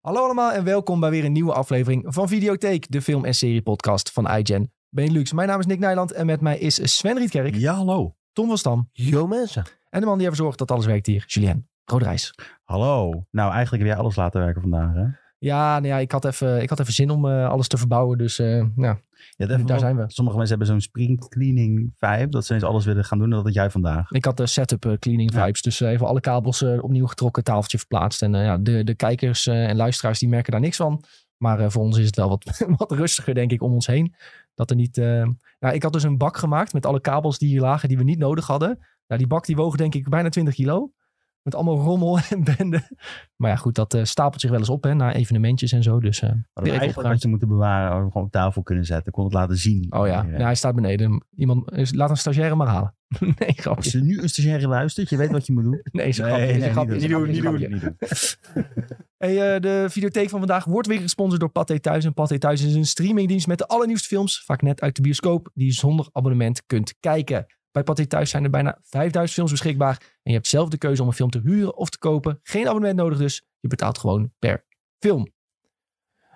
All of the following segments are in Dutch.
Hallo allemaal en welkom bij weer een nieuwe aflevering van Videotheek, de film- en seriepodcast van iGen Benelux. Mijn naam is Nick Nijland en met mij is Sven Rietkerk, Ja, hallo. Tom van Stam Yo mensen. en de man die ervoor zorgt dat alles werkt hier, Julien Roderijs. Hallo. Nou, eigenlijk heb jij alles laten werken vandaag, hè? Ja, nou ja, ik had even, ik had even zin om eh, alles te verbouwen, dus eh, nou, Ja, daar wel- zijn we. Sommige mensen hebben zo'n spring cleaning vibe, dat ze eens alles willen gaan doen en dat had jij vandaag. ik had de setup eh, cleaning Ja. vibes, dus eh, even alle kabels eh, opnieuw getrokken, tafeltje verplaatst. En eh, ja, de, de kijkers eh, en luisteraars die merken daar niks van. Maar eh, voor ons is het wel wat, wat rustiger, denk ik, om ons heen. Dat er niet... eh, Nou, ik had dus een bak gemaakt met alle kabels die hier lagen, die we niet nodig hadden. Nou, die bak die woog denk ik bijna 20 kilo. Met allemaal rommel en bende. Maar ja, goed, dat eh, stapelt zich wel eens op, hè, na evenementjes en zo. Dus eh, Maar weer even eigenlijk had opgeruimd. je moeten bewaren, hadden we gewoon op tafel kunnen zetten. kon het laten zien. Oh ja, nou, hij staat beneden. Iemand, eh, laat een stagiaire maar halen. nee, Als grapje. je nu een stagiaire luistert, je weet wat je moet doen. Nee, is een grapje. is een grapje, is een grapje, is een grapje. Niet doen. Hey, eh, de videotheek van vandaag wordt weer gesponsord door Pathé Thuis. En Pathé Thuis is een streamingdienst met de allernieuwste films, vaak net uit de bioscoop, die je zonder abonnement kunt kijken. Bij Pathé Thuis zijn er bijna 5000 films beschikbaar. En je hebt zelf de keuze om een film te huren of te kopen. Geen abonnement nodig dus. Je betaalt gewoon per film.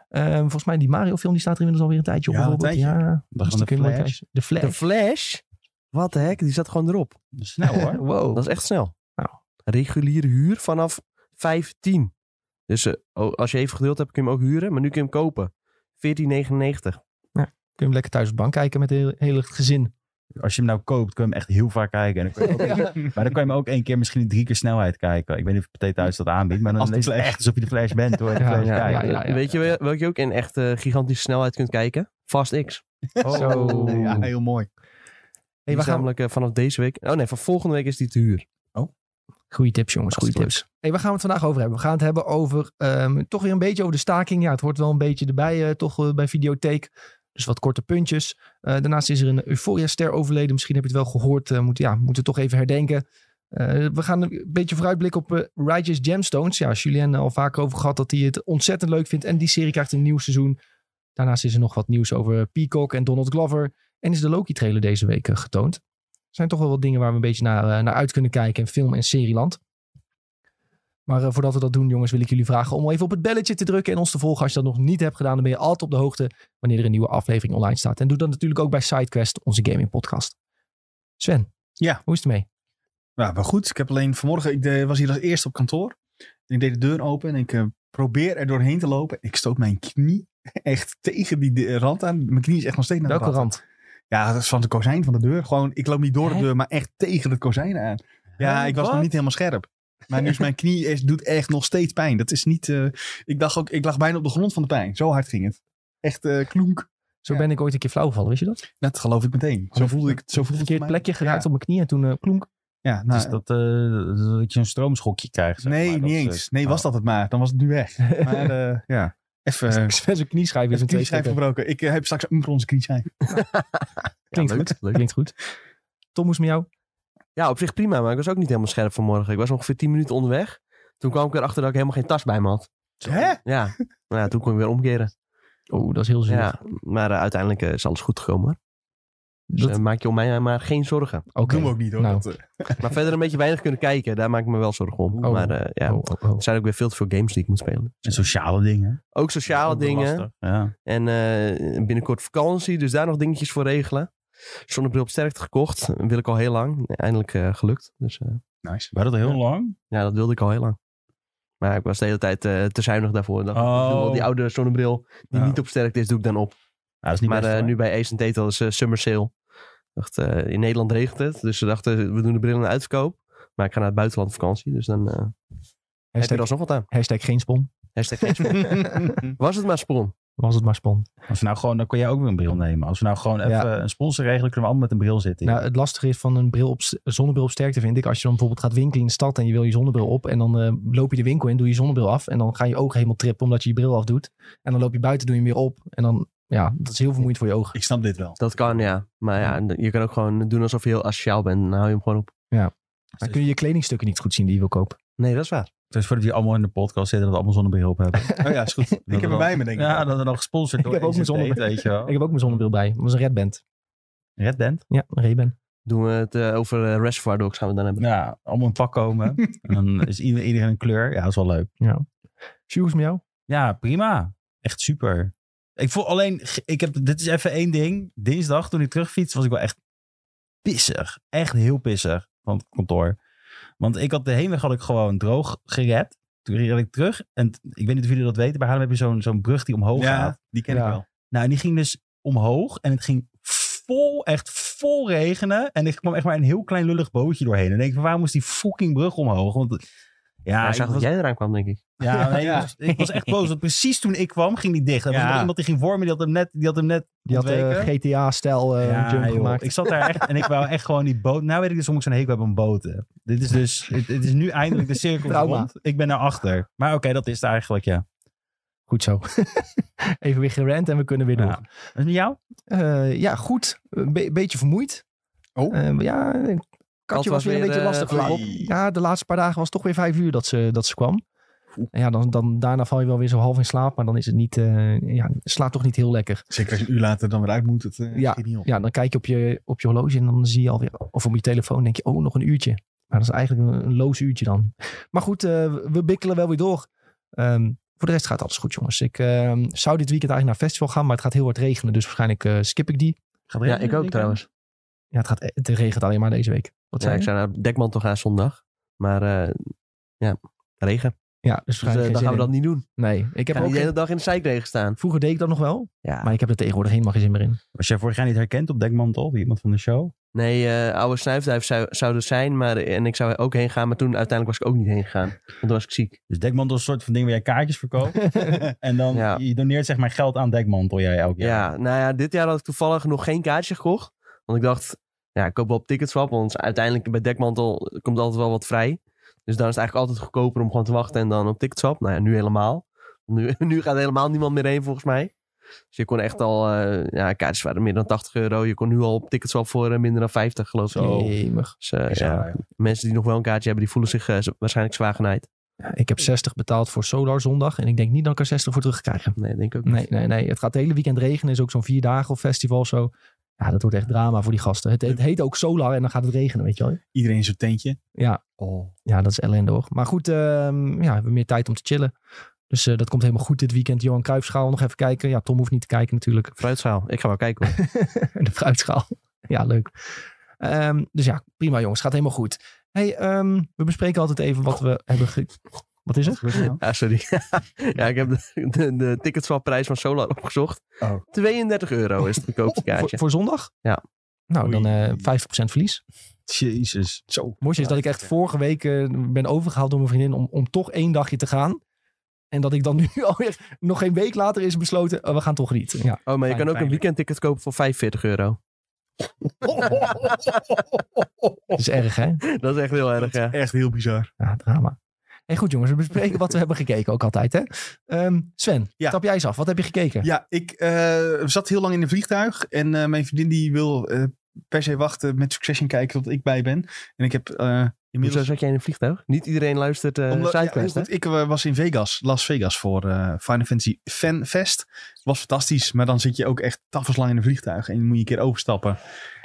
Ehm, volgens mij die Mario film die staat er inmiddels alweer een tijdje op Ja, een bijvoorbeeld. tijdje. Ja, Dan dus gaan die de kun je mooi flash. kijken. De Flash. De Flash? Wat de heck, die zat gewoon erop. Dus Snel hoor. Wow. Dat is echt snel. Nou. Reguliere huur vanaf 15. Dus eh, oh, als je even geduld hebt, kun je hem ook huren. Maar nu kun je hem kopen. 14,99. Kun je hem lekker thuis op de bank kijken met het hele, hele gezin. Als je hem nou koopt, kun je hem echt heel vaak kijken. En dan kun je hem ook- Maar dan kan je hem ook één keer misschien drie keer snelheid kijken. Ik weet niet of Pathé Thuis dat aanbiedt, maar Als dan die is het echt alsof je de flash bent hoor. De Ja, flash ja, kijkt. ja, ja. Weet je wel- welke je ook in echt eh, gigantische snelheid kunt kijken? Fast X. Oh. Zo. Oh. Ja, heel mooi. Die we is gaan... namelijk eh, vanaf deze week... Oh nee, van volgende week is die te huur. Goeie tips, jongens. Goede Hartstikke tips. Hey, waar gaan we het vandaag over hebben? We gaan het hebben over ehm, toch weer een beetje over de staking. Ja, het hoort wel een beetje erbij, eh, toch eh, bij Videotheek. Dus wat korte puntjes. Eh, daarnaast is er een Euphoria-ster overleden. Misschien heb je het wel gehoord. Eh, moet, ja, moeten we toch even herdenken. Eh, we gaan een beetje vooruitblikken op eh, Righteous Gemstones. Ja, Julien eh, al vaker over gehad dat hij het ontzettend leuk vindt. En die serie krijgt een nieuw seizoen. Daarnaast is er nog wat nieuws over Peacock en Donald Glover. En is de Loki-trailer deze week eh, getoond. Er zijn toch wel wat dingen waar we een beetje naar, eh, naar uit kunnen kijken in film- en serieland. Maar eh, voordat we dat doen, jongens, wil ik jullie vragen om even op het belletje te drukken en ons te volgen. Als je dat nog niet hebt gedaan, dan ben je altijd op de hoogte wanneer er een nieuwe aflevering online staat. En doe dat natuurlijk ook bij SideQuest, onze gaming podcast. Sven, Ja. hoe is het mee? Ja, maar goed. Ik heb alleen vanmorgen, ik eh, was hier als eerste op kantoor. En ik deed de deur open en ik eh, probeer er doorheen te lopen. Ik stoot mijn knie echt tegen die de- rand aan. Mijn knie is echt nog steeds Nou, naar de Welke rand? Ja, dat is van de kozijn van de deur. Gewoon, ik loop niet door Hè? de deur, maar echt tegen het kozijn aan. Ja, Hè, ik was nog wat? niet helemaal scherp. Maar nu is mijn knie, is, doet echt nog steeds pijn. Dat is niet, eh, ik dacht ook, ik lag bijna op de grond van de pijn. Zo hard ging het. Echt eh, klonk. Zo Ja. ben ik ooit een keer flauw gevallen, wist je dat? Dat geloof ik meteen. Zo voelde ik, zo voelde het voor Verkeerd mij. plekje geraakt Ja, op mijn knie en toen eh, klonk. ja Het nou, is dat, eh, dat je een stroomschokje krijgt. zeg nee, maar. Dat niet is, eh, eens. Nee, oh. was dat het maar. Dan was het nu weg. Maar eh, ja, even... eh, Sven zijn knieschijf is een Even twee een schijf stukken. gebroken. Ik eh, heb straks een bronzen knieschijf. Klinkt Ja, leuk, goed. leuk. Klinkt goed. Tom, hoe is het met jou? Ja, op zich prima, maar ik was ook niet helemaal scherp vanmorgen. Ik was ongeveer 10 minuten onderweg. Toen kwam ik erachter dat ik helemaal geen tas bij me had. Hè? Ja, nou ja toen kon ik weer omkeren. Oh, dat is heel zielig. Ja, maar eh, uiteindelijk eh, is alles goed gekomen. hoor. Dus Dat- eh, maak je om mij maar geen zorgen. Oké. Doen we ook niet hoor. Nou. Dat, eh, Maar verder een beetje weinig kunnen kijken, daar maak ik me wel zorgen om. Oh. Maar eh, ja, Oh, oh, oh. er zijn ook weer veel te veel games die ik moet spelen. En sociale dingen. Ook sociale Ook wel dingen lastig. Ja. en eh, binnenkort vakantie, dus daar nog dingetjes voor regelen. Zonnebril op sterkte gekocht, wil ik al heel lang. Eindelijk eh, gelukt, dus eh, nice. Waar dat heel lang? ja, dat wilde ik al heel lang. Maar ik was de hele tijd eh, te zuinig daarvoor. Dan Oh. die oude zonnebril die Ja. niet op sterkte is, doe ik dan op. Ja, dat is niet maar best, eh, hoor. nu bij Ace Tate is eh, summer sale. Dacht, eh, in Nederland regent het, dus ze dachten we doen de brillen in de uitverkoop. Maar ik ga naar het buitenland op vakantie, dus dan eh, heb je er Hashtag, alsnog wat aan. hashtag geen spon. Hashtag geen spon. Was het maar spon. Was het maar spon. Als we nou gewoon, dan kun jij ook weer een bril nemen. Als we nou gewoon even Ja. een sponsor regelen, kunnen we allemaal met een bril zitten. Nou, het lastige is van een bril op, een zonnebril op sterkte vind ik. Als je dan bijvoorbeeld gaat winkelen in de stad en je wil je zonnebril op. En dan eh, loop je de winkel in, doe je zonnebril af. En dan gaan je ogen helemaal trippen omdat je je bril afdoet. En dan loop je buiten, doe je hem weer op. En dan, ja, dat is heel vermoeiend voor je ogen. Ik snap dit wel. Dat kan, ja. Maar ja, je kan ook gewoon doen alsof je heel asociaal bent. Dan hou je hem gewoon op. Dan kun je je kledingstukken niet goed zien die je wil kopen. Nee, dat is waar. Dus voordat die allemaal in de podcast zitten, dat we allemaal zonnebril op hebben. Oh ja, is goed. ik heb hem bij me denk ik. Ja, dat we dan gesponsord door heb ook AZT, mijn zonnebril. Weet je wel. Ik heb ook mijn zonnebril bij. Dat was een Red Band. Red Band. Ja, een Ray Ban. Doen we het eh, over eh, Reservoir Dogs gaan we het dan hebben. Ja, allemaal een pak komen. en dan is ieder- iedereen een kleur. Ja, dat is wel leuk. Shoes met jou? Ja, prima. Echt super. Ik voel alleen, ik heb, dit is even één ding. Dinsdag toen ik terugfiets was ik wel echt pissig. Echt heel pissig van het kantoor. Want ik had de heenweg had ik gewoon droog gered. Toen reed ik terug. En t- ik weet niet of jullie dat weten, maar Haarlem heb je zo'n zo'n brug die omhoog gaat. die ken Ja. ik wel. Nou, en die ging dus omhoog. En het ging vol, echt vol regenen. En ik kwam echt maar een heel klein lullig bootje doorheen. En ik denk van, waarom moest die fucking brug omhoog? Want ja, hij ik zag dat was- jij eraan kwam, denk ik. ja, nee, Ja. Ik, was, ik was echt boos. Want precies toen ik kwam, ging die dicht. Er was Ja. nog iemand die ging voor me, die had hem net, die had hem net Die had ontweken. eh, GTA-stijl eh, Ja, jump joh. gemaakt. Ik zat daar echt en ik wou echt gewoon die boot. Nou weet ik dus om ik zo'n hekel heb aan boten. Dit is dus, het, het is nu eindelijk de cirkel Trauma. rond. Ik ben naar achter. Maar oké, dat is het eigenlijk, ja. Goed zo. Even weer gerend en we kunnen weer door. ja. Is het met jou? Eh, ja, goed. Een be- beetje vermoeid. Oh. Eh, ja, Katje Kat was, weer een beetje eh, lastig. voor flauw. op. Ja, de laatste paar dagen was het toch weer vijf uur dat ze, dat ze kwam. En ja, dan, dan, daarna val je wel weer zo half in slaap. Maar dan is het niet, eh, ja, het slaat toch niet heel lekker. Zeker als je een uur later dan weer uit moet, het eh, Ja. schiet niet op. Ja, dan kijk je op je, op je horloge en dan zie je alweer... Of op je telefoon denk je, oh, nog een uurtje. Maar dat is eigenlijk een, een loos uurtje dan. Maar goed, eh, we bikkelen wel weer door. Ehm, voor de rest gaat alles goed, jongens. Ik ehm, zou dit weekend eigenlijk naar een festival gaan, maar het gaat heel hard regenen. Dus waarschijnlijk eh, skip ik die. Gaat Ja, ik ook trouwens. Ja, het, gaat, e-, het regent alleen maar deze week. Wat Ja, zei ik nou, je? zou naar Dekmantel gaan zondag. Maar eh, ja, regen. Ja, dus Dus, eh, waarschijnlijk dan gaan we geen dat zin niet doen. in. Nee, ik Ik heb heb ook... de hele geen- dag in de zijkregen staan. Vroeger deed ik dat nog wel, Ja. maar ik heb er tegenwoordig helemaal geen zin meer in. Was jij vorig jaar niet herkend op Dekmantel? Bij Iemand van de show? Nee, eh, oude snuifduif zou, zou er zijn. Maar, eh, en ik zou er ook heen gaan. Maar toen uiteindelijk was ik ook niet heen gegaan. Want toen was ik ziek. Dus Dekmantel is een soort van ding waar jij kaartjes verkoopt. en dan Ja. je doneert zeg maar geld aan Dekmantel jij elk Ja. jaar. nou ja, dit jaar had ik toevallig nog geen kaartje gekocht. Want ik dacht, ja, ik koop wel op ticketswap. Want uiteindelijk bij Dekmantel komt altijd wel wat vrij. Dus dan is het eigenlijk altijd goedkoper om gewoon te wachten en dan op ticketswap. Nou ja, nu helemaal. Nu, nu gaat helemaal niemand meer heen volgens mij. Dus je kon echt al, eh, ja, kaartjes waren meer dan 80 euro. Je kon nu al op ticketswap voor eh, minder dan 50 geloof ik. Zo. Jemig. Dus, eh, Bizar, ja, ja. mensen die nog wel een kaartje hebben, die voelen zich eh, z- waarschijnlijk zwaar genaaid. Ja, Ik heb 60 betaald voor Solar zondag en ik denk niet dat ik er 60 voor terug ga krijgen. Nee, denk ik ook niet. Nee, nee, nee. Het gaat het hele weekend regenen. is ook zo'n vier dagen of festival of zo. Ja, dat wordt echt drama voor die gasten. Het, het heet ook Solar en dan gaat het regenen, weet je wel. Iedereen in zijn tentje. Ja, Oh. ja dat is ellende hoor. Maar goed, ehm, ja, we hebben meer tijd om te chillen. Dus eh, dat komt helemaal goed dit weekend. Johan Cruijffschaal nog even kijken. Ja, Tom hoeft niet te kijken natuurlijk. Fruitzaal. Ik ga wel kijken. hoor. de fruitschaal. ja, leuk. Ehm, dus ja, prima jongens. Gaat helemaal goed. hey, ehm, we bespreken altijd even wat we hebben... ge- Wat is het? Ah, sorry. ja, ik heb de, de, de ticketswapprijs van Solar opgezocht. Oh. 32 euro is het goedkoopste Voor, kaartje. voor zondag? Ja. Nou, dan eh 50% Oei. verlies. Jezus. Zo. Mooi is dat ik echt vorige week eh, ben overgehaald door mijn vriendin om, om toch één dagje te gaan. En dat ik dan nu alweer, nog geen week later is besloten, eh, we gaan toch niet. Ja. Oh, maar je Fijn, kan ook een fijn. weekendticket kopen voor 45 euro. Dat is erg hè? Dat is echt heel erg, ja. Echt heel bizar. Ja, drama. Hey, goed jongens, we bespreken wat we hebben gekeken ook altijd hè. Ehm, Sven, Ja. stap jij eens af. Wat heb je gekeken? Ja, ik eh, zat heel lang in een vliegtuig. En eh, mijn vriendin die wil eh, per se wachten met Succession kijken tot ik bij ben. En ik heb eh, Hoezo inmiddels... zat jij in een vliegtuig? Niet iedereen luistert eh Omdat- ja, Sidequest, heel hè? goed. ik eh, was in Vegas, Las Vegas voor eh, Final Fantasy Fan Fest. Was fantastisch, maar dan zit je ook echt tafelslang in een vliegtuig en moet je een keer overstappen.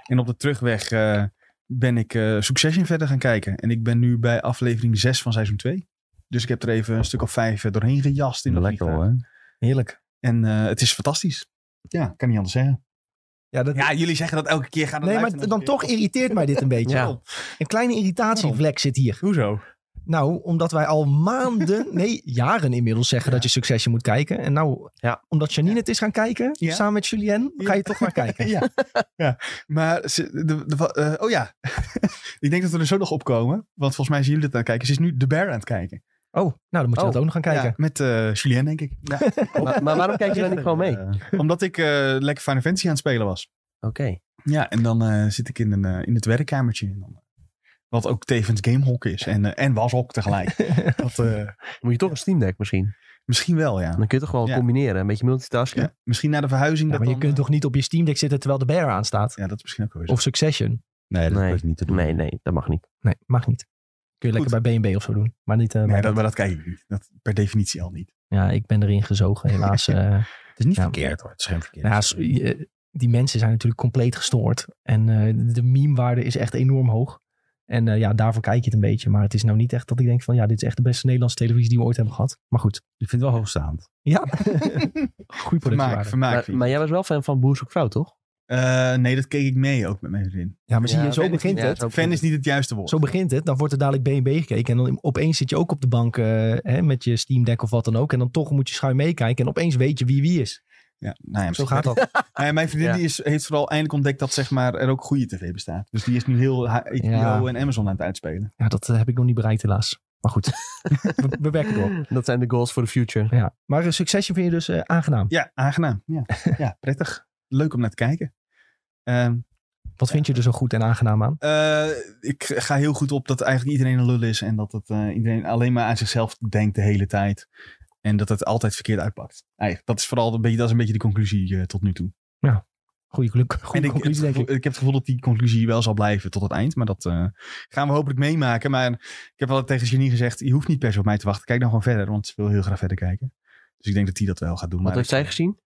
En op de terugweg eh, ben ik eh, Succession verder gaan kijken. En ik ben nu bij aflevering 6 van seizoen 2. Dus ik heb er even een stuk of vijf eh, doorheen gejast in de Lekker vliegtuig. hoor. Heerlijk. En eh, het is fantastisch. Ja, kan niet anders zeggen. Ja, dat... Ja, jullie zeggen dat elke keer. Gaan nee, maar dan toch irriteert mij dit een beetje. Ja. Een kleine irritatievlek zit hier. Hoezo? Nou, omdat wij al maanden, nee, jaren inmiddels zeggen dat je Succession moet kijken. En nou, Ja. omdat Janine het is gaan kijken, Ja. samen met Julien, ga je Ja. toch maar kijken. Ja. ja. Maar, ze, de, de, wa- eh, oh ja. ik denk dat we er zo nog op komen. Want volgens mij zien jullie het aan het kijken. Ze is nu The Bear aan het kijken. Oh, nou, dan moet je Oh, dat ook nog gaan kijken. Ja, met eh Julien, denk ik. Ja. Maar, maar waarom kijk je dan niet gewoon mee? Oké. Omdat ik eh, lekker Final Fantasy aan het spelen was. Ja, en dan eh, zit ik in, een, eh, in het werkkamertje. En dan, eh, wat ook tevens gamehok is. En, eh, en washok tegelijk. dat, eh, Moet je toch een Steam Deck misschien? misschien wel, ja. Dan kun je toch wel Ja. combineren. Een beetje multitasken. Ja, Misschien na de verhuizing. Ja, dat maar je dan, kunt eh, toch niet op je Steam Deck zitten terwijl de bear aanstaat? Ja, dat is misschien ook wel weer zo. Of Succession? Nee, dat Nee. is niet te doen. Nee, nee, dat mag niet. Nee, mag niet. Kun je lekker bij B&B of zo doen. Maar niet, eh, Nee, bij- dat, maar dat kijk ik niet. Dat per definitie al niet. ja, ik ben erin gezogen helaas. eh. nou, Het is niet Ja. verkeerd hoor. Het is geen verkeerd. ja, s- je- die mensen zijn natuurlijk compleet gestoord. En eh, de meme-waarde is echt enorm hoog. En eh, ja, daarvoor kijk je het een beetje. Maar het is nou niet echt dat ik denk van ja, dit is echt de beste Nederlandse televisie die we ooit hebben gehad. Maar goed. Ik vind het wel hoogstaand. Ja, goed Vermaak, productiewaarde. vermaak. Maar, maar jij was wel fan van Boer Zoekt Vrouw, toch? Eh, nee, dat keek ik mee ook met mijn vriendin. Ja, maar zie je, Ja, zo weet ik begint niet. Ja, het. zo Fan is niet het juiste woord. Zo begint het. Dan wordt er dadelijk BNB gekeken. En dan opeens zit je ook op de bank eh, hè, met je Steam Deck of wat dan ook. En dan toch moet je schuin meekijken. En opeens weet je wie wie is. ja, nou ja, Zo gaat dat. Nou ja, mijn vriendin Ja. die is, heeft vooral eindelijk ontdekt dat zeg maar, er ook goede tv bestaat. Dus die is nu heel H- HBO Ja. en Amazon aan het uitspelen. Ja, dat eh, heb ik nog niet bereikt helaas. Maar goed, we, we werken door. Dat zijn de goals for the future. Ja. Maar eh, Succession vind je dus eh, aangenaam. Ja, aangenaam. Ja, ja prettig. Leuk om naar te kijken. Ehm, Wat vind je er zo goed en aangenaam aan? eh, ik ga heel goed op dat eigenlijk iedereen een lul is. En dat het, eh, iedereen alleen maar aan zichzelf denkt de hele tijd. En dat het altijd verkeerd uitpakt. Eigenlijk, dat is vooral een beetje, dat is een beetje de conclusie eh, tot nu toe. Goeie, geluk, En goede ik, conclusie, denk het gevoel- ik. ik heb het gevoel dat die conclusie wel zal blijven tot het eind. Maar dat eh, gaan we hopelijk meemaken. Maar ik heb wel tegen Genie gezegd, je hoeft niet per se op mij te wachten. Kijk dan gewoon verder, want ze wil heel graag verder kijken. Dus ik denk dat die dat wel gaat doen. Wat maar heeft zij gezien?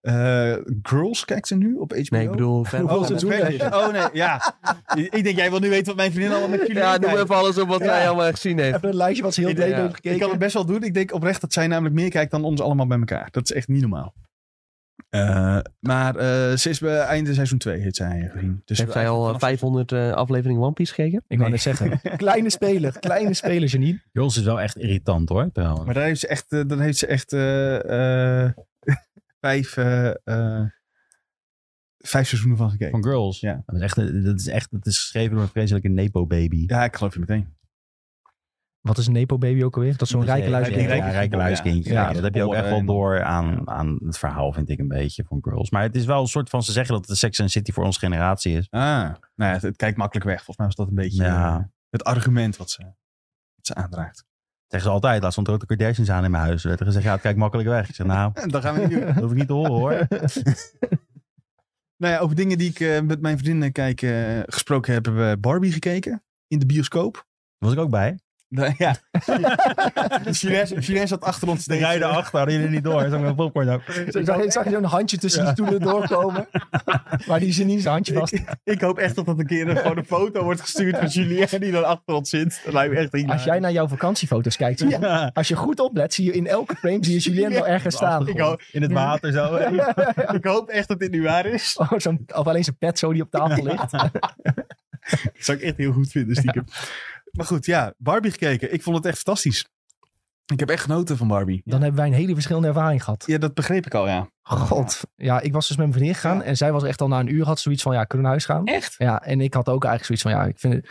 eh, Girls kijkt ze nu op HBO? Nee, ik bedoel... fan- Hoeveel Oh, met seizoenen Ferris. oh nee, ja. ik denk, jij wil nu weten wat mijn vriendin allemaal met jullie Ja, kijkt. noem even alles op wat Ja. hij allemaal gezien heeft. Even een lijstje wat ze heel Ik- leuk ja. heeft gekeken. Ik kan het best wel doen. Ik denk oprecht dat zij namelijk meer kijkt dan ons allemaal bij elkaar. Dat is echt niet normaal. Eh, maar eh ze is bij einde seizoen 2, heeft zij eh, gezien. Dus Heeft zij al eh, vanaf- 500 eh, afleveringen One Piece gekeken? Ik wou net zeggen. Kleine speler, kleine speler, Janine. Jos is wel echt irritant hoor. trouwens. Maar daar heeft ze echt, eh, dan heeft ze echt eh, eh, vijf, eh, eh, vijf seizoenen van gekeken. Van Girls. Ja. Dat is echt, dat is echt dat is geschreven door een vreselijke Nepo baby. Ja, ik geloof je meteen. Wat is een Nepo baby ook alweer? Dat is zo'n rijke luister. die Ja, rijke- ja, rijke luiskindje. Ja. Ja, dat heb je ook echt wel door aan, aan het verhaal, vind ik een beetje, van Girls. Maar het is wel een soort van, ze zeggen dat de Sex and the City voor onze generatie is. Ah, nou ja, het, het kijkt makkelijk weg. Volgens mij was dat een beetje Ja. eh, het argument wat ze, wat ze aandraagt. Dat zeggen ze altijd. Laatst stond er ook de Kardashians aan in mijn huis. Er werd er gezegd, ja, het kijkt makkelijk weg. Ik zeg, nou, En dan gaan we niet doen. dat hoef ik niet te horen hoor. Nou ja, over dingen die ik eh, met mijn vriendinnen kijk eh, gesproken heb, hebben we Barbie gekeken in de bioscoop. Daar was ik ook bij. Nou, ja. Finesse Finesse zat achter ons. eh, De rij erachter hadden jullie niet door. Zag ik mijn popcorn ook. Zo- zag je- Zag je zo'n handje tussen die stoelen doorkomen? Maar die Janine zijn handje vast. Ik hoop echt dat dat een keer een- gewoon een foto wordt gestuurd van Julien die dan achter ons zit. Dat lijkt me echt hilarisch. Als jij naar jouw vakantiefoto's kijkt, zie je- Ja. als je goed oplet, zie je in elke frame zie je Julien wel ergens staan. Ik hoop, In het water zo. ik hoop echt dat dit nu waar is. Oh, zo'n- of alleen zijn pet zo die op tafel ligt. Dat zou ik echt heel goed vinden, stiekem. Maar goed, ja, Barbie gekeken. Ik vond het echt fantastisch. Ik heb echt genoten van Barbie. Dan hebben wij een hele verschillende ervaring gehad. Ja, dat begreep ik al, Oh, ja. God. Ja, ik was dus met mijn vriendin gegaan. En zij was echt al na een uur had zoiets van, ja, kunnen we naar huis gaan? Echt? Ja, en ik had ook eigenlijk zoiets van, ja, ik vind het...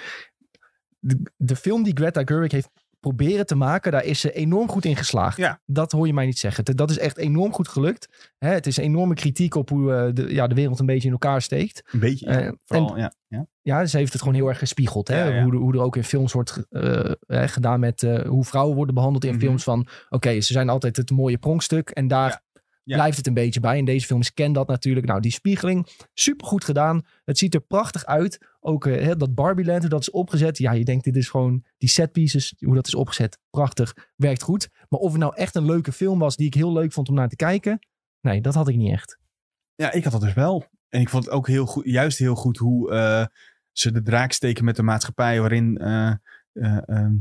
De, de film die Greta Gerwig heeft proberen te maken, daar is ze enorm goed in geslaagd. Ja. Dat hoor je mij niet zeggen. Dat is echt enorm goed gelukt. Hè, het is een enorme kritiek op hoe eh, de, ja, de wereld een beetje in elkaar steekt. Een beetje. ja. Eh, en Vooral, ja. ja. ja, ze heeft het gewoon heel erg gespiegeld. Hè? Ja, ja. Hoe, er- hoe er ook in films wordt eh, hè, gedaan met eh, hoe vrouwen worden behandeld in Mhm. films. Van oké, ze zijn altijd het mooie pronkstuk en daar Ja. blijft het een beetje bij. In deze films ken dat natuurlijk. Nou, die spiegeling, supergoed gedaan. Het ziet er prachtig uit. Ook eh, hè, dat Barbie Land, hoe dat is opgezet. Ja, je denkt dit is gewoon die set pieces, hoe dat is opgezet. Prachtig, werkt goed. Maar of het nou echt een leuke film was die ik heel leuk vond om naar te kijken. Nee, dat had ik niet echt. Ja, ik had dat dus wel. En ik vond het ook heel goed, juist heel goed hoe eh, ze de draak steken met de maatschappij waarin. eh, eh, ehm,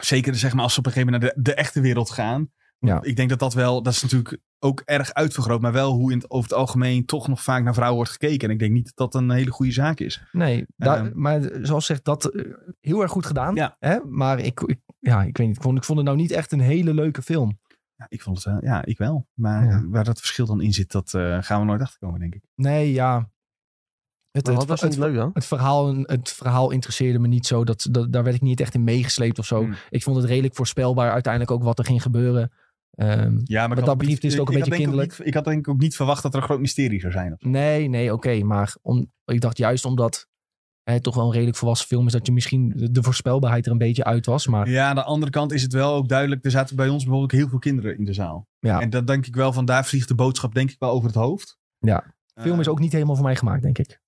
zeker zeg maar als ze op een gegeven moment naar de, de echte wereld gaan. Ja. Ik denk dat dat wel, dat is natuurlijk ook erg uitvergroot, maar wel hoe in het, over het algemeen toch nog vaak naar vrouwen wordt gekeken. En ik denk niet dat dat een hele goede zaak is. Nee, daar, Ehm. maar zoals gezegd, dat eh, heel erg goed gedaan. Ja. Hè? Maar ik, ik- ja, ik weet niet, ik vond, ik vond het nou niet echt een hele leuke film. Ja, ik vond het wel, ja, ik wel. Maar Ja. eh, waar dat verschil dan in zit, dat eh, gaan we nooit achterkomen, denk ik. Nee, ja. Het, Maar het, wat was het- niet leuk dan? het verhaal, het verhaal interesseerde me niet zo. Dat, dat, daar werd ik niet echt in meegesleept of zo. Hmm. Ik vond het redelijk voorspelbaar uiteindelijk ook wat er ging gebeuren. Ehm, Ja, maar dat betreft is het ook een beetje kinderlijk. ik had denk ik ook niet verwacht dat er een groot mysterie zou zijn. nee, nee, oké. maar om, ik dacht juist omdat het toch wel een redelijk volwassen film is... dat je misschien de, de voorspelbaarheid er een beetje uit was. Maar Ja, aan de andere kant is het wel ook duidelijk. Er zaten bij ons bijvoorbeeld heel veel kinderen in de zaal. Ja. En dat denk ik wel, van daar vliegt de boodschap denk ik wel over het hoofd. Eh, Ja. de film is ook niet helemaal voor mij gemaakt, denk ik.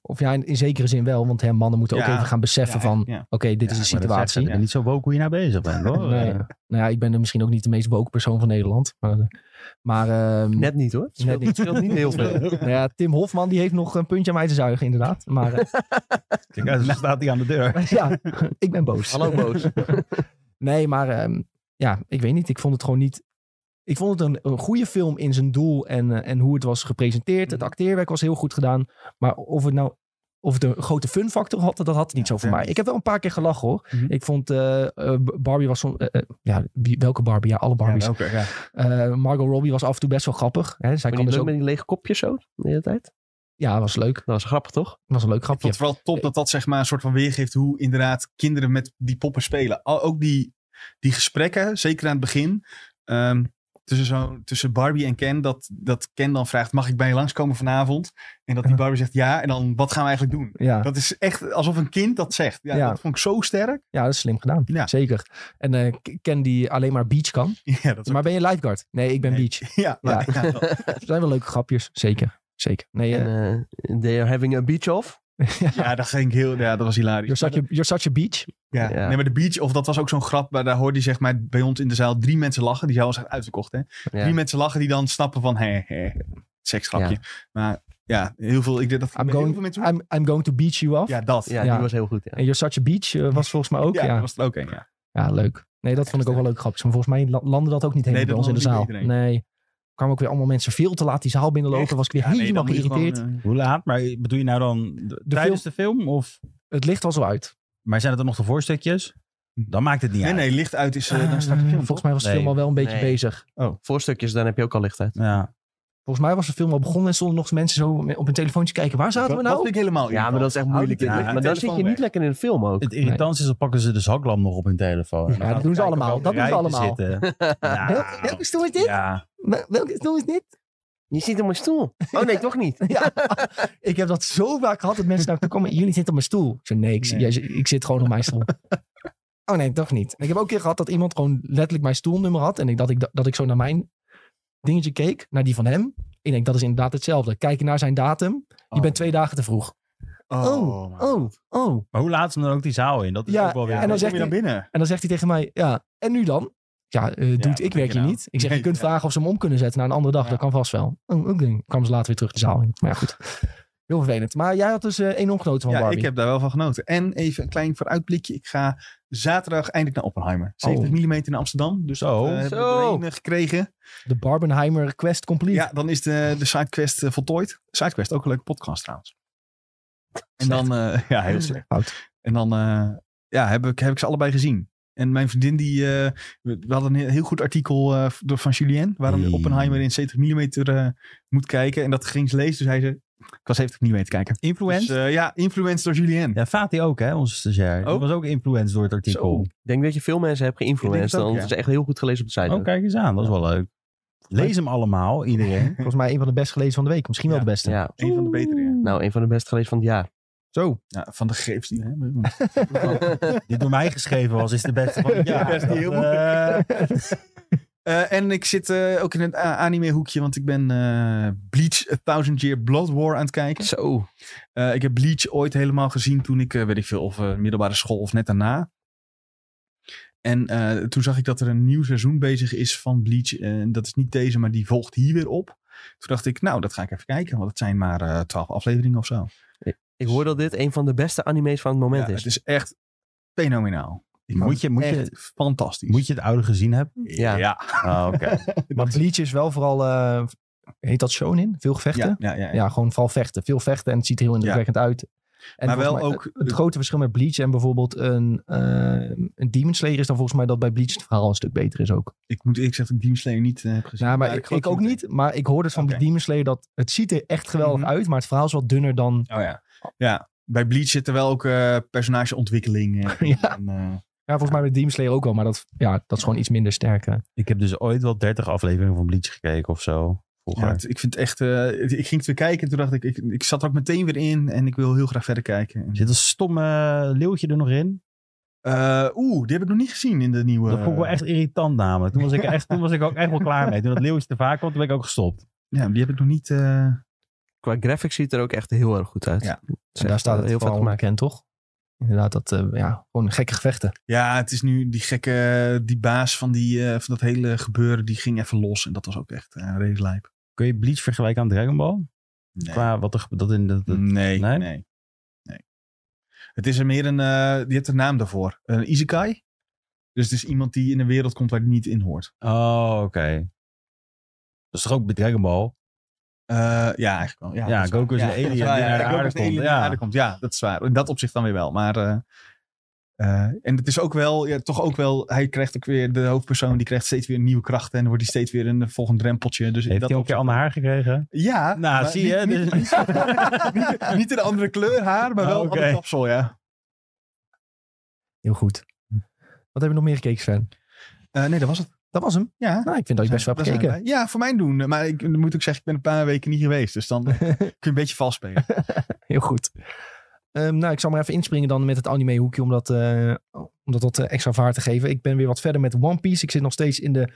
Of ja, in, in zekere zin wel. Want hè, mannen moeten ook Ja. even gaan beseffen Ja, van... Oké, ja. dit Ja, is de maar dat zegt situatie. ze, ja. Niet zo woke hoe je nou bezig bent, hoor. Oh, Nee. Eh, Nou ja, ik ben er misschien ook niet de meest woke persoon van Nederland. Maar, eh, maar ehm, Net niet hoor. Net Net niet. niet. Speelt niet heel veel. nou ja, Tim Hofman die heeft nog een puntje aan mij te zuigen inderdaad. Maar eh, Kijk, uit, dan staat hij aan de deur. ja, ik ben boos. Hallo boos. Nee, maar ehm, ja, ik weet niet. Ik vond het gewoon niet. Ik vond het een, een goede film in zijn doel en, eh, en hoe het was gepresenteerd. Mhm. Het acteerwerk was heel goed gedaan. Maar of het nou. Of het een grote fun factor had, dat had het niet Ja, zo voor ja. mij. Ik heb wel een paar keer gelachen hoor. Mhm. Ik vond eh, eh, Barbie was soms. eh, eh, ja, wie- welke Barbie? Ja, alle Barbies. Ja, welke, ja. Eh, Margot Robbie was af en toe best wel grappig. Hè? Zij Kan kan je dus ook ook. met die lege kopjes zo de hele tijd? Ja, was leuk. Dat was grappig toch? Was een leuk Ik vond grapje. het vooral top dat dat zeg maar een soort van weergeeft hoe inderdaad kinderen met die poppen spelen. Al- Ook die, die gesprekken, zeker aan het begin, ehm, tussen, zo, tussen Barbie en Ken, dat, dat Ken dan vraagt, mag ik bij je langskomen vanavond? En dat die Barbie zegt ja, en dan wat gaan we eigenlijk doen? Ja. Dat is echt alsof een kind dat zegt. Ja, Ja. Dat vond ik zo sterk. ja, dat is slim gedaan. Ja. Zeker. En eh, ik Ken die alleen maar beach kan. Ja, dat is Maar ben je lifeguard? Nee, ik ben Nee. beach. ook- ja, maar- ja, dat- Er zijn wel leuke grapjes, zeker. Zeker. Nee, eh, En eh, they are having a beach off. ja, dat ging ik heel, ja, dat was hilarisch. you're, such a, you're such a beach. Ja. Dus- Ja. Nee, maar de beach, of dat was ook zo'n grap, maar daar hoorde je zeg maar bij ons in de zaal drie mensen lachen. Die zaal was echt uitverkocht, hè. Ja. Drie mensen lachen die dan snappen van, hé, hé, seksgrapje. Maar ja, heel veel, ik denk dat I'm bij heel veel going, mensen... I'm, I'm going to beach you off. ja, dat. Ja, Ja. die was heel goed. Ja. En You're such a beach eh, was volgens mij ook. Ja, Ja, dat ja. was er ook een, ja. leuk. Nee, dat vond ik ook wel leuk grapjes. Maar volgens mij la- landde dat ook niet helemaal Nee, bij dat ons in de zaal. landde niet bij Nee. Er kwamen ook weer allemaal mensen veel te laat die zaal binnenlopen. Was ik weer Ja, nee, helemaal dan moet je geïrriteerd. gewoon, eh, Hoe laat? Maar bedoel je nou dan de- tijdens de film? Of, Het licht was al uit. maar zijn het dan nog de voorstukjes? Dan maakt het niet uit. Nee, nee, licht uit is... Ah, eh, dan start de Eh, film, volgens mij was de Nee. film al wel een beetje Nee. bezig. Voorstukjes, dan heb je ook al licht uit. Ja. Volgens mij was de film al begonnen en stonden nog eens mensen zo op hun telefoontje kijken. Waar zaten toch? we Dat nou? vind ik helemaal Ja, maar dat is echt moeilijk. Ja, maar dan telefoon zit je weg. niet lekker in de film ook. Het irritant is, dan pakken ze de zaklamp nog op hun telefoon. Ja, dat doen ze allemaal. Dat doen ze allemaal. Welke, Ah. Ja. welke stoel is dit? Ja. Wel- Welke stoel is dit? Je zit op mijn stoel. Oh nee, toch niet. Ja, ik heb dat zo vaak gehad dat mensen naar me komen. Jullie zitten op mijn stoel. Ik zei, nee, ik, Nee. jij- ik zit gewoon op mijn stoel. oh nee, toch niet. En ik heb ook een keer gehad dat iemand gewoon letterlijk mijn stoelnummer had. En ik, dat, ik, dat ik zo naar mijn dingetje keek, naar die van hem. Ik denk, dat is inderdaad hetzelfde. Kijk je naar zijn datum. Je Oh. bent twee dagen te vroeg. Oh, man. Oh, oh. Maar hoe laat ze hem dan ook die zaal in? Dat is Ja, ook wel weer... en Ja, dan en dan zegt zeg je dan hij- binnen. En dan zegt hij tegen mij, ja, en nu dan? Ja, eh doet, wat ik werk denk je hier nou? niet. Ik zeg, je Nee, kunt ja. vragen of ze hem om kunnen zetten naar een andere dag. Ja. Dat kan vast wel. Oh, oké. Kwam ze later weer terug de zaal in. Maar ja, goed. Heel vervelend. Maar jij had dus eh enorm genoten van Ja, Barbie. ik heb daar wel van genoten. En even een klein vooruitblikje. Ik ga zaterdag eindelijk naar Oppenheimer. 70 mm in Amsterdam. Dus Zo. dat, eh, hebben we Zo. doorheen, eh, gekregen. De Barbenheimer Quest Complete. Ja, dan is de, de sidequest eh, voltooid. Sidequest, ook een leuke podcast trouwens. En dan, eh, ja, heel slecht. Fout. En dan eh, ja, heb, ik, heb ik ze allebei gezien. En mijn vriendin, die, eh, we we hadden een heel- heel goed artikel eh, door van Julien. Waarom je Hey. Oppenheimer in 70 mm moet kijken. En dat ging ze lezen. Dus hij zei, ik was 70 mm kijken. Influence? Dus, eh, ja, influenced door Julien. eh, ja, Fatih ook, hè, onze stagiair. Die Ook? was ook influenced door het artikel. Ik denk dat je veel mensen hebt Ik denk geïnfluenced. het ook, Want ja. het is echt heel goed gelezen op de site. Oh, ook. kijk eens aan. Dat is wel leuk. Lees hem allemaal, iedereen. Volgens mij een van de best gelezen van de week. Misschien wel Ja. de beste. Ja. Een van de betere. ja. Nou, een van de best gelezen van het jaar. Zo. Ja, van de greep die. Hè? Die door mij geschreven was, is de beste van het Ja, jaar. best heel Dat, eh, Eh, en ik zit eh, ook in het a- anime hoekje, want ik ben eh, Bleach A Thousand Year Blood War aan het kijken. Zo. Eh, ik heb Bleach ooit helemaal gezien toen ik, eh, weet ik veel, of eh, middelbare school of net daarna. En eh, toen zag ik dat er een nieuw seizoen bezig is van Bleach. eh, En dat is niet deze, maar die volgt hier weer op. Toen dacht ik, nou, dat ga ik even kijken, want het zijn maar eh, twaalf afleveringen of zo. Ik hoor dat dit een van de beste anime's van het moment Ja, is. het is echt fenomenaal. Ik Moet vond je- het moet je- echt fantastisch. Moet je het oude gezien hebben? Ja. Ah, oké. Maar Bleach is wel vooral... eh, heet dat shonen? Veel gevechten? ja, Ja. ja, ja, ja. gewoon vooral vechten. Veel vechten en het ziet er heel indrukwekkend uit. En maar wel volgens mij- eh, ook. Het grote verschil met Bleach en bijvoorbeeld een, eh, een Demon Slayer is dan volgens mij dat bij Bleach het verhaal een stuk beter is ook. Ik moet eerlijk zeggen dat ik Demon Slayer niet eh, heb gezien. Nou, maar ik, geloof ik ook het niet, maar ik hoorde het van Oké. Demon Slayer dat het ziet er echt geweldig Mhm. uit, maar het verhaal is wat dunner dan... Oh ja. Ja, bij Bleach zit er wel ook eh, personageontwikkeling. eh, Ja. en, eh, Ja, volgens mij met Demon Slayer ook wel, maar dat, ja, dat is gewoon iets minder sterk. eh. Ik heb dus ooit wel 30 afleveringen van Bleach gekeken of zo. Vroeger. ja, het- ik vind het echt. eh, het- ik ging het weer kijken en toen dacht ik, ik, ik zat er ook meteen weer in en ik wil heel graag verder kijken. En, Zit een stomme leeuwtje er nog in? eh, Oeh, die heb ik nog niet gezien in de nieuwe. Dat vond ik wel echt irritant namelijk. Toen was ik, echt, toen was ik ook echt wel klaar mee. Toen dat leeuwtje te vaak kwam, toen ben ik ook gestopt. Ja, die heb ik nog niet. eh, qua graphics ziet het er ook echt heel erg goed uit. Ja. Het is En daar echt, staat het eh, heel heel vet veel gemaakt. bekend, toch? Inderdaad, dat, eh, ja, gewoon gekke gevechten. Ja, het is nu die gekke, die baas van, die, eh, van dat hele gebeuren, die ging even los. En dat was ook echt eh redelijk lijp. Kun je Bleach vergelijken aan Dragon Ball? Nee. Qua wat er ge- dat in dat, dat- Nee, Nee? nee, nee. Het is er meer een, eh je hebt een naam daarvoor. Een isekai. Dus het is iemand die in een wereld komt waar hij niet in hoort. Oh, oké. Dat is toch ook bij Dragon Ball? Eh, ja, eigenlijk wel. Ja, Ja, dat is waar. Goku is Ja, een alien dat die waar, ja. naar de Goku aarde is een alien komt. die naar de Ja. aarde komt. Ja, dat is waar. In dat opzicht dan weer wel. Maar, eh, eh, en het is ook wel, ja, toch ook wel, hij krijgt ook weer, de hoofdpersoon die krijgt steeds weer nieuwe krachten. En dan wordt hij steeds weer een eh, volgend drempeltje. Dus in Heeft dat hij ook een keer opzicht- ander haar gekregen? Ja. Nou, maar zie niet- je, Niet, dus- niet, niet een andere kleur haar, maar Ah, wel een oké. ander kapsel, ja. Heel goed. Hm. Wat heb je nog meer gekeken, Sven? Eh, nee, dat was het. Dat was hem. Ja. Nou, ik vind dat je best wel hebt Daar zijn gekeken. wij. Ja, voor mijn doen. Maar ik dan moet ook zeggen, ik ben een paar weken niet geweest. Dus dan eh, kun je een beetje vals spelen. Heel goed. Ehm, nou, ik zal maar even inspringen dan met het anime hoekje om dat, eh, om dat wat eh, extra vaart te geven. Ik ben weer wat verder met One Piece. Ik zit nog steeds in de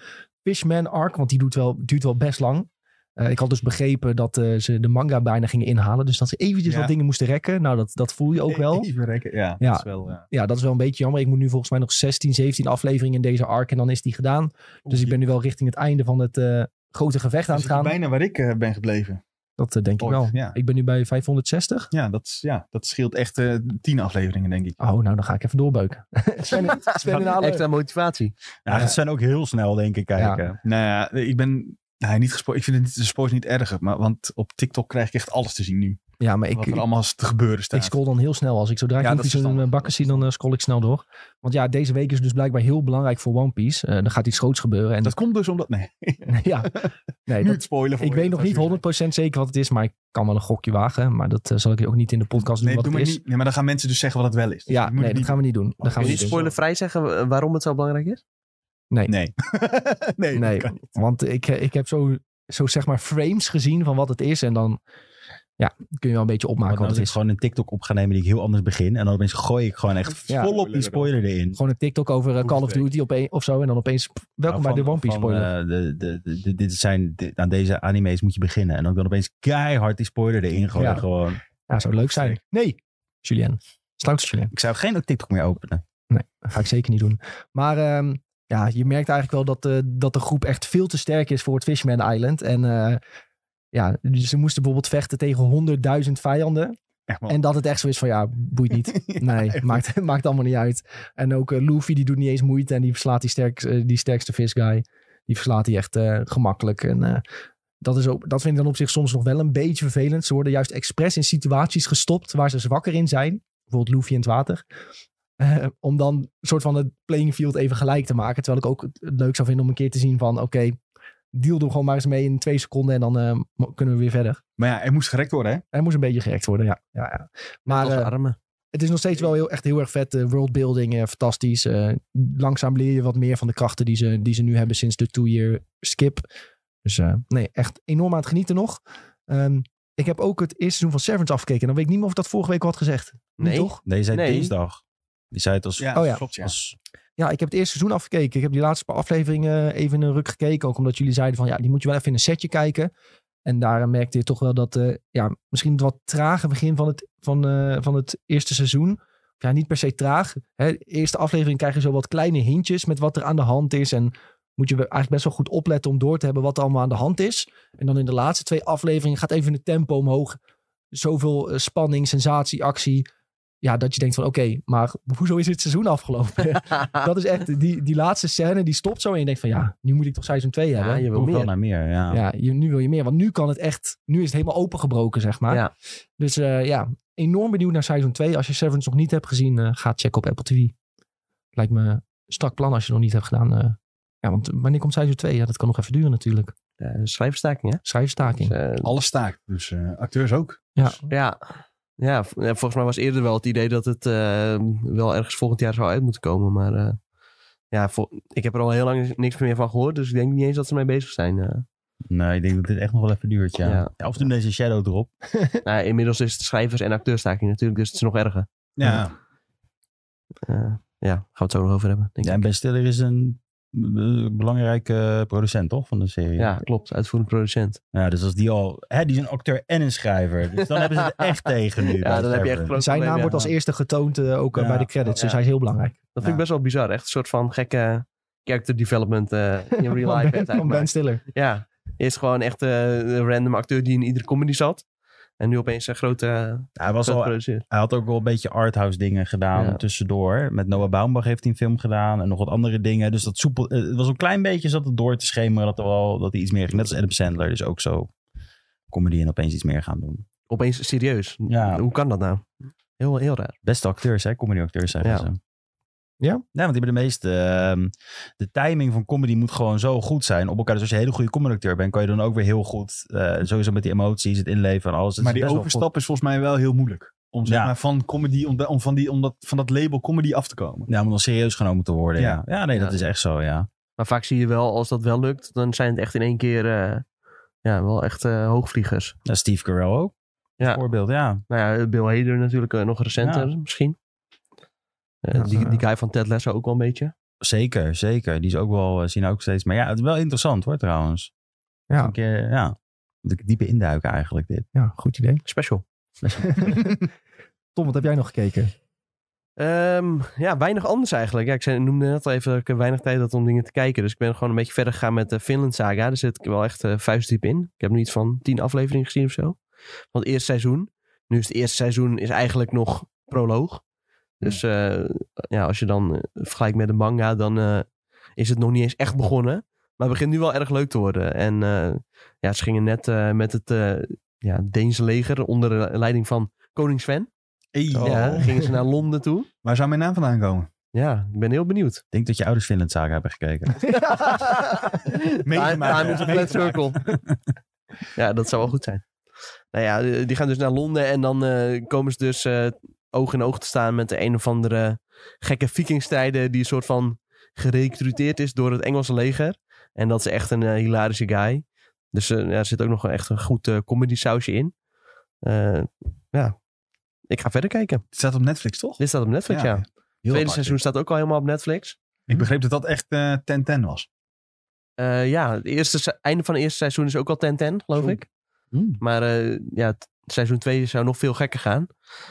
Fishman arc, want die doet wel, duurt wel best lang. Eh, ik had dus begrepen dat eh, ze de manga bijna gingen inhalen. Dus dat ze eventjes Ja. wat dingen moesten rekken. Nou, dat, dat voel je ook wel. E- Even rekken. Ja, Ja. Dat is wel, eh, ja. Ja, dat is wel een beetje jammer. Ik moet nu volgens mij nog 16, 17 afleveringen in deze arc en dan is die gedaan. Dus ik ben nu wel richting het einde van het eh, grote gevecht aan Dan het zit je gaan. bijna waar ik eh, ben gebleven. Dat eh, denk ik Ooit, wel. ja. Ik ben nu bij 560. Ja, dat, is- ja, dat scheelt echt eh, tien afleveringen, denk ik. Oh, nou dan ga ik even doorbeuken. eh, Sven, Sven in Halen. Extra motivatie. Ja, dat zijn ook heel snel, denk ik, kijken. Nou ja, ik ben... Nou, niet gespo- ik vind het, de spoilers niet erger, maar, want op TikTok krijg ik echt alles te zien nu. Ja, maar wat ik, er allemaal te gebeuren ik staat. scroll dan heel snel. Als ik zodra ik Ja, dat nog iets is in mijn verstandig. bakken zie, dan eh, scroll ik snel door. Want ja, deze week is dus blijkbaar heel belangrijk voor One Piece. Eh er gaat iets groots gebeuren. En dat komt dus omdat... Nee, ja, nee, nu dat- het spoilen voor ik je, weet dat nog zou niet zuur zijn. 100% zeker wat het is, maar ik kan wel een gokje wagen. Maar dat eh, zal ik ook niet in de podcast doen Nee, wat doe maar het is. niet. Nee, maar dan gaan mensen dus zeggen wat het wel is. Dus Ja, dat moet nee, ik dat gaan we niet doen. Dat gaan Kun we je niet niet doen. spoilervrij zeggen wa- eh, waarom het zo belangrijk is? niet doen. Nee. nee, dat Nee, kan niet. want ik, eh, ik heb zo, zo zeg maar frames gezien van wat het is. En dan ja, kun je wel een beetje opmaken Want wat als het is. ik gewoon een TikTok op ga nemen die ik heel anders begin. En dan opeens gooi ik gewoon echt Ja. volop die spoiler erin. Gewoon een TikTok over eh, Call of Hoefsteek. Duty op een, of zo. En dan opeens, pff, welkom Nou, bij de van- One Piece van, spoiler. eh, de, de, de- de- dit zijn, dit- aan deze anime's moet je beginnen. En dan kan opeens keihard die spoiler erin gooien. Ja. Gewoon. ja, zou leuk zijn. Nee, Julien. Sluit het, Julien. Ik zou geen TikTok meer openen. Dat ga ik zeker niet doen. Maar ehm, ja, je merkt eigenlijk wel dat, eh, dat de groep echt veel te sterk is voor het Fishman Island. En eh, ja, dus ze moesten bijvoorbeeld vechten tegen honderdduizend vijanden. Echt wel. En dat het echt zo is van ja, boeit niet. Nee, echt. maakt, maakt allemaal niet uit. En ook eh, Luffy die doet niet eens moeite en die verslaat die, sterk, eh, die sterkste visguy. Die verslaat hij echt eh, gemakkelijk. En eh, dat, is ook, dat vind ik dan op zich soms nog wel een beetje vervelend. Ze worden juist expres in situaties gestopt waar ze zwakker in zijn. Bijvoorbeeld Luffy in het water. Eh, om dan een soort van het playing field even gelijk te maken. Terwijl ik ook het het leuk zou vinden om een keer te zien van oké, deal er gewoon maar eens mee in twee seconden en dan eh, mo- kunnen we weer verder. Maar ja, er moest gerekt worden, hè? Hij moest een beetje gerekt worden, ja. ja, ja. Maar, Als eh, armen. het is nog steeds wel heel, echt heel erg vet. eh, worldbuilding, eh, fantastisch. Eh, langzaam leer je wat meer van de krachten die ze, die ze nu hebben sinds de two-year skip. Dus eh, nee, echt enorm aan het genieten nog. Ehm, ik heb ook het eerste seizoen van Servants afgekeken. En dan weet ik niet meer of ik dat vorige week al had gezegd. Niet Nee. toch? Nee, je zei Nee. dinsdag. Die zei het als... Ja, Oh ja. klopt, ja. als Ja, ik heb het eerste seizoen afgekeken. Ik heb die laatste paar afleveringen even een ruk gekeken. Ook omdat jullie zeiden van ja, die moet je wel even in een setje kijken. En daar merkte je toch wel dat eh, ja, misschien het wat trage begin van het, van, eh, van het eerste seizoen. Of Ja, niet per se traag. Hè, eerste aflevering krijg je zo wat kleine hintjes met wat er aan de hand is. En moet je wel- eigenlijk best wel goed opletten om door te hebben wat er allemaal aan de hand is. En dan in de laatste twee afleveringen gaat even het tempo omhoog. Zoveel eh, spanning, sensatie, actie. Ja, dat je denkt van oké, maar hoezo is dit seizoen afgelopen? dat is echt, die, die laatste scène, die stopt zo. En je denkt van ja, nu moet ik toch seizoen 2 ja, hebben. je wil Hoef wel meer. naar meer, ja. Ja, je, nu wil je meer. Want nu kan het echt, nu is het helemaal opengebroken, zeg maar. Ja. Dus eh, ja, enorm benieuwd naar seizoen 2. Als je Severance nog niet hebt gezien, eh, ga checken op Apple TV. Lijkt me een strak plan als je het nog niet hebt gedaan. eh. ja, want wanneer komt seizoen 2? Ja, dat kan nog even duren natuurlijk. Ja, schrijfstaking, hè? Schrijfstaking. Dus, eh, Alles staakt. Dus eh, acteurs ook. Ja. Ja. Ja, v- ja, volgens mij was eerder wel het idee dat het eh, wel ergens volgend jaar zou uit moeten komen. Maar eh, ja, vo- ik heb er al heel lang niks meer van gehoord. Dus ik denk niet eens dat ze mee bezig zijn. eh. Nee, ik denk dat dit echt nog wel even duurt, ja. Ja. Ja, of doen deze shadow erop. Nou, ja, inmiddels is het schrijvers- en acteurstaking natuurlijk. Dus het is nog erger. Ja. Ja. Eh, ja, gaan we het zo nog over hebben. Denk ik. Ja, en Ben Stiller is een eh, belangrijke producent, toch? Van de serie. Ja, klopt. Uitvoerend producent. Ja, dus als die al... Hè, die is een acteur en een schrijver. Dus dan hebben ze het echt tegen nu. Ja, dan heb je echt groot Zijn naam probleem, wordt ja. als eerste getoond eh, ook eh, Ja. bij de credits. Dus Ja. hij is heel belangrijk. Dat vind Ja. ik best wel bizar. Echt een soort van gekke character development eh, in real Van life. Ben- heeft van hij Ben gemaakt. Stiller. Ja, eerst gewoon echt eh, een random acteur die in iedere comedy zat. En nu opeens een grote, grote Hij, was al, producer. hij had ook wel een beetje arthouse dingen gedaan Ja. tussendoor. Met Noah Baumbach heeft hij een film gedaan en nog wat andere dingen. Dus dat soepel... eh, Het was een klein beetje zat het door te schemeren dat, er wel, dat hij iets meer... Net als Adam Sandler, dus ook zo comedy en opeens iets meer gaan doen. Opeens serieus. Ja. Hoe kan dat nou? Heel, heel raar. Beste acteurs, hè? Comedyacteurs zeggen Ja. ze. Ja? Ja, want die hebben de meeste... ehm, de timing van comedy moet gewoon zo goed zijn op elkaar. Dus als je een hele goede comedyacteur bent, kan je dan ook weer heel goed... eh, sowieso met die emoties, het inleven en alles. Het maar is die best wel goed. overstap is volgens mij wel heel moeilijk. Om, zeg Ja. maar, van, comedy, om, da- om van, die, om dat, van dat label comedy af te komen. Ja, om dan serieus genomen te worden. Ja, ja. nee, Ja. dat is echt zo, ja. Maar vaak zie je wel, als dat wel lukt, dan zijn het echt in één keer eh, ja, wel echt eh, hoogvliegers. Ja, Steve Carell ook. Ja. Voorbeeld, ja. Nou ja, Bill Hader natuurlijk eh, nog recenter misschien. Eh, Ja, die, ja. die guy van Ted Lasso ook wel een beetje. Zeker, zeker. Die is ook wel, eh, zien ook steeds. Maar ja, het is wel interessant hoor trouwens. Ja. Een keer, ja. Moet ik diepe induiken eigenlijk dit. Ja, goed idee. Special. Tom, wat heb jij nog gekeken? Ehm, ja, weinig anders eigenlijk. Ja, ik zei, noemde net al even dat ik eh, weinig tijd had om dingen te kijken. Dus ik ben gewoon een beetje verder gegaan met de Finland Saga. Daar zit ik wel echt eh, vuistdiep in. Ik heb nu iets van tien afleveringen gezien of zo. Van het eerste seizoen. Nu is het eerste seizoen is eigenlijk nog proloog. Dus eh, ja, als je dan eh, vergelijkt met de manga, dan eh, is het nog niet eens echt begonnen. Maar het begint nu wel erg leuk te worden. En eh, ja, ze gingen net eh, met het eh ja, Deense leger onder leiding van koning Sven. Hey, eh, Ja, gingen ze naar Londen toe. Waar zou mijn naam vandaan komen? Ja, ik ben heel benieuwd. Ik denk dat je ouders Finland zaken hebben gekeken. Meegemaakt, Time ja. is a flat circle. ja, dat zou wel goed zijn. Nou ja, eh, die gaan dus naar Londen en dan eh, komen ze dus eh, oog in oog te staan met de een of andere gekke vikingstrijder die een soort van gerecruiteerd is door het Engelse leger. En dat is echt een eh, hilarische guy. Dus eh, ja, er zit ook nog een- echt een goed eh, comedy sausje in. Eh, ja, ik ga verder kijken. Het staat op Netflix, toch? Dit staat op Netflix, Ja, ja. heel Het tweede apart, seizoen dit. staat ook al helemaal op Netflix. Ik begreep dat dat echt 10-10 was. Eh, ja, het eerste, se- einde van het eerste seizoen is ook al 10-10, geloof Zo. ik. Hmm. Maar eh, ja, t- seizoen 2 zou nog veel gekker gaan.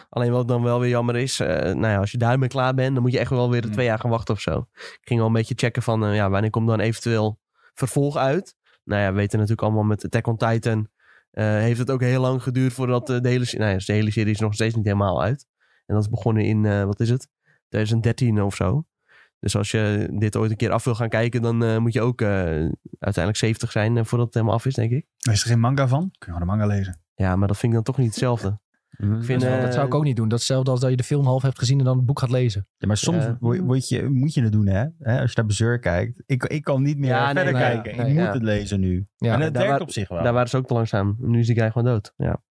Alleen wat dan wel weer jammer is, eh, nou ja, als je daarmee klaar bent, dan moet je echt wel weer de Hmm. twee jaar gaan wachten of zo. Ik ging al een beetje checken van, eh, ja, wanneer komt dan eventueel vervolg uit? Nou ja, we weten natuurlijk allemaal met Attack on Titan, eh, heeft het ook heel lang geduurd voordat eh, de hele, se- nou ja, dus de hele serie is nog steeds niet helemaal uit. En dat is begonnen in, eh, wat is het, 2013 of zo. Dus als je dit ooit een keer af wil gaan kijken, dan eh, moet je ook eh, uiteindelijk 70 zijn eh, voordat het helemaal af is, denk ik. Is er geen manga van? Kun je gewoon een manga lezen. Ja, maar dat vind ik dan toch niet hetzelfde. Ik vind, eh, dat zou ik ook niet doen. Dat is hetzelfde als dat je de film half hebt gezien en dan het boek gaat lezen. Ja, maar soms Ja. wo- word je, moet je het doen, hè? Hè, Als je naar Bezeur kijkt. Ik, ik kan niet meer Ja, nee, nee, verder kijken. nee, ik ja. moet het lezen nu. Ja. en het Daar werkt wa- op zich wel. Daar waren ze ook te langzaam. Nu is die guy gewoon dood. Ja,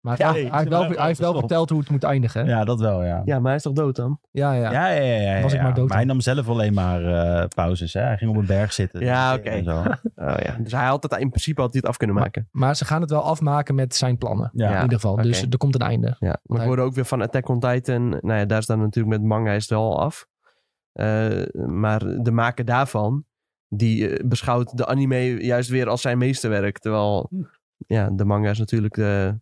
Maar Ja, hij, hij heeft wel, hij heeft wel verteld hoe het moet eindigen. hè? ja, dat wel, ja. ja maar hij is toch dood dan? Ja, ja. Ja, ja, ja. ja, Was ik ja. maar dood hij nam zelf alleen maar eh, pauzes. Hè? Hij ging op een berg zitten. dus, eh, Ja, oké. En zo. Oh, ja. Dus hij had het in principe had hij het af kunnen maken. Maar ze gaan het wel afmaken met zijn plannen. Ja. in ieder geval. Dus oké. er komt een einde. Ja, maar ik Hij- hoorde ook weer van Attack on Titan. Nou ja, daar is dan natuurlijk met manga is het wel af. Eh, maar de maker daarvan, die eh, beschouwt de anime juist weer als zijn meesterwerk. Terwijl ja, de manga is natuurlijk de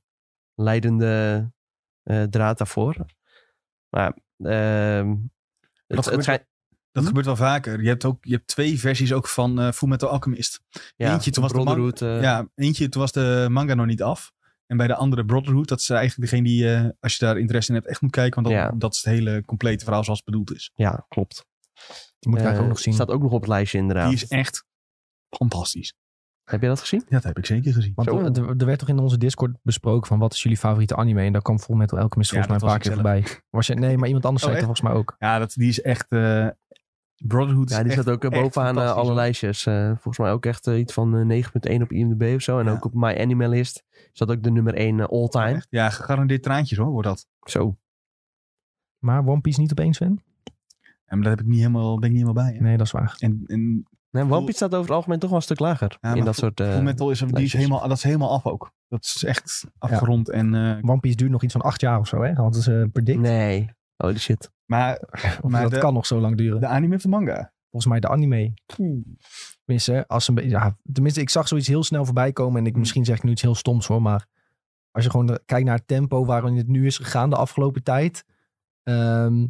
leidende eh, draad daarvoor. Maar ehm, het, gebeurt het schijnt... Dat gebeurt wel vaker. Je hebt, ook, je hebt twee versies ook van eh Full Metal Alchemist. Ja, Eentje, toen was de man- Brotherhood, eh, Ja, eentje, toen was de manga nog niet af. En bij de andere Brotherhood, dat is eigenlijk degene die, eh, als je daar interesse in hebt, echt moet kijken. Want dat, Ja. dat is het hele complete verhaal zoals het bedoeld is. ja, klopt. Die moet ik Eh, eigenlijk ook nog zien. Staat ook nog op het lijstje inderdaad. Die is echt fantastisch. Heb je dat gezien? Ja, dat heb ik zeker gezien. Want Zo. er- er, er werd toch in onze Discord besproken van wat is jullie favoriete anime? En daar kwam Fullmetal Alchemist Ja, volgens mij een paar dat keer was voorbij. Was je, nee, maar iemand anders Oh, zei het echt? volgens mij ook. Ja, dat, die is echt... eh, Brotherhood is Ja, die echt staat ook eh, echt bovenaan eh, fantastisch, alle hoor. lijstjes. Eh, volgens mij ook echt eh, iets van eh, 9.1 op IMDb of zo. En Ja. ook op My Animalist staat ook de nummer 1 all time. Echt? Ja, gegarandeerd traantjes hoor, wordt dat. Zo. Maar One Piece niet opeens, Sven? En daar heb ik niet helemaal, ben ik niet helemaal bij. hè. Nee, dat is waar. En, en Nee, One Full- Piece staat over het algemeen toch wel een stuk lager. Ja, in maar dat Full- soort... eh, Full Metal is, die is lijstjes. helemaal, dat is helemaal af ook. Dat is echt afgerond. En, eh, One Piece duurt nog iets van acht jaar of zo, hè? Hadden ze eh, predict. nee. Holy shit. maar Of maar dat de- kan nog zo lang duren. de anime of de manga? volgens mij de anime. Tenminste, als een be- ja, tenminste, ik zag zoiets heel snel voorbij komen. En ik, misschien zeg ik nu iets heel stoms hoor. Maar als je gewoon de- kijkt naar het tempo waarin het nu is gegaan de afgelopen tijd. ehm,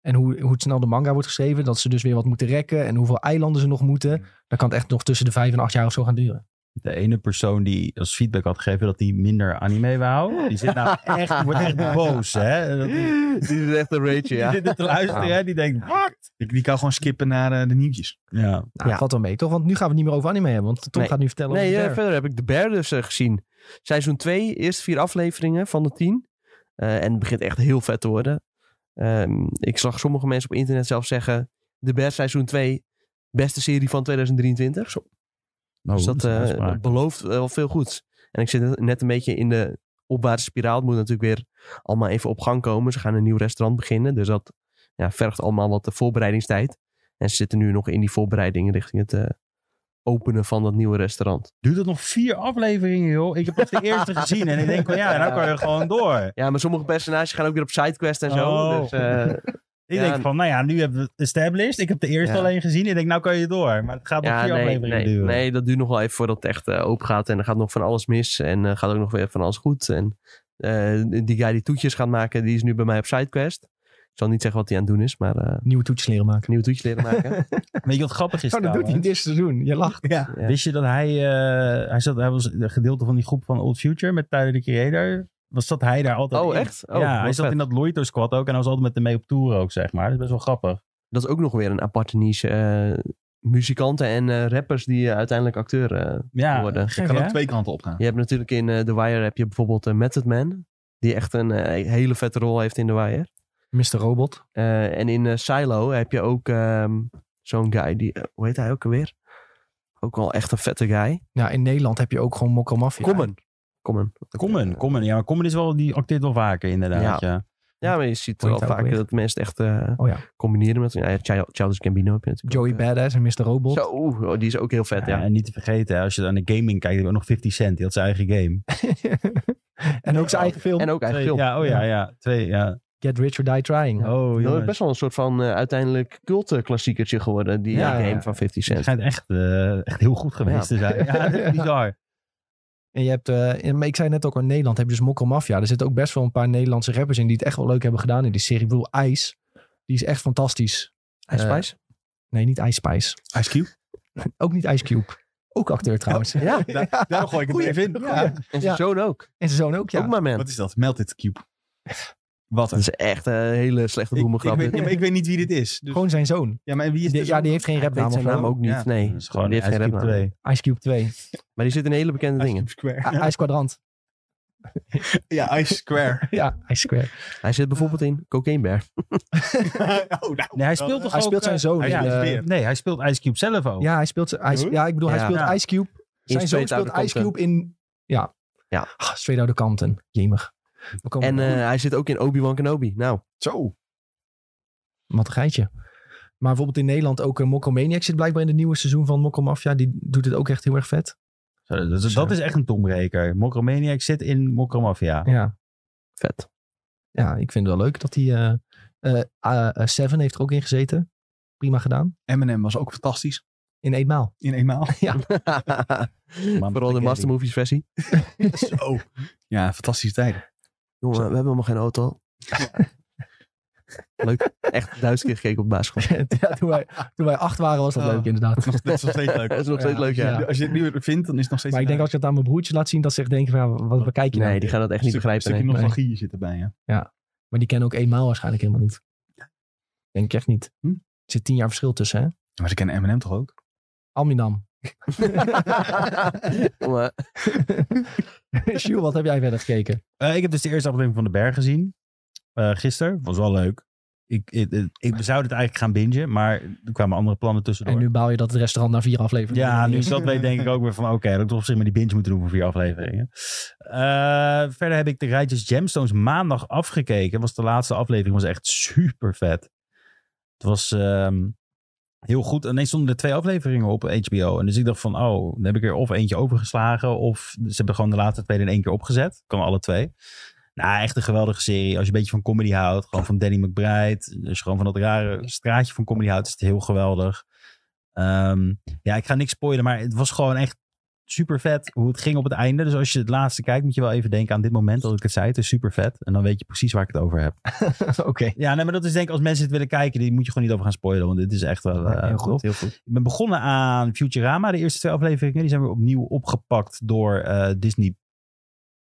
en hoe, hoe het snel de manga wordt geschreven. Dat ze dus weer wat moeten rekken. En hoeveel eilanden ze nog moeten. Dan kan het echt nog tussen de vijf en acht jaar of zo gaan duren. De ene persoon die als feedback had gegeven dat hij minder anime wou. Die zit nou echt, die wordt echt boos, hè? Dat die- Dit is echt een rage, Die ja. zit dit te luisteren, hè? Die denkt, wat? Die, die kan gewoon skippen naar eh, de nieuwtjes. Ja. Nou, Ja. valt wel mee toch? Want nu gaan we het niet meer over anime hebben. Want Tom Nee. gaat nu vertellen Nee, over eh, Bear. verder heb ik De Bear dus eh, gezien. Seizoen 2, eerste vier afleveringen van de tien. Eh, en het begint echt heel vet te worden. Ehm, ik zag sommige mensen op internet zelf zeggen... De Bear seizoen 2, beste serie van 2023. Oh, dus dat eh, belooft wel veel goeds. En ik zit net een beetje in de opwaartse spiraal. Het moet natuurlijk weer allemaal even op gang komen. Ze gaan een nieuw restaurant beginnen. Dus dat ja, vergt allemaal wat eh, voorbereidingstijd. En ze zitten nu nog in die voorbereiding richting het eh, openen van dat nieuwe restaurant. Duurt het nog vier afleveringen, joh? Ik heb pas de eerste gezien en ik denk, oh ja, nou kan je gewoon door. Ja, maar sommige personages gaan ook weer op sidequest en zo. Oh. Dus, eh, Ik Ja. denk van, nou ja, nu hebben we het established. Ik heb de eerste Ja. alleen gezien. Ik denk, nou kan je door. Maar het gaat nog ja, vier nee, afleveringen nee, duren. nee, dat duurt nog wel even voordat het echt eh, open gaat. En er gaat nog van alles mis. En eh, gaat ook nog weer van alles goed. En eh, die guy die toetjes gaat maken, die is nu bij mij op sidequest. Ik zal niet zeggen wat hij aan het doen is, maar eh Nieuwe toetjes leren maken. nieuwe toetjes leren maken. Weet je wat grappig is Oh, dat doet hij in trouwens? het eerste seizoen. Je lacht. Ja. Ja. Wist je dat hij, eh, hij, zat, hij was een gedeelte van die groep van Old Future met Tyler, de creator? Was zat hij daar altijd oh, in? echt? Oh, ja, wat hij zat vet. in dat Loito squad ook en hij was altijd met hem mee op tour ook, zeg maar. Dat is best wel grappig. Dat is ook nog weer een aparte niche. eh, muzikanten en eh, rappers die eh, uiteindelijk acteur eh, Ja, worden. gek, kan hè? ook twee kanten op gaan. Je hebt natuurlijk in eh, The Wire heb je bijvoorbeeld eh, Method Man. Die echt een eh, hele vette rol heeft in The Wire. Mr. Robot. Eh, en in eh, Silo heb je ook ehm, zo'n guy, die, eh, hoe heet hij ook alweer? Ook wel echt een vette guy. Ja, in Nederland heb je ook gewoon Mokka Mafia. Common. Common. Common, Common. Ja, maar Common is wel, die acteert wel vaker inderdaad, ja. Ja, maar je ziet Hoe wel heet hij ook vaker weer? dat mensen het echt eh, Oh ja. combineren met... Ja, ja, Chil- Childish Gambino heb je natuurlijk Joey ook, eh. Badass en Mr. Robot. Zo, oeh, oh, die is ook heel vet, ja. Ja, En niet te vergeten, hè, als je aan de gaming kijkt, heb je ook nog 50 Cent. Die had zijn eigen game. en ook zijn eigen film. En ook Twee- eigenlijk film. ja, oh ja, ja. Twee, ja. Get Rich or Die Trying. Oh, Dat jongens. is best wel een soort van eh, uiteindelijk cult klassiekertje geworden, die Ja, eh, game ja. van 50 Het Cent. schijnt echt, eh, echt heel goed geweest te zijn. Ja, dat is bizar. En je hebt, eh, in- maar ik zei net ook in Nederland heb je dus Mokka Mafia. Er zitten ook best wel een paar Nederlandse rappers in die het echt wel leuk hebben gedaan in die serie. Ik bedoel, Ice. Die is echt fantastisch. Ice Eh, Spice? Nee, niet Ice Spice. Ice Cube. Ook niet Ice Cube. Ook acteur trouwens. ja, Daar, daarom gooi ik het Goeie, even in. goeie. Ja. en zijn Ja. zoon ook. En zijn zoon ook, ja. Ook maar man. Wat is dat? Melted Cube. Wat Dat een... is echt een hele slechte Ik, ik, boemengrap. weet, ja, maar ik weet niet wie dit is. Dus, Gewoon zijn zoon. ja, maar wie is dus Die- dit? ja, die heeft geen Ik rapnaam weet of zijn zo. naam ook niet, Ja, nee. Dat is gewoon die heeft Ice geen Cube rapnaam. 2. Ice Cube 2. Maar die zit in hele bekende dingen. Ice Square. I- Ice Quadrant. Ja, Ice Square. Ja, Ice Square. Hij zit bijvoorbeeld in Cocaine Bear. oh, nou. Nee, hij speelt toch Hij ook, speelt zijn eh, zoon. hij in, is eh, weer. Nee, hij speelt Ice Cube zelf ook. Ja, hij speelt, z- hij, Huh? ja ik bedoel, hij Ja. speelt Ja. Ice Cube. Zijn zoon Straight speelt Outta Ice Compton. Cube in... Ja. Ja. Ah, straight Outta Compton. Jemig. We komen En eh, hij zit ook in Obi-Wan Kenobi. Nou, Zo. Wat een geitje. Maar bijvoorbeeld in Nederland ook een Mokko Maniac zit blijkbaar in het nieuwe seizoen van Mokko Mafia. Die doet het ook echt heel erg vet. Zo, dat, dat- dat is echt een tombreker. Mokromaniac zit in Mokromafia. Ja, vet. ja ik vind het wel leuk dat hij... eh, eh, eh, eh, Seven heeft er ook in gezeten. Prima gedaan. Eminem was ook fantastisch. In eenmaal. In eenmaal. Vooral de Master Movies versie. Zo. Ja, fantastische tijden. Jongen, we hebben helemaal geen auto. Leuk. Echt duizend keer gekeken op de basisschool. ja, toen, wij, toen wij acht waren was dat Oh. leuk inderdaad. Nog- Dat is nog steeds leuk. Dat is nog steeds Ja. leuk, ja. Ja. Als je het nu vindt, dan is het nog steeds Maar ik denk als je dat aan mijn broertje laat zien, dat ze echt denken van, ja, wat, wat kijk je nou? Nee, die gaan dat echt niet Stuk- begrijpen. stukje nee. nostalgie zit erbij, ja. Maar die kennen ook eenmaal waarschijnlijk helemaal niet. Denk ik echt niet. Hm? Er zit tien jaar verschil tussen, hè? Maar ze kennen Eminem toch ook? Aminam. Jongen, Sjoe, wat heb jij verder gekeken? Eh, ik heb dus de eerste aflevering van De Berg gezien. Eh gisteren. Was wel leuk. Ik, ik, ik, ik- we zouden het eigenlijk gaan bingen, maar er kwamen andere plannen tussendoor. En nu bouw je dat het restaurant na vier afleveringen. Ja, nu is. is dat weet denk ik ook weer van... oké, dat ik toch op zich maar die binge moeten doen voor vier afleveringen. Eh, verder heb ik de Rijtjes Gemstones maandag afgekeken. Was de laatste aflevering was echt super vet. Het was ehm, heel goed. En ineens stonden er twee afleveringen op HBO. En dus ik dacht van... oh, dan heb ik er of eentje overgeslagen... of ze hebben gewoon de laatste twee in één keer opgezet. Kan alle twee. Nou, echt een geweldige serie. Als je een beetje van comedy houdt. Gewoon van Danny McBride. Dus gewoon van dat rare straatje van comedy houdt. Is het heel geweldig. Ehm, ja, ik ga niks spoilen, maar het was gewoon echt super vet hoe het ging op het einde. Dus als je het laatste kijkt, moet je wel even denken aan dit moment dat ik het zei. Het is super vet. En dan weet je precies waar ik het over heb. Oké. Ja, nee, maar dat is denk ik als mensen het willen kijken, die moet je gewoon niet over gaan spoilen. Want dit is echt wel eh, heel tof. goed, heel goed. Ik ben begonnen aan Futurama. De eerste twee afleveringen die zijn weer opnieuw opgepakt door eh, Disney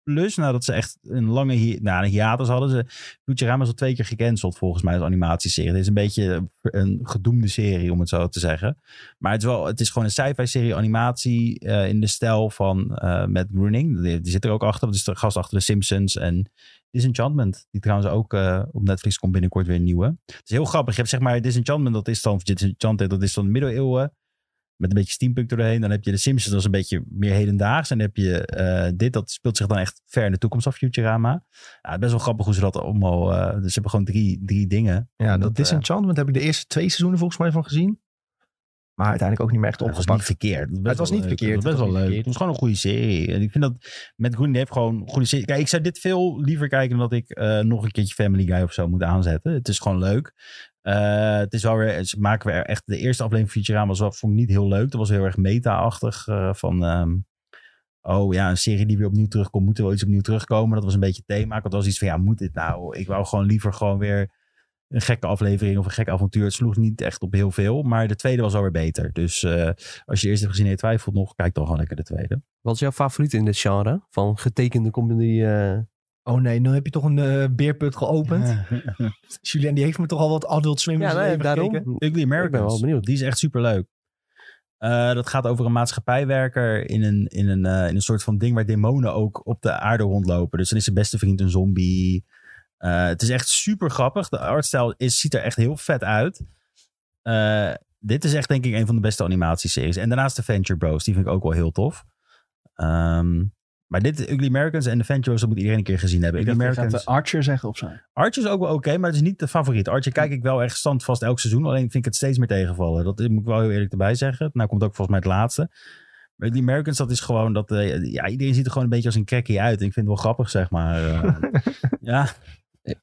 Plus. Nadat ze echt een lange hi nou, een hiatus hadden. Ze, Futurama is al twee keer gecanceld volgens mij als animatieserie. Het is een beetje een gedoemde serie om het zo te zeggen. Maar het is, wel, het is gewoon een sci-fi serie animatie eh, in de stijl van eh Matt Groening. Die, die zit er ook achter. Dat is de gast achter de Simpsons en Disenchantment. Die trouwens ook eh, op Netflix komt binnenkort weer een nieuwe. Het is heel grappig. Je hebt zeg maar Disenchantment, dat is dan of Disenchanted, dat is dan de middeleeuwen. Met een beetje steampunk erdoorheen. Dan heb je de Simpsons, dat is een beetje meer hedendaags. En dan heb je eh, dit, dat speelt zich dan echt ver in de toekomst af, Futurama. Ja, best wel grappig hoe ze dat allemaal... eh, dus ze hebben gewoon drie, drie dingen. Ja, dat, Dat, eh, Disenchantment heb ik de eerste twee seizoenen volgens mij van gezien. Maar uiteindelijk ook niet meer echt Het was niet opgepakt. verkeerd. Best Het was wel niet leuk. verkeerd, Het was het was best niet wel leuk. verkeerd. Het was gewoon een goede serie. En ik vind dat... Met Groen heeft gewoon een goede serie. Kijk, ik zou dit veel liever kijken dan dat ik eh, nog een keertje Family Guy of zo moet aanzetten. Het is gewoon leuk. Eh, het is wel weer... Ze maken weer echt... De eerste aflevering van Futurama was wel, vond ik niet heel leuk. Dat was heel erg meta-achtig eh, van... ehm, Oh ja, een serie die weer opnieuw terugkomt. Moet er wel iets opnieuw terugkomen? Dat was een beetje het thema. Ik had wel zoiets van, ja, moet dit nou? Ik wou gewoon liever gewoon weer een gekke aflevering of een gek avontuur. Het sloeg niet echt op heel veel, maar de tweede was alweer beter. Dus eh, als je eerst hebt gezien en je twijfelt nog, kijk dan gewoon lekker de tweede. Wat is jouw favoriet in dit genre? Van getekende comedy? eh, Oh nee, nu heb je toch een eh, beerput geopend. Julien die heeft me toch al wat Adult Swim Ja, ja, nee, daarom. gekeken. Ugly Americans. Ik ben wel benieuwd. Die is echt superleuk. Eh dat gaat over een maatschappijwerker in een, in, een, eh, in een soort van ding waar demonen ook op de aarde rondlopen. Dus dan is zijn beste vriend een zombie. Eh, het is echt super grappig. De artstijl is, ziet er echt heel vet uit. Eh, dit is echt denk ik een van de beste animatieseries. En daarnaast de Venture Bros. Die vind ik ook wel heel tof. Ehm, maar dit, Ugly Americans en de Venture Bros, dat moet iedereen een keer gezien hebben. Ik Ugly dacht, je gaat eh, Americans. de Archer zeggen of zo. Archer is ook wel oké, maar het is niet de favoriet. Archer kijk ik wel echt standvast elk seizoen. Alleen vind ik het steeds meer tegenvallen. Dat moet ik wel heel eerlijk erbij zeggen. Nou komt ook volgens mij het laatste. Maar die Americans, dat is gewoon dat... eh, ja, iedereen ziet er gewoon een beetje als een crackie uit. En ik vind het wel grappig, zeg maar. eh. ja,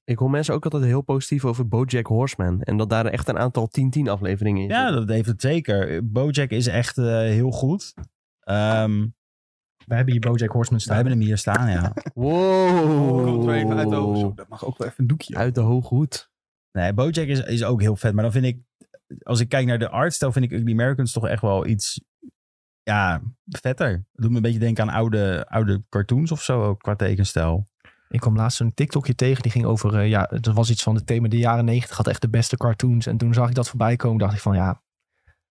Ik hoor mensen ook altijd heel positief over Bojack Horseman. En dat daar echt een aantal 10-10 afleveringen in ja, zitten. dat heeft het zeker. Bojack is echt eh, heel goed. Ehm We hebben hier Bojack Horseman we staan. hebben hem hier staan, ja. Wow. Komt er even uit de ogen. Zo, Dat mag ook wel even een doekje. Uit de hoge hoed. Nee, Bojack is, is ook heel vet. Maar dan vind ik, als ik kijk naar de artstijl, vind ik Ugly Americans toch echt wel iets ja, vetter. Het doet me een beetje denken aan oude, oude cartoons of zo, ook qua tekenstijl. Ik kwam laatst een TikTokje tegen. Die ging over, eh, ja, er was iets van het thema de jaren negentig. Had echt de beste cartoons. En toen zag ik dat voorbij komen. Dacht ik van, ja,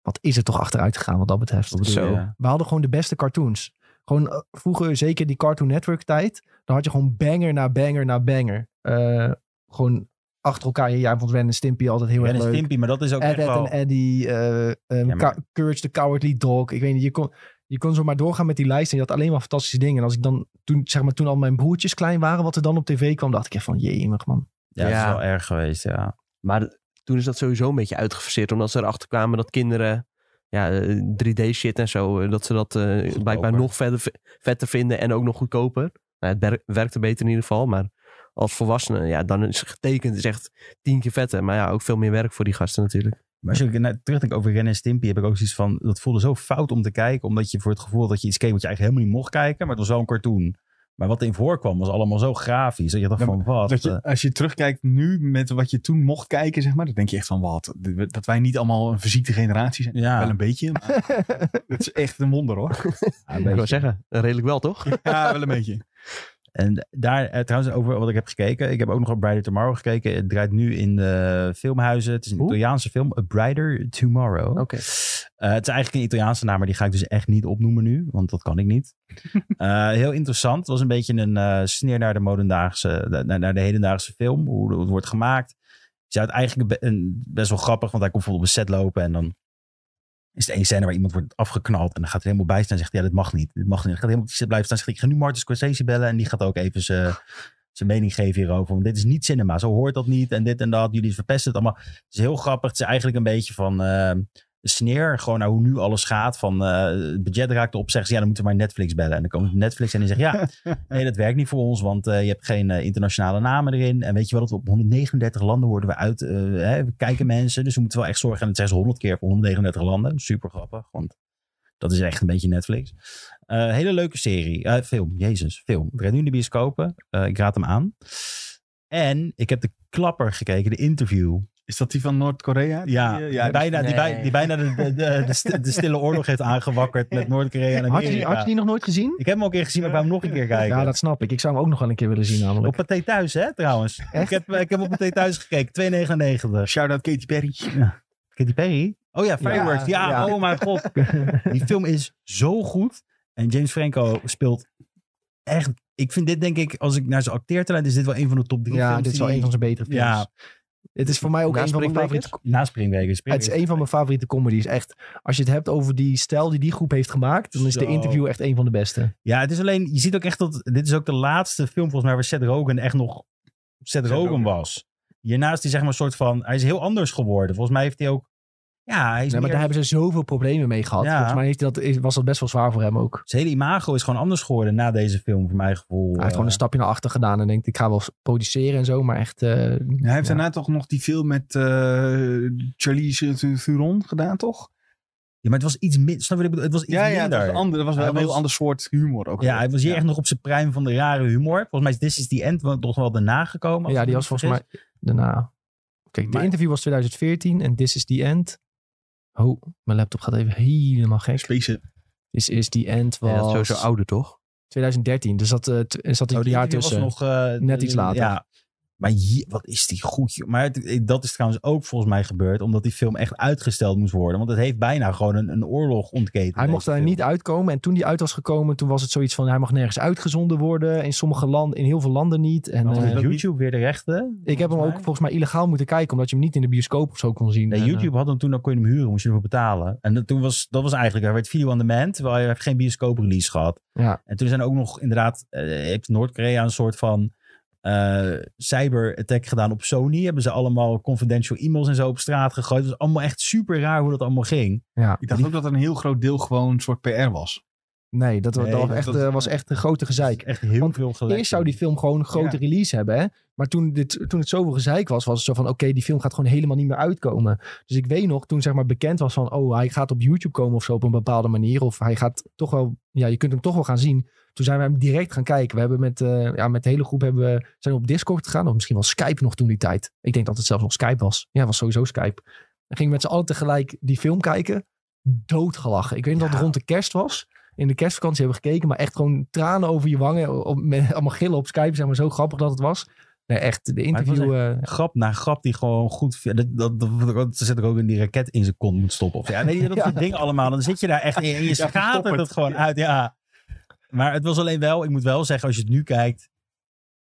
wat is er toch achteruit gegaan wat dat betreft. Wat bedoel Zo. je? We hadden gewoon de beste cartoons. Gewoon eh, vroeger, zeker die Cartoon Network tijd. Dan had je gewoon banger na banger na banger. Eh, gewoon achter elkaar. Ja, vond Ren en Stimpy altijd heel Ben erg en leuk. Stimpy, maar dat is ook Ed, echt Ed en wel... Eddie, eh, ehm, maar- Ca- Courage the Cowardly Dog. Ik weet niet, je kon, je kon zo maar doorgaan met die lijst en je had alleen maar fantastische dingen. En als ik dan, toen, zeg maar, toen al mijn broertjes klein waren, wat er dan op tv kwam, dacht ik echt van, jemig man. Ja, dat is Ja. wel erg geweest, ja. Maar toen is dat sowieso een beetje uitgefaseerd. Omdat ze erachter kwamen dat kinderen... Ja, eh, 3D-shit en zo. eh, Dat ze dat eh, blijkbaar nog verder v- vetter vinden. En ook nog goedkoper. Nou, het ber- werkte beter in ieder geval. Maar als volwassenen, ja, dan is getekend is echt tien keer vetter. Maar ja, ook veel meer werk voor die gasten natuurlijk. Maar als ik naar, terugdenk over Ren en Stimpy, heb ik ook zoiets van... Dat voelde zo fout om te kijken, omdat je voor het gevoel had dat je iets keek wat je eigenlijk helemaal niet mocht kijken. Maar het was wel een cartoon. Maar wat erin voorkwam was allemaal zo grafisch. Dat je dacht Ja, van, wat? Dat eh, je, als je terugkijkt nu met wat je toen mocht kijken, zeg maar, dan denk je echt van wat. Dat wij niet allemaal een verziekte generatie zijn. Ja. Wel een beetje. maar dat is echt een wonder hoor. ja, een Ik beetje. wil zeggen, redelijk wel toch? Ja, wel een beetje. En daar, eh, trouwens, over wat ik heb gekeken. Ik heb ook nog op Brighter Tomorrow gekeken. Het draait nu in de filmhuizen. Het is een Hoe? Italiaanse film. A Brighter Tomorrow. Oké. Eh, het is eigenlijk een Italiaanse naam, maar die ga ik dus echt niet opnoemen nu. Want dat kan ik niet. Eh, heel interessant. Het was een beetje een eh, sneer naar de, modendaagse, eh, naar, naar de hedendaagse film. Hoe het wordt gemaakt. Je zou het eigenlijk be- een- best wel grappig, want hij komt bijvoorbeeld op een set lopen en dan is het één scène waar iemand wordt afgeknald en dan gaat hij helemaal bij staan en zegt, ja, dit mag niet. Dit mag niet. Dan gaat hij helemaal op die set blijven staan en zegt, ik ga nu Martin Scorsese bellen en die gaat ook even zijn, zijn mening geven hierover. Want dit is niet cinema, zo hoort dat niet en dit en dat. Jullie verpesten het allemaal. Het is heel grappig. Het is eigenlijk een beetje van, eh, sneer. Gewoon naar hoe nu alles gaat. Van eh, het budget raakt op. Zeggen ze, ja, dan moeten we maar Netflix bellen. En dan komt Netflix en die zegt, ja, nee, dat werkt niet voor ons. Want eh, je hebt geen eh, internationale namen erin. En weet je wel, dat we op 139 landen worden we uit. eh, hè, we kijken mensen. Dus we moeten wel echt zorgen. En dat zeggen ze 100 keer op 139 landen. Super grappig. Want dat is echt een beetje Netflix. Eh, hele leuke serie. Eh, film. Jezus, film. Ik red nu in de bioscopen. Eh, ik raad hem aan. En ik heb de klapper gekeken, de interview. Is dat die van Noord-Korea? Die, Ja, eh, die, bijna, die, bij- die bijna de, de, de, de st- de stille oorlog heeft aangewakkerd met Noord-Korea en Had je, die, Amerika. had je die nog nooit gezien? Ik heb hem al een keer gezien, maar ik wou hem nog een keer kijken. Ja, dat snap ik. Ik zou hem ook nog wel een keer willen zien Op namelijk. Pathé Thuis, hè, trouwens. Ik heb, ik heb op Pathé Thuis gekeken, 2,99. Shout-out Katy Perry. Katy Perry? Oh ja, Fireworks. Ja, Ja, ja. oh mijn god. Die film is zo goed. En James Franco speelt echt... Ik vind dit, denk ik, als ik naar zijn acteertalent... is dit wel een van de top drie Ja, films dit is wel die- een van zijn betere films. Ja. Het is voor mij ook Na een van mijn Springbrekers? favoriete... Na Springweken. Het is een van mijn favoriete comedies. Echt, als je het hebt over die stijl die die groep heeft gemaakt, dan is Zo. de interview echt een van de beste. Ja, het is alleen, je ziet ook echt dat, dit is ook de laatste film volgens mij waar Seth Rogen echt nog Seth, Rogen. Rogen was. Hierna is hij zeg maar een soort van, hij is heel anders geworden. Volgens mij heeft hij ook, ja, hij Nee, is maar meer- daar hebben ze zoveel problemen mee gehad. Ja. Volgens mij heeft hij dat, is- was dat best wel zwaar voor hem ook. zijn hele imago is gewoon anders geworden na deze film, voor mijn gevoel. Eh, Hij heeft gewoon een stapje naar achter gedaan en denkt, ik ga wel produceren en zo, maar echt... eh, hij heeft Ja. daarna toch nog die film met eh Charlie Theron gedaan, toch? Ja, maar het was iets minder, snap je wat ik bedoel? Het was iets het minder. was, een ander, dat was wel Hij een heel was- ander soort humor ook. ja, hij was hier Ja. echt nog op zijn pruim van de rare humor. Volgens mij is This is the End wel- toch wel daarna gekomen. als ja, ik die me was niet volgens vergis. mij daarna... Kijk, de Maar- interview was 2014 en This is the End. Oh, mijn laptop gaat even helemaal gek. Space It. This is the End was... Ja, dat is sowieso ouder, toch? 2013, dus zat, eh, t- er zat Oh, een die jaar interview tussen. was nog, eh, Net iets later. Ja. Maar hier, wat is die goed, joh. Maar het- eh, dat is trouwens ook volgens mij gebeurd, omdat die film echt uitgesteld moest worden. Want het heeft bijna gewoon een, een oorlog ontketend. Hij mocht deze daar film. niet uitkomen. En toen die uit was gekomen, toen was het zoiets van... hij mag nergens uitgezonden worden. In sommige landen, in heel veel landen niet. En Want eh, heeft YouTube weer de rechten. ik heb hem ook volgens mij. volgens mij illegaal moeten kijken... omdat je hem niet in de bioscoop of zo kon zien. Nee, En, eh, YouTube had hem toen, dan kon je hem huren, moest je ervoor betalen. En dat, toen was, dat was eigenlijk, er werd video on demand, terwijl je hebt geen bioscoop-release gehad. Ja. En toen zijn ook nog inderdaad, eh, heeft Noord-Korea een soort van eh cyber-attack gedaan op Sony. Hebben ze allemaal confidential e-mails en zo op straat gegooid. Het was allemaal echt super raar hoe dat allemaal ging. ja. Ik dacht ook dat er een heel groot deel gewoon een soort PR was. Nee, dat, wa- Nee, dat was, dat- echt, dat- eh, was echt een grote gezeik. Dus Echt heel Want veel gelijk. Eerst zou die film gewoon een grote release hebben. Hè? Maar toen, dit, toen het zoveel gezeik was, was het zo van... oké, die film gaat gewoon helemaal niet meer uitkomen. Dus ik weet nog, toen zeg maar bekend was van... oh, hij gaat op YouTube komen of zo op een bepaalde manier. Of hij gaat toch wel... ja, je kunt hem toch wel gaan zien. Toen zijn we hem direct gaan kijken. We hebben met, eh, ja, met de hele groep hebben we, zijn we op Discord gegaan. Of misschien wel Skype nog toen die tijd. Ik denk dat het zelfs nog Skype was. Ja, het was sowieso Skype. Dan gingen we met z'n allen tegelijk die film kijken. Doodgelachen. Ik weet niet dat het rond de kerst was. In de kerstvakantie hebben we gekeken. Maar echt gewoon tranen over je wangen. Op, met, allemaal gillen op Skype. Zeg maar zo grappig dat het was. Nee, echt. De het was interview. eh, grap na grap die gewoon goed. Dat, dat, dat, dat- ze zetten ook in die raket in zijn kont moet stoppen. Of, ja, weet je, dat Ja. soort dingen allemaal. Dan zit je daar echt in en je schatert verstop het. het. gewoon uit. Ja. Maar het was alleen wel, ik moet wel zeggen, als je het nu kijkt.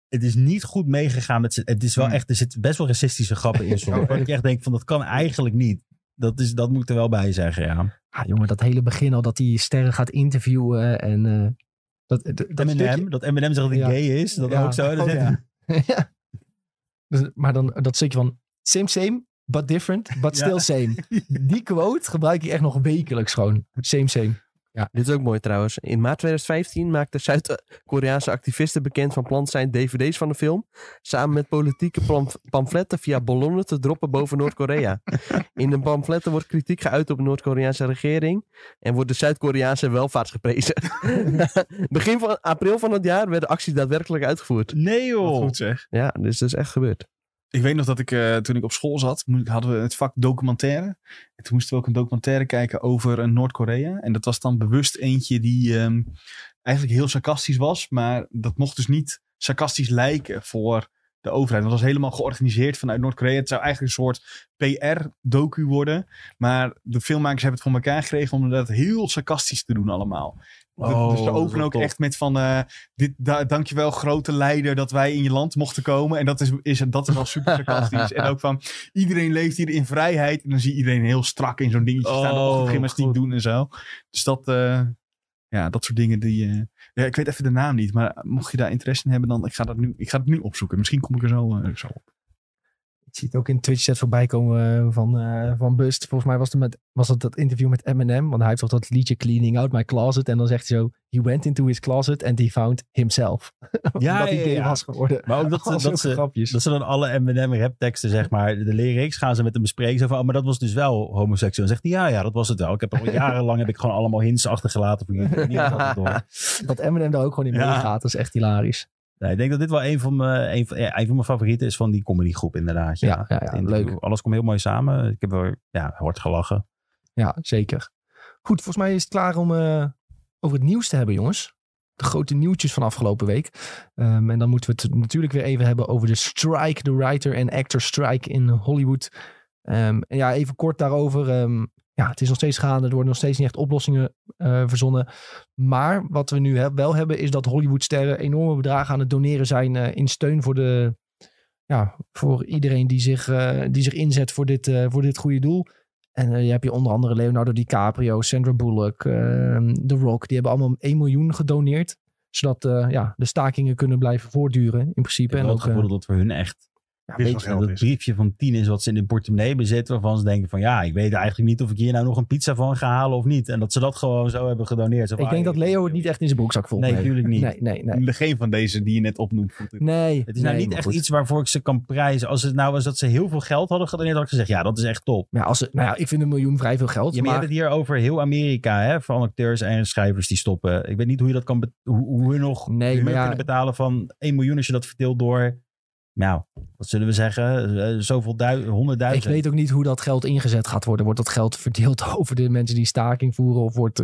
Het is niet goed meegegaan met z'n- Het is wel Hmm. echt, er zitten best wel racistische grappen in. Oh, Soms, waar ik echt denk van dat kan eigenlijk niet. Dat, is, dat moet ik er wel bij zeggen. Ja. ah, jongen, dat hele begin al. Dat hij sterren gaat interviewen. En eh, dat, dat, dat stukje- Eminem, dat Eminem zegt dat hij Ja. gay is. Dat Ja. ook zo. Dat Oh, zegt- ja. ja. Dus- Maar dan dat stukje van same, same, but different, but Ja. still same. Die quote gebruik ik echt nog wekelijks gewoon. Same, same. Dit is ook mooi trouwens. In maart 2015 maakten Zuid-Koreaanse activisten bekend van plan zijn dvd's van de film. Samen met politieke pam- pamfletten via ballonnen te droppen boven Noord-Korea. In de pamfletten wordt kritiek geuit op de Noord-Koreaanse regering. En wordt de Zuid-Koreaanse welvaart geprezen. Begin van april van het jaar werd de actie daadwerkelijk uitgevoerd. Nee Wat joh. goed zeg. Ja, dus dat is echt gebeurd. Ik weet nog dat ik, eh, toen ik op school zat, mo- hadden we het vak documentaire. En toen moesten we ook een documentaire kijken over eh, Noord-Korea. En dat was dan bewust eentje die ehm, eigenlijk heel sarcastisch was. Maar dat mocht dus niet sarcastisch lijken voor de overheid. Want dat was helemaal georganiseerd vanuit Noord-Korea. Het zou eigenlijk een soort PR-docu worden. Maar de filmmakers hebben het voor elkaar gekregen om dat heel sarcastisch te doen allemaal. De- Oh, dus ze dat is openen wel ook tof. echt met van... eh, dit, da, dankjewel grote leider dat wij in je land mochten komen. En dat is, is, dat is wel super sarcastisch. en ook van iedereen leeft hier in vrijheid. En dan zie je iedereen heel strak in zo'n dingetje staan. Oh, Of gymnastiek goed. doen en zo. Dus dat, eh, ja, dat soort dingen die... eh, ja, ik weet even de naam niet. Maar mocht je daar interesse in hebben, dan ik ga, dat nu, ik ga het nu opzoeken. Misschien kom ik er zo, eh, zo op. Ik zie het ook in Twitch chat voorbij komen eh, van, eh, van Bust. Volgens mij was, het met, was dat dat interview met Eminem. Want hij heeft toch dat liedje Cleaning Out My Closet. En dan zegt hij zo, he went into his closet and he found himself. Ja, dat hij ja, gay ja. was geworden. Maar ook dat, Dat dat, zijn ze, grapjes. dat ze dan alle M&M rap teksten, zeg maar, de lyrics gaan ze met hem bespreken. Zo van, oh, maar dat was dus wel homoseksueel. Dan zegt hij, ja, ja, dat was het wel. Ik heb al jarenlang heb ik gewoon allemaal hints achtergelaten. Voor jullie. Ik heb niet altijd door. Dat Eminem daar ook gewoon in Ja. meegaat, dat is echt hilarisch. Nee, ik denk dat dit wel een van mijn, een van, ja, een van mijn favorieten is van die comedygroep inderdaad. Ja, Ja, ja, ja, Het interview. leuk. Alles komt heel mooi samen. Ik heb wel ja, hard gelachen. Ja, zeker. Goed, volgens mij is het klaar om eh, over het nieuws te hebben, jongens. De grote nieuwtjes van afgelopen week. Ehm, en dan moeten we het natuurlijk weer even hebben over de strike, de writer en actor strike in Hollywood. Ehm, en ja, even kort daarover. Ehm, ja, het is nog steeds gaande. Er worden nog steeds niet echt oplossingen eh, verzonnen. Maar wat we nu he- wel hebben, is dat Hollywoodsterren enorme bedragen aan het doneren zijn eh, in steun voor, de, ja, voor iedereen die zich, eh, die zich inzet voor dit, eh, voor dit goede doel. En eh, je hebt hier onder andere Leonardo DiCaprio, Sandra Bullock, ehm, The Rock. Die hebben allemaal 1 miljoen gedoneerd. Zodat eh, ja, de stakingen kunnen blijven voortduren in Ik principe. heb En wel ook, het gevoel dat het voor hun echt eh, ja, Dit is weet weet- wel je, geld dat is. briefje van 10 is wat ze in hun portemonnee bezitten. Waarvan ze denken van ja, ik weet eigenlijk niet of ik hier nou nog een pizza van ga halen of niet. En dat ze dat gewoon zo hebben gedoneerd. Zo van, ik denk ah, dat Leo het niet echt in zijn broekzak voelt. Nee, natuurlijk niet. Nee, nee, nee. Geen van deze die je net opnoemt. voelt het. Nee, Het is nou nee, niet maar echt goed. iets waarvoor ik ze kan prijzen. Als het nou was dat ze heel veel geld hadden gedoneerd, had ik gezegd, ja, dat is echt top. Ja, als, het- nou ja, ik vind een miljoen vrij veel geld. Ja, maar je hebt maar het hier over heel Amerika, hè, van acteurs en schrijvers die stoppen. Ik weet niet hoe je dat kan, bet- hoe, hoe hun nog Nee, de huur maar ja- kunnen betalen van 1 miljoen als je dat verdeelt door, nou, wat zullen we zeggen, eh, zoveel duizend, ik honderdduizend. weet ook niet hoe dat geld ingezet gaat worden. Wordt dat geld verdeeld over de mensen die staking voeren? Of wordt,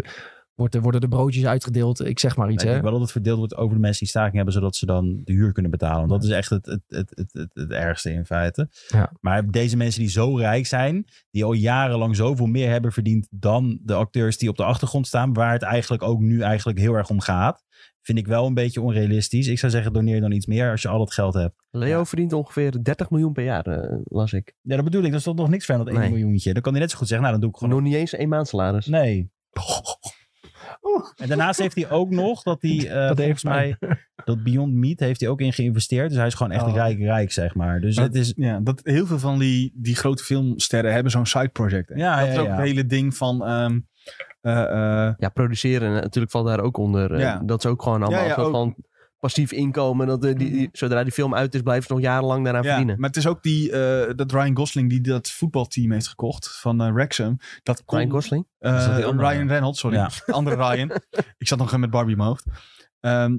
wordt, er- worden de broodjes uitgedeeld? Ik zeg maar iets, Ik denk hè? wel dat het verdeeld wordt over de mensen die staking hebben, zodat ze dan de huur kunnen betalen. Want dat is echt het, het, het, het, het, het ergste in feite. Ja. Maar deze mensen die zo rijk zijn, die al jarenlang zoveel meer hebben verdiend dan de acteurs die op de achtergrond staan, waar het eigenlijk ook nu eigenlijk heel erg om gaat, vind ik wel een beetje onrealistisch. Ik zou zeggen, doneer dan iets meer als je al dat geld hebt. Leo verdient ongeveer 30 miljoen per jaar, eh, las ik. Ja, dat bedoel ik. Dat is toch nog niks van dat 1 Nee. miljoentje. Dan kan hij net zo goed zeggen, nou dan doe ik gewoon Nog niet eens een maand salaris. Nee. En daarnaast heeft hij ook nog dat hij, eh, Dat volgens heeft mij, dat Beyond Meat heeft hij ook in geïnvesteerd. Dus hij is gewoon echt Oh. rijk, rijk, zeg maar. Dus Maar het is, Ja, dat, heel veel van die, die grote filmsterren hebben zo'n side project. hè. Ja, dat ja, is ook ja. het hele ding van... ehm, eh, eh, Ja, produceren eh, natuurlijk valt daar ook onder. eh, Ja. Dat is ook gewoon allemaal Ja, ja, een soort ook. van passief inkomen. Dat, eh, die, Mhm. die- zodra die film uit is, blijven ze nog jarenlang daaraan ja, verdienen. maar het is ook die, eh, dat Ryan Gosling die dat voetbalteam heeft gekocht van eh Wrexham. Dat kon, Ryan Gosling? eh, Is dat die andere? Ryan Reynolds, sorry. Ja. De andere Ryan. Ik zat nog met Barbie in mijn hoofd. Ehm,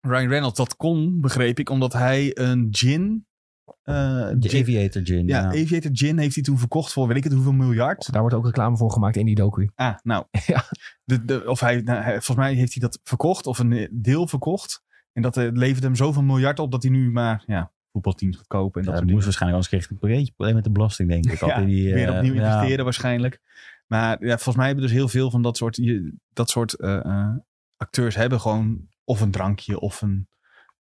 Ryan Reynolds, dat kon, begreep ik, omdat hij een gin... eh, de gin- Aviator Gin. ja, Ja, Oh, Aviator Gin heeft hij toen verkocht voor weet ik het hoeveel miljard. Dus Daar wordt ook reclame voor gemaakt in die docu. Ah, nou. Ja. De, de, of hij, nou, hij- volgens mij heeft hij dat verkocht of een deel verkocht. En dat eh, levert hem zoveel miljard op dat hij nu maar ja, voetbalteams gaat kopen. En Ja, dat dat soort moest dingen. waarschijnlijk anders kreeg hij een breedje probleem met de belasting, denk ik. Had Ja, hij die, eh, weer opnieuw ja. investeren waarschijnlijk. Maar ja, volgens mij hebben dus heel veel van dat soort, je- dat soort eh, eh, acteurs hebben gewoon of een drankje of een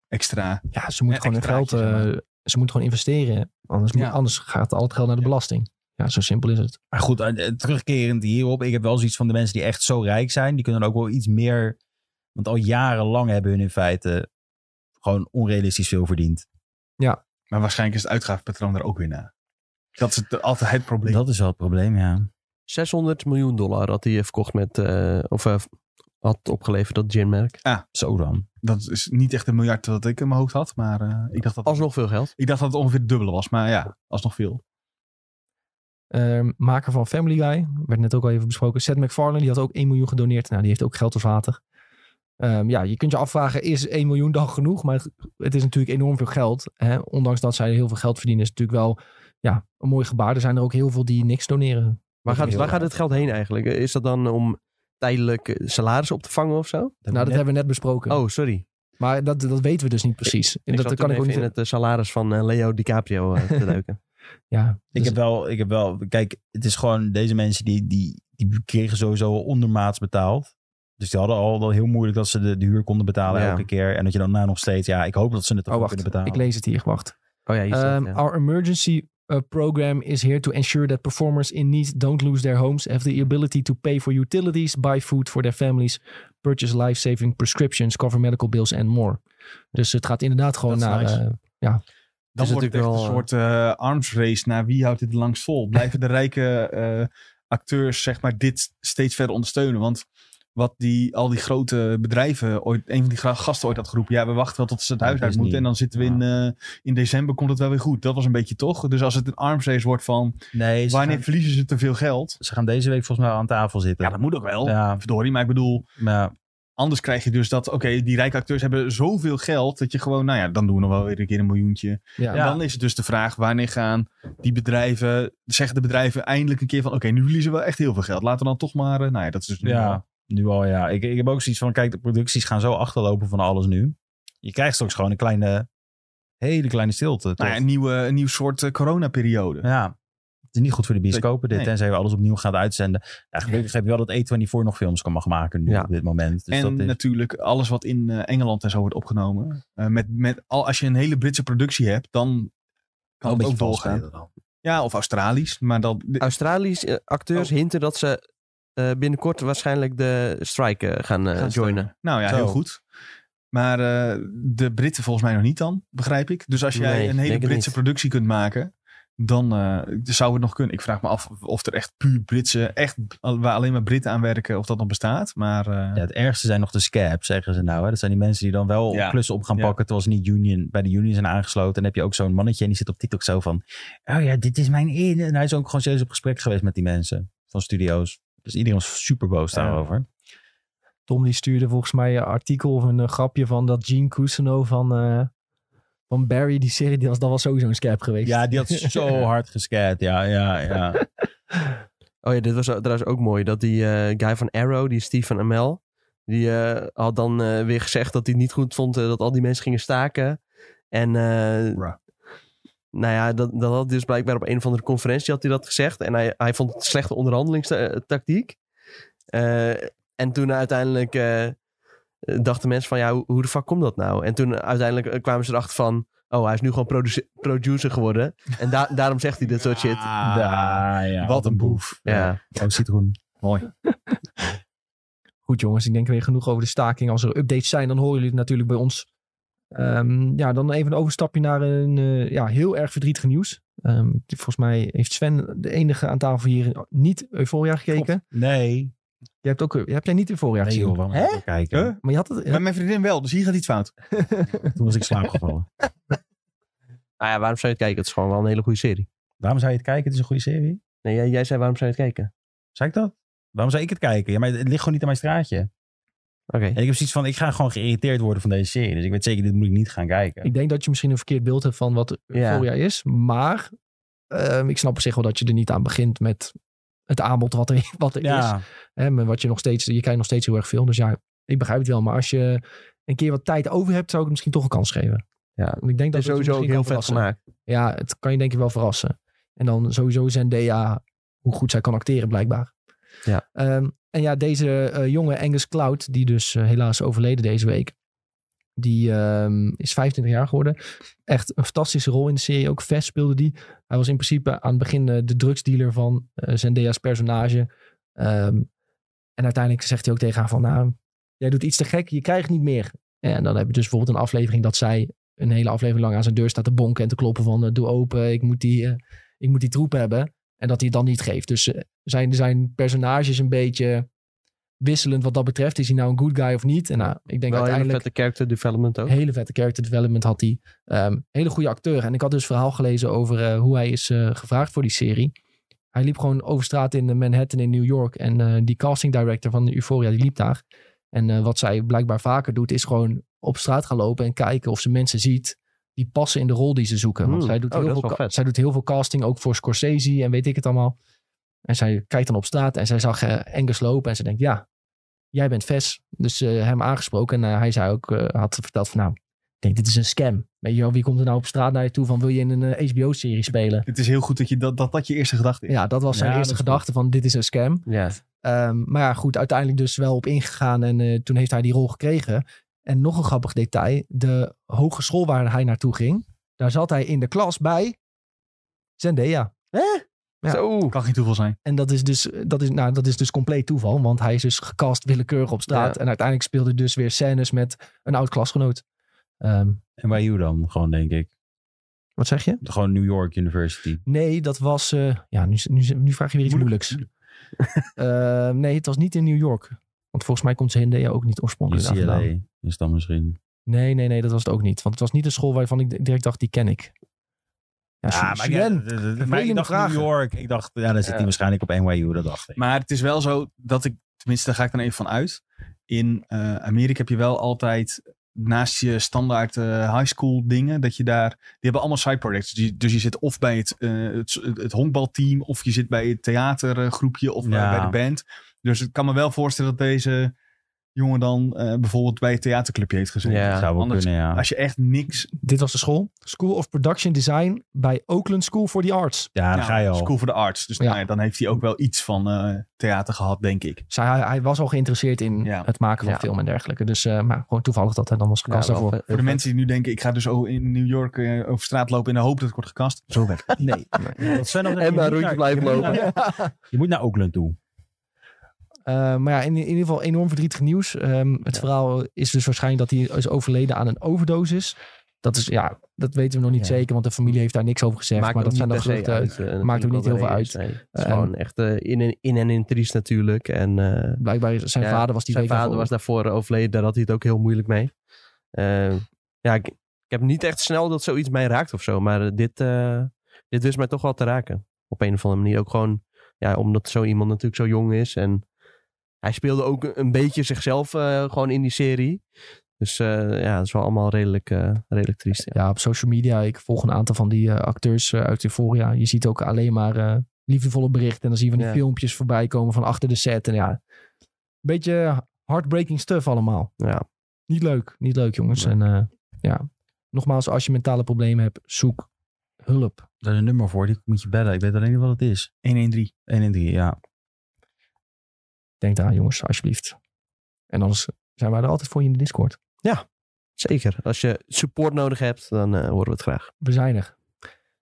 extra. Ja, ze moet Ja, gewoon hun geld... extraatjes, eh, ze moet gewoon investeren. Anders, moet- Ja. anders gaat al het geld naar de Ja. belasting. Ja, zo simpel is het. Maar goed, eh, eh, terugkerend hierop. Ik heb wel zoiets van de mensen die echt zo rijk zijn. Die kunnen dan ook wel iets meer... Want al jarenlang hebben hun in feite gewoon onrealistisch veel verdiend. Maar waarschijnlijk is het uitgavenpatroon er ook weer naar. Dat is het, altijd het probleem. Dat is wel het probleem, ja. 600 miljoen dollar had hij eh, verkocht met... eh, of eh, had opgeleverd dat ginmerk. Zo dan. Dat is niet echt een miljard dat ik in mijn hoofd had. Maar eh, ik, dacht dat, Alsnog veel geld. ik dacht dat het ongeveer het dubbele was. Maar ja, alsnog veel. Ehm, maker van Family Guy, werd net ook al even besproken. Seth MacFarlane, die had ook 1 miljoen gedoneerd. Nou, die heeft ook geld als water. Ehm, ja, je kunt je afvragen, is 1 miljoen dan genoeg? Maar het- het is natuurlijk enorm veel geld. Hè? Ondanks dat zij heel veel geld verdienen, is het natuurlijk wel ja, een mooi gebaar. Er zijn er ook heel veel die niks doneren. Waar is gaat, heel waar gaat raar. het geld heen eigenlijk? Eh, Is dat dan om tijdelijk eh, salaris op te vangen of zo? Nou, dat hebben we net besproken. Oh, sorry. Maar dat, dat weten we dus niet precies. En Ik dat zat kan ik toen ook even niet. in het eh, salaris van eh, Leo DiCaprio eh, te duiken. Ja, Dus- Ik Dus- heb, wel, ik heb wel, kijk, het is gewoon deze mensen die, die, die kregen sowieso al ondermaats betaald. Dus die hadden al wel heel moeilijk dat ze de, de huur konden betalen Ja. elke keer. En dat je dan nou nog steeds, ja, ik hoop dat ze het toch Oh, wel wacht. kunnen betalen. Ik lees het hier. Wacht. Oh ja, hier staat, Um, ja. Our emergency uh, program is here to ensure that performers in need don't lose their homes, have the ability to pay for utilities, buy food for their families, purchase life-saving prescriptions, cover medical bills and more. Dus het gaat inderdaad gewoon Dat is naar. nice. eh, Dan is wordt het echt natuurlijk een wel, soort eh, arms race naar wie houdt dit langs vol. Blijven de rijke eh, acteurs zeg maar, dit steeds verder ondersteunen? Want wat die, al die grote bedrijven, ooit, een van die gra- gasten ooit had geroepen. Ja, we wachten wel tot ze het Ja, huis uit Disney. moeten. En dan zitten we in, eh, in december, komt het wel weer goed. Dat was een beetje toch. Dus als het een arms race wordt van Nee, ze wanneer gaan, verliezen ze te veel geld? ze gaan deze week volgens mij aan tafel zitten. Ja, dat moet ook wel. Ja, Verdorie, maar ik bedoel, maar Anders krijg je dus dat, oké, die rijke acteurs hebben zoveel geld dat je gewoon, nou ja, dan doen we nog wel weer een keer een miljoentje. eh, Ja. En dan is het dus de vraag, wanneer gaan die bedrijven, zeggen de bedrijven eindelijk een keer van, oké, nu verliezen we echt heel veel geld. Laten we dan toch maar, eh, nou ja, dat is dus nu al. ja, nu al ja. Ik, ik heb ook zoiets van, kijk, de producties gaan zo achterlopen van alles nu. Je krijgt straks gewoon een kleine, hele kleine stilte. Nou ja, toch? een, nieuwe, een nieuw soort eh, coronaperiode. Ja. Het is niet goed voor de bioscopen dit. Nee. Tenzij we alles opnieuw gaan uitzenden. Ja, gelukkig heb je wel dat A24 nog films kan mag maken nu Ja. op dit moment. Dus en dat is, natuurlijk alles wat in eh, Engeland en zo wordt opgenomen. Eh, met, met al, als je een hele Britse productie hebt, dan kan het ook doorgaan. Ja, of Australisch. Maar dat, Australische eh, acteurs hinten dat ze eh, binnenkort waarschijnlijk de strike eh, gaan eh, Gaan joinen. stemmen. Nou ja, Zo. heel goed. Maar eh, de Britten volgens mij nog niet dan, begrijp ik. Dus als jij Nee, een hele denk het Britse niet. productie kunt maken, dan eh, zou het nog kunnen. Ik vraag me af of er echt puur Britse, echt al- waar alleen maar Britten aan werken, of dat nog bestaat. Maar eh, Ja, het ergste zijn nog de scabs, zeggen ze nou. Hè. Dat zijn die mensen die dan wel Ja. klussen op gaan Ja. pakken... terwijl ze niet union, bij de union zijn aangesloten. En dan heb je ook zo'n mannetje en die zit op TikTok zo van... Oh ja, dit is mijn in. En hij is ook gewoon serieus op gesprek geweest met die mensen van studio's. Dus iedereen was super boos Ja. daarover. Tom die stuurde volgens mij een artikel of een eh, grapje van dat Gene Cousineau van, eh, van Barry, die serie, die was, dat was sowieso een scap geweest. Ja, die had zo hard gescad. Ja, ja, ja. Oh ja, dit was trouwens ook mooi. Dat die eh, guy van Arrow, die Steve van ML, die eh, had dan eh, weer gezegd dat hij het niet goed vond eh, dat al die mensen gingen staken. En eh, Bruh. nou ja, dat, dat had hij dus blijkbaar op een of andere conferentie had hij dat gezegd. En hij, hij vond het slechte onderhandelingstactiek. Eh, en toen uiteindelijk eh, dachten mensen van, ja, hoe, hoe de fuck komt dat nou? En toen uiteindelijk eh, kwamen ze erachter van, oh, hij is nu gewoon produce- producer geworden. En da- daarom zegt hij dit soort shit. Ah, Ja, ja. wat een boef. Ja. Oh, citroen. Mooi. Goed jongens, ik denk weer genoeg over de staking. Als er updates zijn, dan horen jullie het natuurlijk bij ons. Ehm, ja, dan even een overstapje naar een eh, ja, heel erg verdrietig nieuws. Ehm, volgens mij heeft Sven de enige aan tafel hier niet Euphoria gekeken. Nee. Jij hebt, ook, eh, heb jij niet Euphoria Nee gezien? joh, waarom Hè? moet ik kijken? Huh? Maar je had het... eh, Maar mijn vriendin wel, dus hier gaat iets fout. Toen was ik slaapgevallen. Nou ja, waarom zou je het kijken? Het is gewoon wel een hele goede serie. Waarom zou je het kijken? Het is een goede serie. Nee, jij, jij zei waarom zou je het kijken? Zei ik dat? Waarom zou ik het kijken? Ja, maar het ligt gewoon niet aan mijn straatje. Oké. En ik heb zoiets van, ik ga gewoon geïrriteerd worden van deze serie. Dus ik weet zeker, dit moet ik niet gaan kijken. Ik denk dat je misschien een verkeerd beeld hebt van wat Euphoria is. Maar ehm, ik snap op zich wel dat je er niet aan begint met het aanbod wat er, wat er is. ja, Hè, maar wat je nog steeds, je kijkt nog steeds heel erg veel. Dus ja, ik begrijp het wel. Maar als je een keer wat tijd over hebt, zou ik het misschien toch een kans geven. Ja. Want ik denk dat Dat is het je sowieso ook misschien kan heel vet verrassen. gemaakt. Ja, het kan je denk ik wel verrassen. En dan sowieso Zendaya, hoe goed zij kan acteren blijkbaar. Ja. Ehm, en ja, deze eh, jonge Angus Cloud, die dus eh, helaas overleden deze week. Die ehm, is 25 jaar geworden. Echt een fantastische rol in de serie. Ook Vest speelde die. Hij was in principe aan het begin eh, de drugsdealer van eh, Zendaya's personage. Ehm, en uiteindelijk zegt hij ook tegen haar van... Nou, jij doet iets te gek, je krijgt niet meer. En dan heb je dus bijvoorbeeld een aflevering dat zij een hele aflevering lang aan zijn deur staat te bonken en te kloppen van eh, doe open, ik moet die, eh, ik moet die troep hebben. En dat hij het dan niet geeft. Dus eh, zijn, zijn personages een beetje wisselend wat dat betreft. Is hij nou een good guy of niet? En nou, ik denk Wel een hele uiteindelijk... vette character development ook. Hele vette character development had hij. Ehm, hele goede acteur. En ik had dus verhaal gelezen over eh, hoe hij is eh, gevraagd voor die serie. Hij liep gewoon over straat in eh, Manhattan in New York. En eh, die casting director van Euphoria, die liep daar. En eh, wat zij blijkbaar vaker doet, is gewoon op straat gaan lopen en kijken of ze mensen ziet die passen in de rol die ze zoeken. Want Hmm. zij, doet Oh, heel dat is veel wel ca- vet. zij doet heel veel casting, ook voor Scorsese en weet ik het allemaal. En zij kijkt dan op straat en zij zag eh Angus lopen en ze denkt, ja, jij bent Ves. Dus eh, hem aangesproken en eh, hij zei ook, eh, had verteld van nou, ik denk dit is een scam. Weet je wel, wie komt er nou op straat naar je toe van wil je in een eh, HBO-serie spelen? Het is heel goed dat je dat, dat, dat je eerste gedachte is. Ja, dat was zijn Ja, eerste dat is gedachte van dit is een scam. Ja. Ehm, maar ja, goed, uiteindelijk dus wel op ingegaan en eh, toen heeft hij die rol gekregen. En nog een grappig detail, de hogeschool waar hij naartoe ging, daar zat hij in de klas bij Zendaya. Ja. Zo. Kan geen toeval zijn. En dat is, dus, dat, is, nou, dat is dus compleet toeval, want hij is dus gecast willekeurig op straat. Ja. En uiteindelijk speelde hij dus weer scènes met een oud klasgenoot. Ehm, en bij jou dan, gewoon denk ik. Wat zeg je? Gewoon New York University. Nee, dat was. eh, ja, nu, nu, nu vraag je weer iets Moeilijk. moeilijks. Eh, nee, het was niet in New York. Want volgens mij komt Zendaya ook niet oorspronkelijk daar vandaan. UCLA is dan misschien. Nee, nee, nee, dat was het ook niet. Want het was niet een school waarvan ik direct dacht, die ken ik. Ja, Su- maar, Suren. ik, eh, eh, maar ik vervelende dacht vragen. New York. Ik dacht, ja, dan zit hij Ja. waarschijnlijk op NYU. Dat dacht ik. Maar het is wel zo dat ik, tenminste daar ga ik dan even van uit. In eh, Amerika heb je wel altijd naast je standaard eh, high school dingen, dat je daar, die hebben allemaal side projects. Dus je, dus je zit of bij het, eh, het, het honkbalteam, of je zit bij het theatergroepje, of eh, Ja. bij de band. Dus ik kan me wel voorstellen dat deze jongen dan eh, bijvoorbeeld bij het theaterclubje heeft gezeten. Ja. Zou wel Anders- kunnen, ja. Als je echt niks... Dit was de school. School of Production Design bij Oakland School for the Arts. Ja, dan nou, ga je al. School for the Arts. Dus Ja. nou ja, dan heeft hij ook wel iets van eh, theater gehad, denk ik. Zij, hij, hij was al geïnteresseerd in Ja. het maken van Ja. film en dergelijke. Dus eh, maar gewoon toevallig dat hij dan was gekast wel daarvoor. vet. Voor de mensen die nu denken, ik ga dus o- in New York eh, over straat lopen in de hoop dat ik word gekast. Zo werkt het. Nee. Dat zijn nog- je En maar moet een rondje naar- blijven nou, je moet lopen. naar- Je moet naar Oakland toe. Eh, maar ja, in, in ieder geval enorm verdrietig nieuws. Ehm, het verhaal is dus waarschijnlijk dat hij is overleden aan een overdosis. Dat is, ja, dat weten we nog niet Ja. zeker, want de familie heeft daar niks over gezegd. maar dat zijn dan grote... eh, maakt ook niet heel veel uit. Het is Ehm, gewoon echt eh, in en in en in triest natuurlijk. En eh, Blijkbaar is- zijn Ja, vader was die zijn week vader daarvoor- was daarvoor overleden. Daar had hij het ook heel moeilijk mee. Eh, ja, ik, ik heb niet echt snel dat zoiets mij raakt of zo. Maar eh, dit, eh, dit wist mij toch wel te raken. Op een of andere manier. Ook gewoon ja, omdat zo iemand natuurlijk zo jong is. En hij speelde ook een beetje zichzelf eh, gewoon in die serie. Dus eh, ja, dat is wel allemaal redelijk, eh, redelijk triest. Ja. ja, op social media. Ik volg een aantal van die eh, acteurs eh, uit Euphoria. Je ziet ook alleen maar eh, liefdevolle berichten. En dan zie je van die Ja. filmpjes voorbij komen van achter de set. En ja, beetje heartbreaking stuff allemaal. Ja. Niet leuk, niet leuk jongens. Nee. En eh, ja, nogmaals, als je mentale problemen hebt, zoek hulp. Daar is een nummer voor, die moet je bellen. Ik weet alleen niet wat het is. 113. 113, ja. Denk daar aan jongens, alsjeblieft. En anders zijn wij er altijd voor je in de Discord. Zeker. Als je support nodig hebt, dan eh, horen we het graag. We zijn er.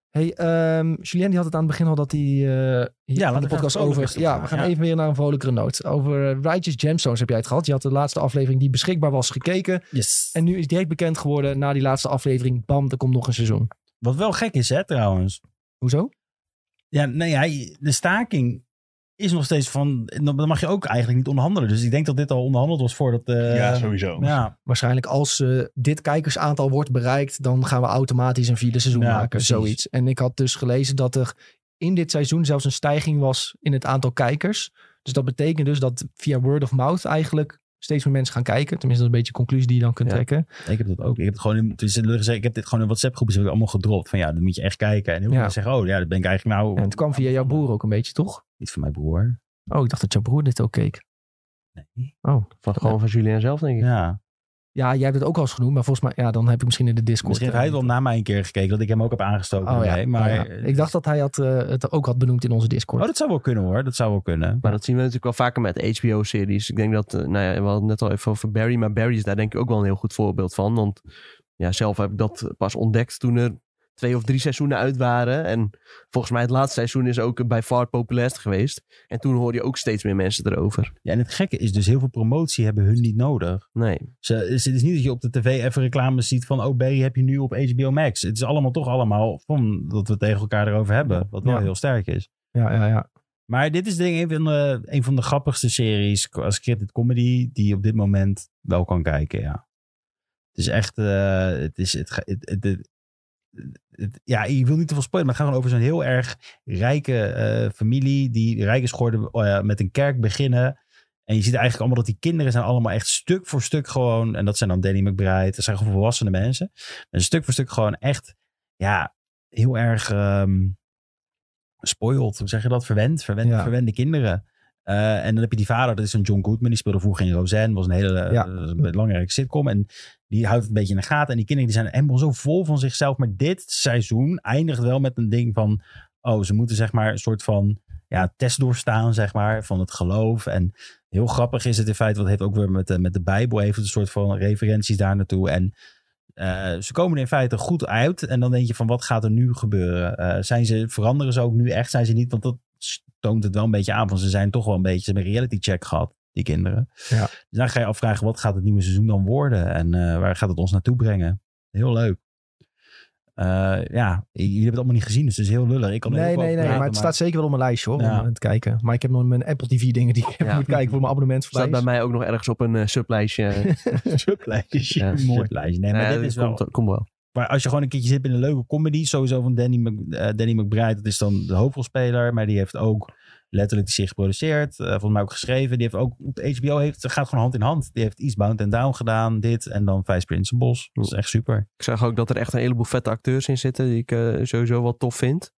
Hey, ehm, Julien die had het aan het begin al dat hij eh laten ja, we de gaan podcast vrolijk over. rustig Ja, gaan, we gaan ja. even weer naar een vrolijkere noot. Over eh, Righteous Gemstones heb jij het gehad. Je had de laatste aflevering die beschikbaar was gekeken. Yes. En nu is direct bekend geworden na die laatste aflevering. Bam, er komt nog een seizoen. Wat wel gek is, hè, trouwens. Hoezo? Ja, nee, ja, de staking is nog steeds van... Dan mag je ook eigenlijk niet onderhandelen. Dus ik denk dat dit al onderhandeld was voordat... eh, sowieso. Ja, Waarschijnlijk als eh, dit kijkersaantal wordt bereikt, dan gaan we automatisch een vierde seizoen Ja, maken. precies. Zoiets. En ik had dus gelezen dat er in dit seizoen zelfs een stijging was in het aantal kijkers. Dus dat betekent dus dat via word of mouth eigenlijk steeds meer mensen gaan kijken. Tenminste, dat is een beetje de conclusie die je dan kunt Ja. trekken. ik heb dat ook. Ik heb, het gewoon in, het is lullig gezegd, ik heb dit gewoon in WhatsApp groepjes heb ik allemaal gedropt. Van ja, dan moet je echt kijken. En heel veel Ja. mensen zeggen, oh ja, dat ben ik eigenlijk nou... En het kwam via jouw broer ook een beetje, toch? Niet van mijn broer. Oh, ik dacht dat jouw broer dit ook keek. Nee. Oh. Van, gewoon van Julien zelf, denk ik. Ja. Ja, jij hebt het ook al eens genoemd, maar volgens mij, ja, dan heb ik misschien in de Discord. eh. Misschien heeft hij het wel na mij een keer gekeken. Dat ik hem ook heb aangestoken. Oh ja, Nee, maar, oh, ja. Ik dacht dat hij had, eh, het ook had benoemd in onze Discord. Oh, dat zou wel kunnen hoor. Dat zou wel kunnen. Maar dat zien we natuurlijk wel vaker met HBO-series. Ik denk dat, eh, nou ja, we hadden het net al even over Barry, maar Barry is daar denk ik ook wel een heel goed voorbeeld van. Want ja, zelf heb ik dat pas ontdekt toen er twee of drie seizoenen uit waren. En volgens mij het laatste seizoen is ook bij far het populairst geweest. En toen hoorde je ook steeds meer mensen erover. Ja, en het gekke is dus, heel veel promotie hebben hun niet nodig. Nee, Ze, het is niet dat je op de tv even reclames ziet van... oh, Barry heb je nu op HBO Max. Het is allemaal toch allemaal van dat we het tegen elkaar erover hebben. Wat wel Ja. heel sterk is. Ja, ja, ja. Maar dit is denk ik een van de, een van de grappigste series als credit comedy... die je op dit moment wel kan kijken, ja. Het is echt... eh, het is, het, ga- het, het- het- het- ja, je wil niet te veel spoilen, maar het gaat gewoon over zo'n heel erg rijke eh, familie... die rijk is geworden eh, met een kerk beginnen... En je ziet eigenlijk allemaal dat die kinderen zijn allemaal echt stuk voor stuk gewoon... en dat zijn dan Danny McBride, dat zijn gewoon volwassene mensen. En stuk voor stuk gewoon echt, ja, heel erg ehm spoiled. Hoe zeg je dat? Verwend. Verwend, Ja. Verwende kinderen. Eh, en dan heb je die vader, dat is een John Goodman. Die speelde vroeger in Roseanne. Was een hele eh, Ja. dat is een belangrijke sitcom. En die houdt het een beetje in de gaten. En die kinderen die zijn helemaal zo vol van zichzelf. Maar dit seizoen eindigt wel met een ding van... Oh, ze moeten zeg maar een soort van ja, test doorstaan, zeg maar, van het geloof. En heel grappig is het in feite, want het heeft ook weer met de, met de Bijbel even een soort van referenties daar naartoe. En eh, ze komen er in feite goed uit. En dan denk je van, wat gaat er nu gebeuren? Eh, zijn ze, veranderen ze ook nu echt? Zijn ze niet? Want dat toont het wel een beetje aan. Van ze zijn toch wel een beetje, ze hebben een reality check gehad, die kinderen. Ja. Dus dan ga je afvragen, wat gaat het nieuwe seizoen dan worden? En eh, waar gaat het ons naartoe brengen? Heel leuk. Eh, ja, jullie hebben het allemaal niet gezien, dus het is heel lullig. Ik kan er nee, heel veel nee, over nee. praten, Maar het staat zeker wel op mijn lijstje hoor. Ja. Om aan te kijken. Maar ik heb nog mijn Apple TV dingen die ik even Ja. moet kijken voor mijn abonnement voorbij. Staat bij is. mij ook nog ergens op een eh, sublijstje. Nou Sublijstjes. Ja. Mooi. Shitlijst. Nee, maar ja, dit dat is wel... komt, komt wel. Maar als je gewoon een keertje zit in een leuke comedy, sowieso van Danny, Mc- eh, Danny McBride, dat is dan de hoofdrolspeler, maar die heeft ook letterlijk die zich geproduceerd, eh, volgens mij ook geschreven. Die heeft ook, HBO heeft, gaat gewoon hand in hand. Die heeft Eastbound and Down gedaan, dit en dan Vice Prince Bos. Dat is echt super. Ik zag ook dat er echt een heleboel vette acteurs in zitten die ik eh, sowieso wel tof vind.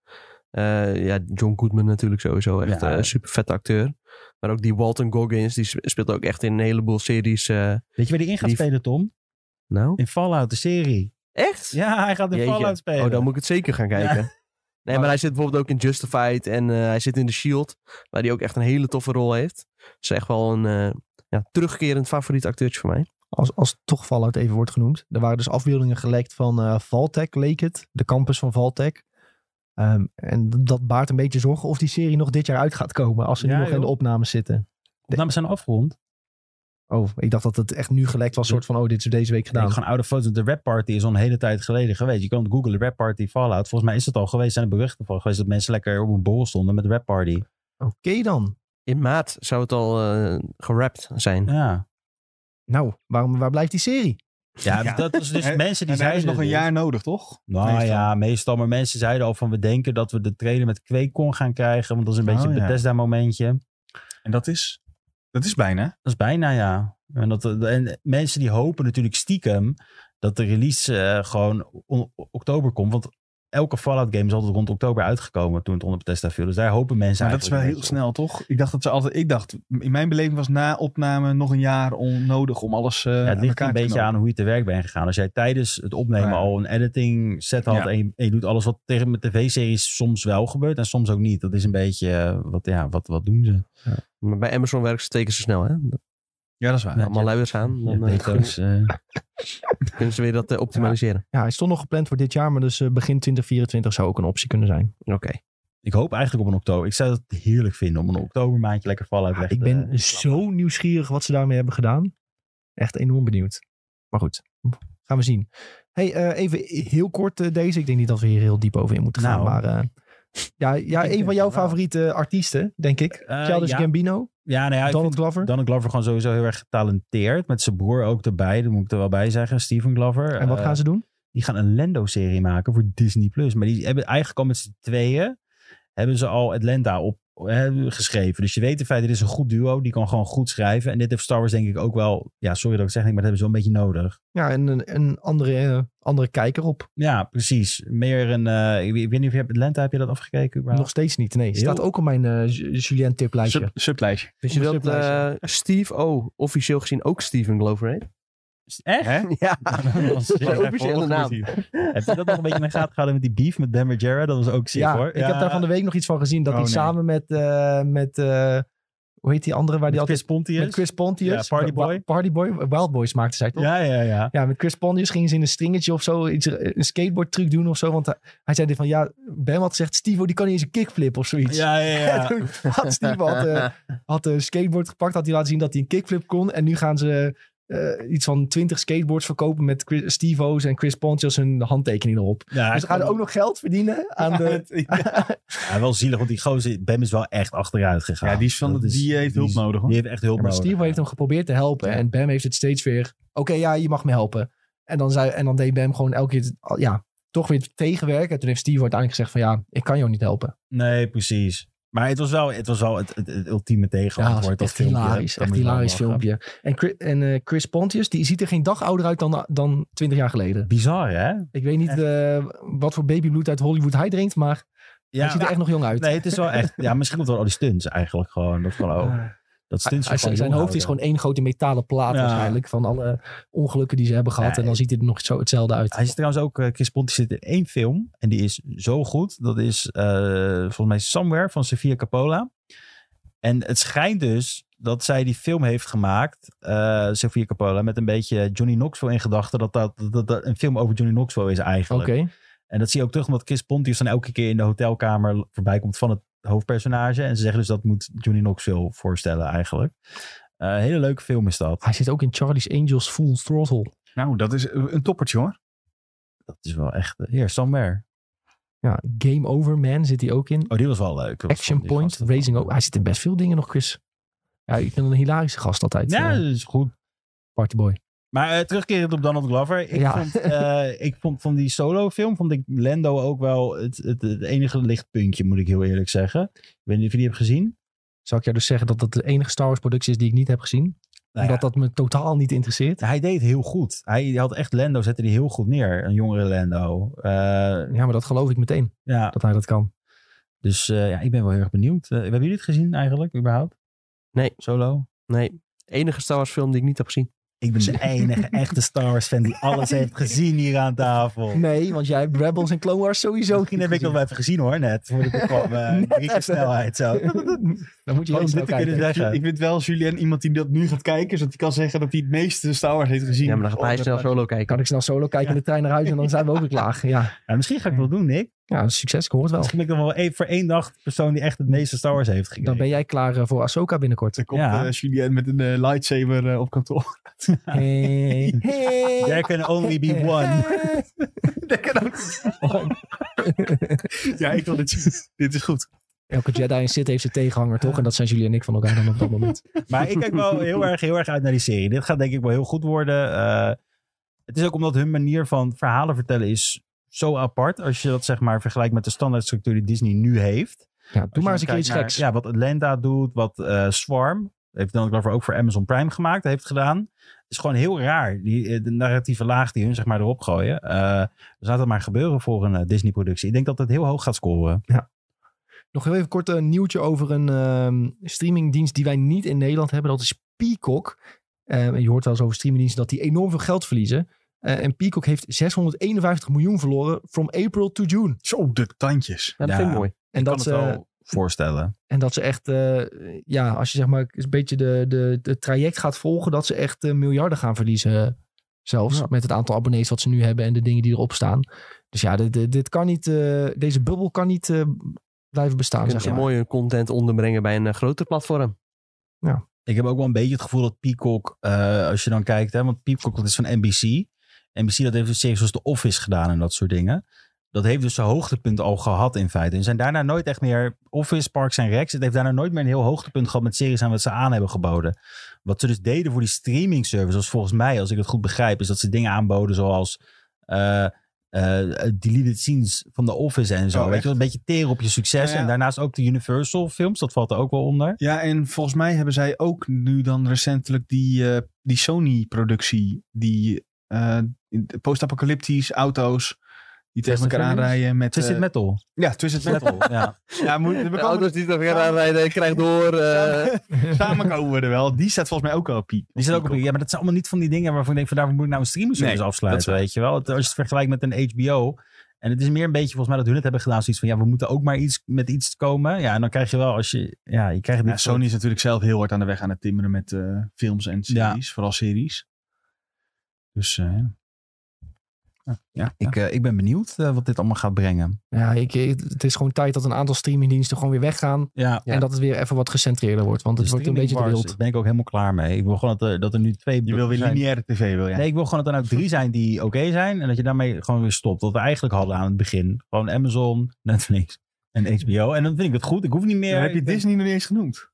Eh, ja, John Goodman natuurlijk sowieso echt Ja. een super vette acteur. Maar ook die Walton Goggins, die sp- speelt ook echt in een heleboel series. eh, Weet je waar die in gaat Die- spelen, Tom? nou, In Fallout, de serie. echt? Ja, hij gaat in Jeetje. Fallout spelen. Oh, dan moet ik het zeker gaan kijken. Nee, maar hij zit bijvoorbeeld ook in Justified en eh, hij zit in The Shield, waar hij ook echt een hele toffe rol heeft. Dus echt wel een eh, ja, terugkerend favoriet acteurtje voor mij. Als, als toch Fallout even wordt genoemd. Er waren dus afbeeldingen gelekt van eh Valtech, leek het. De campus van Valtech. Ehm, en d- dat baart een beetje zorgen of die serie nog dit jaar uit gaat komen. Als ze Ja, nu nog in de joh. opnames zitten. Opnames zijn afgerond. Oh, ik dacht dat het echt nu gelekt was. soort van, oh, dit is deze week Ik Nou. denk gedaan. gewoon oude foto's. De rap party is al een hele tijd geleden geweest. Je kan googlen rap party Fallout. Volgens mij is het al geweest. Zijn er berichten van geweest dat mensen lekker op een borrel stonden met de rap party. Oké dan. In maart zou het al eh gerapt zijn. Ja. Nou, waarom, waar blijft die serie? Ja, dat was dus En- mensen die En hij zeiden is nog een dus- jaar nodig, toch? Nou Meestal. ja, meestal. Maar mensen zeiden al van we denken dat we de trailer met Quakecon gaan krijgen. Want dat is een beetje Oh, een ja. Bethesda momentje. En dat is, dat is bijna. Dat is bijna ja. En, dat, en mensen die hopen natuurlijk stiekem dat de release eh, gewoon o- oktober komt. Want elke Fallout game is altijd rond oktober uitgekomen toen het onder Bethesda viel. Dus daar hopen mensen Maar dat is wel heel eigenlijk een snel, toch? Ik dacht dat ze altijd. Ik dacht, in mijn beleving was na opname nog een jaar onnodig om alles. eh beetje op. Ja, aan het ligt elkaar een te beetje knopen. aan hoe je te werk bent gegaan. Als jij tijdens het opnemen Ja. al een editing set had Ja. en, je, en je doet alles wat tegen met tv-series soms wel gebeurt en soms ook niet. Dat is een beetje, eh, wat, ja, wat, wat doen ze? Maar bij Amazon werken ze teken ze snel, hè? Ja, dat is waar. Ja, Allemaal je- luiers aan, Ja, dan eh, Beto's, eh, kunnen ze weer dat eh, optimaliseren. Ja, hij is toch nog gepland voor dit jaar. Maar dus eh, begin 2024 zou ook een optie kunnen zijn. Oké. ik hoop eigenlijk op een oktober. Ik zou het heerlijk vinden om een oktobermaandje lekker vallen. Ja, ik ben zo nieuwsgierig wat ze daarmee hebben gedaan. Echt enorm benieuwd. Maar goed, gaan we zien. Hey, eh, even heel kort eh, deze. Ik denk niet dat we hier heel diep over in moeten gaan. Nou. maar eh, ja, ja Ik een denk van jouw van wel. favoriete artiesten, denk dus ik. Eh, Childish ja. Gambino, ja, nou ja, ik Donald vind Glover. Donald Glover gewoon sowieso heel erg getalenteerd. Met zijn broer ook erbij, dat moet ik er wel bij zeggen. Stephen Glover. en wat Eh, gaan ze doen? Die gaan een Lando-serie maken voor Disney+. Plus. Maar die hebben eigenlijk al met z'n tweeën... hebben ze al Atlanta op, eh, geschreven. Dus je weet in feite, dit is een goed duo. Die kan gewoon goed schrijven. En dit heeft Star Wars denk ik ook wel... Ja, sorry dat ik het zeg, maar dat hebben ze wel een beetje nodig. Ja, en een, een andere, eh, andere kijker op. Ja, precies. Meer een... eh, ik, weet- ik weet niet of je hebt Atlanta, heb je dat afgekeken? überhaupt? Nog steeds niet. Nee, Heel- staat ook op mijn eh, Ju- Julien tiplijstje. Sub, sublijstje. Vind je Om een dat sublijstje. eh, Steve O. officieel gezien ook Steven Glover heet? Echt? Hè? Ja. Dat was- Zijn officiële naam. Heb je dat nog een beetje in de gaten gehouden met die beef met Ben Margera? Dat was ook ziek ja, hoor. ik heb daar van de week nog iets van gezien. Dat Oh, hij nee. samen met, eh, met eh, hoe heet die andere waar die Met altijd... Chris Pontius. Met Chris Pontius. Ja, Party Wa- wa- Boy. Party Boy. Wild Boys maakte zij toch? Ja. Ja, ja, ja. met Chris Pontius gingen ze in een stringetje of zo iets, een skateboard truc doen of zo. Want hij, hij zei dit van, ja, Ben had gezegd, Steve, die kan niet eens een kickflip of zoiets. Ja, ja, En ja. toen had Steve had, eh, had een skateboard gepakt, had hij laten zien dat hij een kickflip kon. En nu gaan ze eh, iets van twintig skateboards verkopen met Chris, Steve-O's en Chris Pontius hun handtekening erop. Ja, dus ze gaan er ook nog geld verdienen aan de... ja, wel zielig, want die gozer, Bem is wel echt achteruit gegaan. Ja, die is van Dat de- die eh, heeft hulp is- nodig, hoor. Die eh, heeft echt hulp Ja, maar nodig. Steve heeft hem geprobeerd te helpen. En Bam heeft het steeds weer. Oké, ja, je mag me helpen. En dan, zei, en dan deed Bam gewoon elke keer het- ja, toch weer tegenwerken. En toen heeft Steve uiteindelijk gezegd van ja, ik kan jou niet helpen. Nee, precies. Maar het was wel het, was wel het, het, het ultieme Ja, dat tegenantwoord. is dat echt filmpje. hilarisch. Dat Echt moet je wel hilarisch lachen. filmpje. En, Chris, en eh, Chris Pontius, die ziet er geen dag ouder uit dan, dan 20 jaar geleden. Bizar, hè? Ik weet niet Echt. eh, wat voor babybloed uit Hollywood hij drinkt, maar hij ziet er echt nog jong uit. nee, het is wel echt... Ja, misschien komt wel al die stunts eigenlijk gewoon. Dat van, Eh, oh, dat hij- stunts hij- gewoon zijn jong hoofd is houden. gewoon één grote metalen plaat Ja. waarschijnlijk. Van alle ongelukken die ze hebben gehad. Ja, en dan ziet hij er nog zo hetzelfde uit. Hij zit trouwens ook, eh, Chris Ponti zit in één film. En die is zo goed. Dat is eh, volgens mij Somewhere van Sofia Coppola. En het schijnt dus dat zij die film heeft gemaakt, eh Sofia Coppola, met een beetje Johnny Knoxville in gedachten. Dat dat, dat dat een film over Johnny Knoxville is Oké. eigenlijk. En dat zie je ook terug, omdat Chris Pontius dan elke keer in de hotelkamer voorbij komt van het hoofdpersonage. En ze zeggen dus dat moet Johnny Knoxville voorstellen eigenlijk. Eh hele leuke film is dat. Hij zit ook in Charlie's Angels Full Throttle. Nou, dat is een toppertje hoor. Dat is wel echt... eh, Hier, Somewhere. Ja, Game Over Man zit hij ook in. Oh, die was wel leuk. Dat was Action van die Point, gasten. Racing Over. Hij zit in best veel dingen nog, Chris. Ja, ik vind hem een hilarische gast altijd. Ja, eh, dat is goed. Partyboy. Maar eh, terugkerend op Donald Glover. Ik, Ja. vond, eh, ik vond van die solo film, vond ik Lando ook wel het, het, het enige lichtpuntje, moet ik heel eerlijk zeggen. Ik weet niet of je die hebt gezien. Zou ik jou dus zeggen dat dat de enige Star Wars productie is die ik niet heb gezien? Nou ja, Omdat dat me totaal niet interesseert. Hij deed heel goed. Hij had echt Lando, zette die heel goed neer. Een jongere Lando. Eh, Ja, maar dat geloof ik meteen, ja, dat hij dat kan. dus eh, ja, ik ben wel heel erg benieuwd. Eh, hebben jullie het gezien eigenlijk, überhaupt? Nee. Solo? Nee, enige Star Wars film die ik niet heb gezien. Ik ben de enige echte Star Wars fan die alles heeft gezien hier aan tafel. Nee, want jij hebt Rebels en Clone Wars sowieso Misschien heb ik dat wel even gezien hoor, net. Voordat ik kwam, eh, Net drie keer even. snelheid zo. Dan moet je Gewoon heel om snel dit te Oh, kunnen kijken. Ik zeggen. vind- Ik vind wel Julien iemand die dat nu gaat kijken, zodat hij kan zeggen dat hij het meeste Star Wars heeft gezien. Oh, Ja, maar dan gaat hij snel solo kijken. Kan ik snel solo kijken in de trein naar huis en dan zijn we ook weer klaar. Ja, Ja, misschien ga ik het wel doen, Nick. ja succes, ik hoor het wel. Misschien ben ik dan wel één- voor één dag de persoon die echt het meeste Star Wars heeft gekeken. Dan ben jij klaar eh, voor Ahsoka binnenkort. Dan komt Ja. eh, Julien met een eh, lightsaber eh, op kantoor. Hey. Hey. There can only be one. Dat kan ook. ja, ik wil dit zien. Dit is goed. Elke Jedi in zit heeft zijn tegenhanger, toch? En dat zijn jullie en ik van elkaar dan op dat moment. Maar ik kijk wel heel erg, heel erg uit naar die serie. Dit gaat denk ik wel heel goed worden. Eh, het is ook omdat hun manier van verhalen vertellen is zo apart. Als je dat zeg maar vergelijkt met de standaardstructuur die Disney nu heeft. Ja, doe maar eens een keer iets kijkt geks. naar, Ja, wat Atlanta doet, wat eh, Swarm. Heeft dan Glover ook voor Amazon Prime gemaakt, heeft gedaan. Het is gewoon heel raar, die, eh, de narratieve laag die hun zeg maar erop gooien. Eh dus laat het maar gebeuren voor een eh, Disney-productie. Ik denk dat het heel hoog gaat scoren. Nog heel even kort eh, een nieuwtje over een ehm, streamingdienst die wij niet in Nederland hebben. Dat is Peacock. Ehm, en je hoort wel eens over streamingdiensten dat die enorm veel geld verliezen. Eh, en Peacock heeft 651 miljoen verloren from April to June. Zo, de tandjes. Ja, dat Ja. vind ik mooi. En kan dat, eh, het ze, wel voorstellen. en dat ze echt, eh, ja, als je zeg maar een beetje de, de, het traject gaat volgen, dat ze echt eh, miljarden gaan verliezen. eh, Zelfs Ja. met het aantal abonnees wat ze nu hebben en de dingen die erop staan. Dus ja, dit, dit- dit kan niet, eh, deze bubbel kan niet eh, blijven bestaan. Kunnen Zeg ze maar. mooie content onderbrengen bij een eh, groter platform. Ik heb ook wel een beetje het gevoel dat Peacock, eh, als je dan kijkt, hè, want Peacock dat is van NBC. NBC dat heeft dus series zoals The Office gedaan en dat soort dingen. Dat heeft dus zijn hoogtepunt al gehad in feite. En zijn daarna nooit echt meer Office, Parks en Recs. Het heeft daarna nooit meer een heel hoogtepunt gehad met series aan wat ze aan hebben geboden. Wat ze dus deden voor die streaming service, was volgens mij, als ik het goed begrijp, is dat ze dingen aanboden zoals eh, eh, deleted scenes van The Office en zo. Oh, Weet echt? je, wel, een beetje teren op je succes. Ja, ja. En daarnaast ook de Universal films, dat valt er ook wel onder. Ja, en volgens mij hebben zij ook nu dan recentelijk die, eh, die Sony-productie. Die eh, in- post-apocalyptisch auto's die tegen Twisted elkaar Metal? aanrijden. Met, Twisted eh, Metal. Ja, Twisted Metal. ja. ja, moet, we De komen auto's die er gaan aanrijden, krijg door. eh, Samen komen we er wel. Die staat volgens mij ook al op Piet. Die zit ook op. Ja, maar dat zijn allemaal niet van die dingen waarvan ik denk: van daarvoor moet ik nou een streaming service Nee, afsluiten. dat is- Weet je wel, Het- als je het vergelijkt met een HBO. En het is meer een beetje volgens mij dat hun het hebben gedaan. Zoiets van ja, we moeten ook maar iets met iets komen. Ja, en dan krijg je wel als je. Ja, je krijgt. Ja, dit Sony is natuurlijk zelf heel hard aan de weg aan het timmeren met eh, films en series. Vooral series. Dus eh, ja. ja. soort- Ik, eh, ik ben benieuwd eh, wat dit allemaal gaat brengen. Ja, ik, ik- het is gewoon tijd dat een aantal streamingdiensten gewoon weer weggaan. Ja, Ja. En dat het weer even wat gecentreerder wordt. Want het wordt een beetje te Daar wild. ben ik ook helemaal klaar mee. Ik wil gewoon dat er, dat er nu twee. Je wil weer zijn. lineaire tv, wil jij? Nee, ik wil gewoon dat er nou drie zijn die oké zijn. En dat je daarmee gewoon weer stopt. Wat we eigenlijk hadden aan het begin. Gewoon Amazon, Netflix en HBO. En dan vind ik het goed. Ik hoef niet meer. Dan heb je Ik ben- Disney nog niet eens genoemd.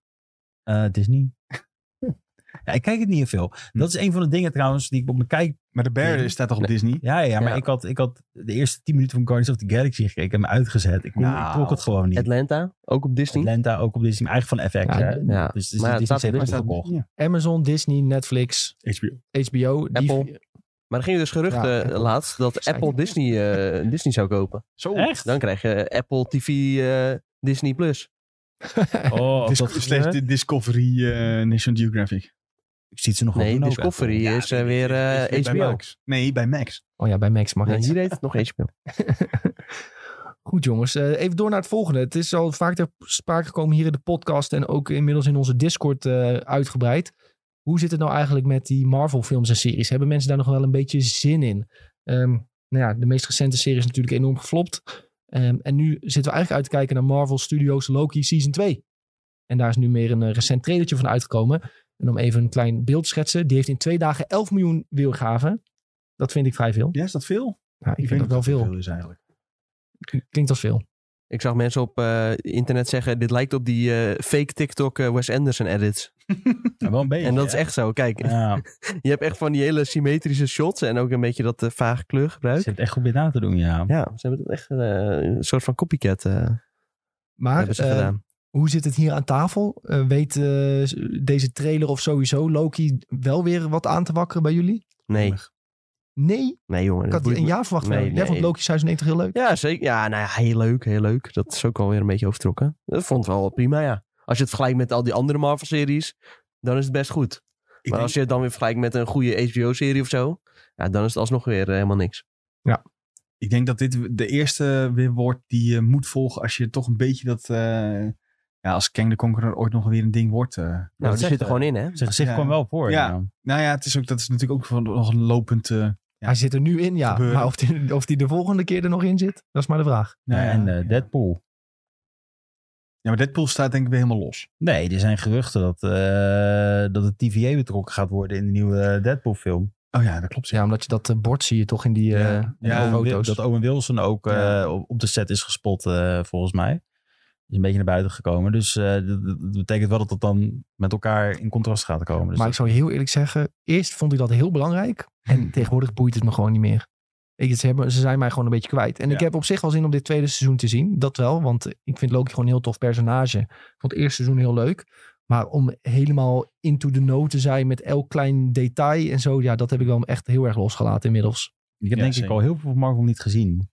Eh, Disney. ja, ik kijk het niet heel veel. Dat is een van de dingen trouwens die ik op mijn kijk... Maar de Bear Nee. staat toch op Nee. Disney? Ja, ja, ja, maar Ja. Ik, had, ik had de eerste 10 minuten van Guardians of the Galaxy gekeken en me uitgezet. Ik, kon, Nou. ik trok het gewoon niet. Atlanta, ook op Disney. Atlanta ook op Disney, maar eigenlijk van FX. Ja, hè? Ja. Dus, dus Maar ja, het Disney staat heeft op het Staat- gekocht. ja. Amazon, Disney, Netflix, HBO. HBO. die- Apple. Maar er gingen dus geruchten Ja, Apple. laatst dat Zei Apple die. Disney, eh, Disney zou kopen. Zo. Echt? Dan krijg je eh, Apple TV eh, Disney Plus. Oh, als Dis- dat slash gebeurt. de Discovery eh, National Geographic. Ik zie het ze nog wel Nee, doen ook, Discovery Ja, is eh, weer eh, Bij HBO. Max. Nee, bij Max. Oh ja, bij Max mag Nee, het. hier heet het nog HBO. Goed jongens, Eh, even door naar het volgende. Het is al vaak ter sprake gekomen hier in de podcast en ook inmiddels in onze Discord eh, uitgebreid. Hoe zit het nou eigenlijk met die Marvel films en series? Hebben mensen daar nog wel een beetje zin in? Ehm, nou ja, de meest recente serie is natuurlijk enorm geflopt. Ehm, en nu zitten we eigenlijk uit te kijken naar Marvel Studios Loki Season 2. En daar is nu meer een eh, recent trailertje van uitgekomen. En om even een klein beeld te schetsen. Die heeft in twee dagen 11 miljoen weergaven. Dat vind ik vrij veel. Ja, is dat veel? Nou, ik, vind dat wel veel. is eigenlijk. Klinkt als veel. Ik zag mensen op eh, internet zeggen, dit lijkt op die eh, fake TikTok eh, Wes Anderson edits. Ja, Nou, wel een beetje. en dat is hè? echt zo. Kijk, Ja, je hebt echt van die hele symmetrische shots en ook een beetje dat eh, vage kleurgebruik. zit echt goed bij na te doen, ja. Ja, ze hebben dat echt eh, een soort van copycat eh, Maar hebben ze eh, gedaan. hoe zit het hier aan tafel? Eh, weet eh, deze trailer of sowieso Loki wel weer wat aan te wakkeren bij jullie? Nee, Nee, nee jongen. ik dat had boeit een me- jaar verwacht. Nee, Nee, Jij nee. vond Loki 96 heel leuk. Ja, zeker. Ja, nou ja, heel leuk, heel leuk. Dat is ook alweer een beetje overtrokken. Dat vond ik wel prima, ja. Als je het vergelijkt met al die andere Marvel-series, dan is het best goed. Maar denk- als je het dan weer vergelijkt met een goede HBO-serie of zo, ja, dan is het alsnog weer eh, helemaal niks. Ik denk dat dit de eerste Eh, weer wordt die je moet volgen als je toch een beetje dat... eh, ja, als Kang de Conqueror ooit nog weer een ding wordt. eh. Nou, dat die zegt, zit er gewoon in, hè? Zijn gezicht Ja. kwam wel op voor. Ja. ja. nou ja, het is ook, dat is natuurlijk ook van, nog een lopend... eh, Hij zit er nu in, ja. Gebeuren. Maar of die, of die de volgende keer er nog in zit, dat is maar de vraag. nou en eh, ja. Deadpool. Ja, maar Deadpool staat denk ik weer helemaal los. Nee, er zijn geruchten dat, eh, dat het TVA betrokken gaat worden in de nieuwe eh, Deadpool-film. Oh ja, dat klopt. Ja, omdat je dat eh, bord zie je toch in die eh, Ja. Ja, die Owen Wil- foto's. dat Owen Wilson ook eh, Ja. op- op de set is gespot, eh, volgens mij. Is een beetje naar buiten gekomen. Dus eh, dat, dat betekent wel dat dat dan met elkaar in contrast gaat komen. Dus maar ik dat- zou je heel eerlijk zeggen, eerst vond ik dat heel belangrijk. En tegenwoordig boeit het me gewoon niet meer. Ik, ze, hebben, ze zijn mij gewoon een beetje kwijt. En ik Ja. heb op zich wel zin om dit tweede seizoen te zien. Dat wel, want ik vind Loki gewoon een heel tof personage. Ik vond het eerste seizoen heel leuk. Maar om helemaal into the know te zijn met elk klein detail en zo. Ja, dat heb ik wel echt heel erg losgelaten inmiddels. ik heb Ja, denk ik zeker. al heel veel van Marvel niet gezien.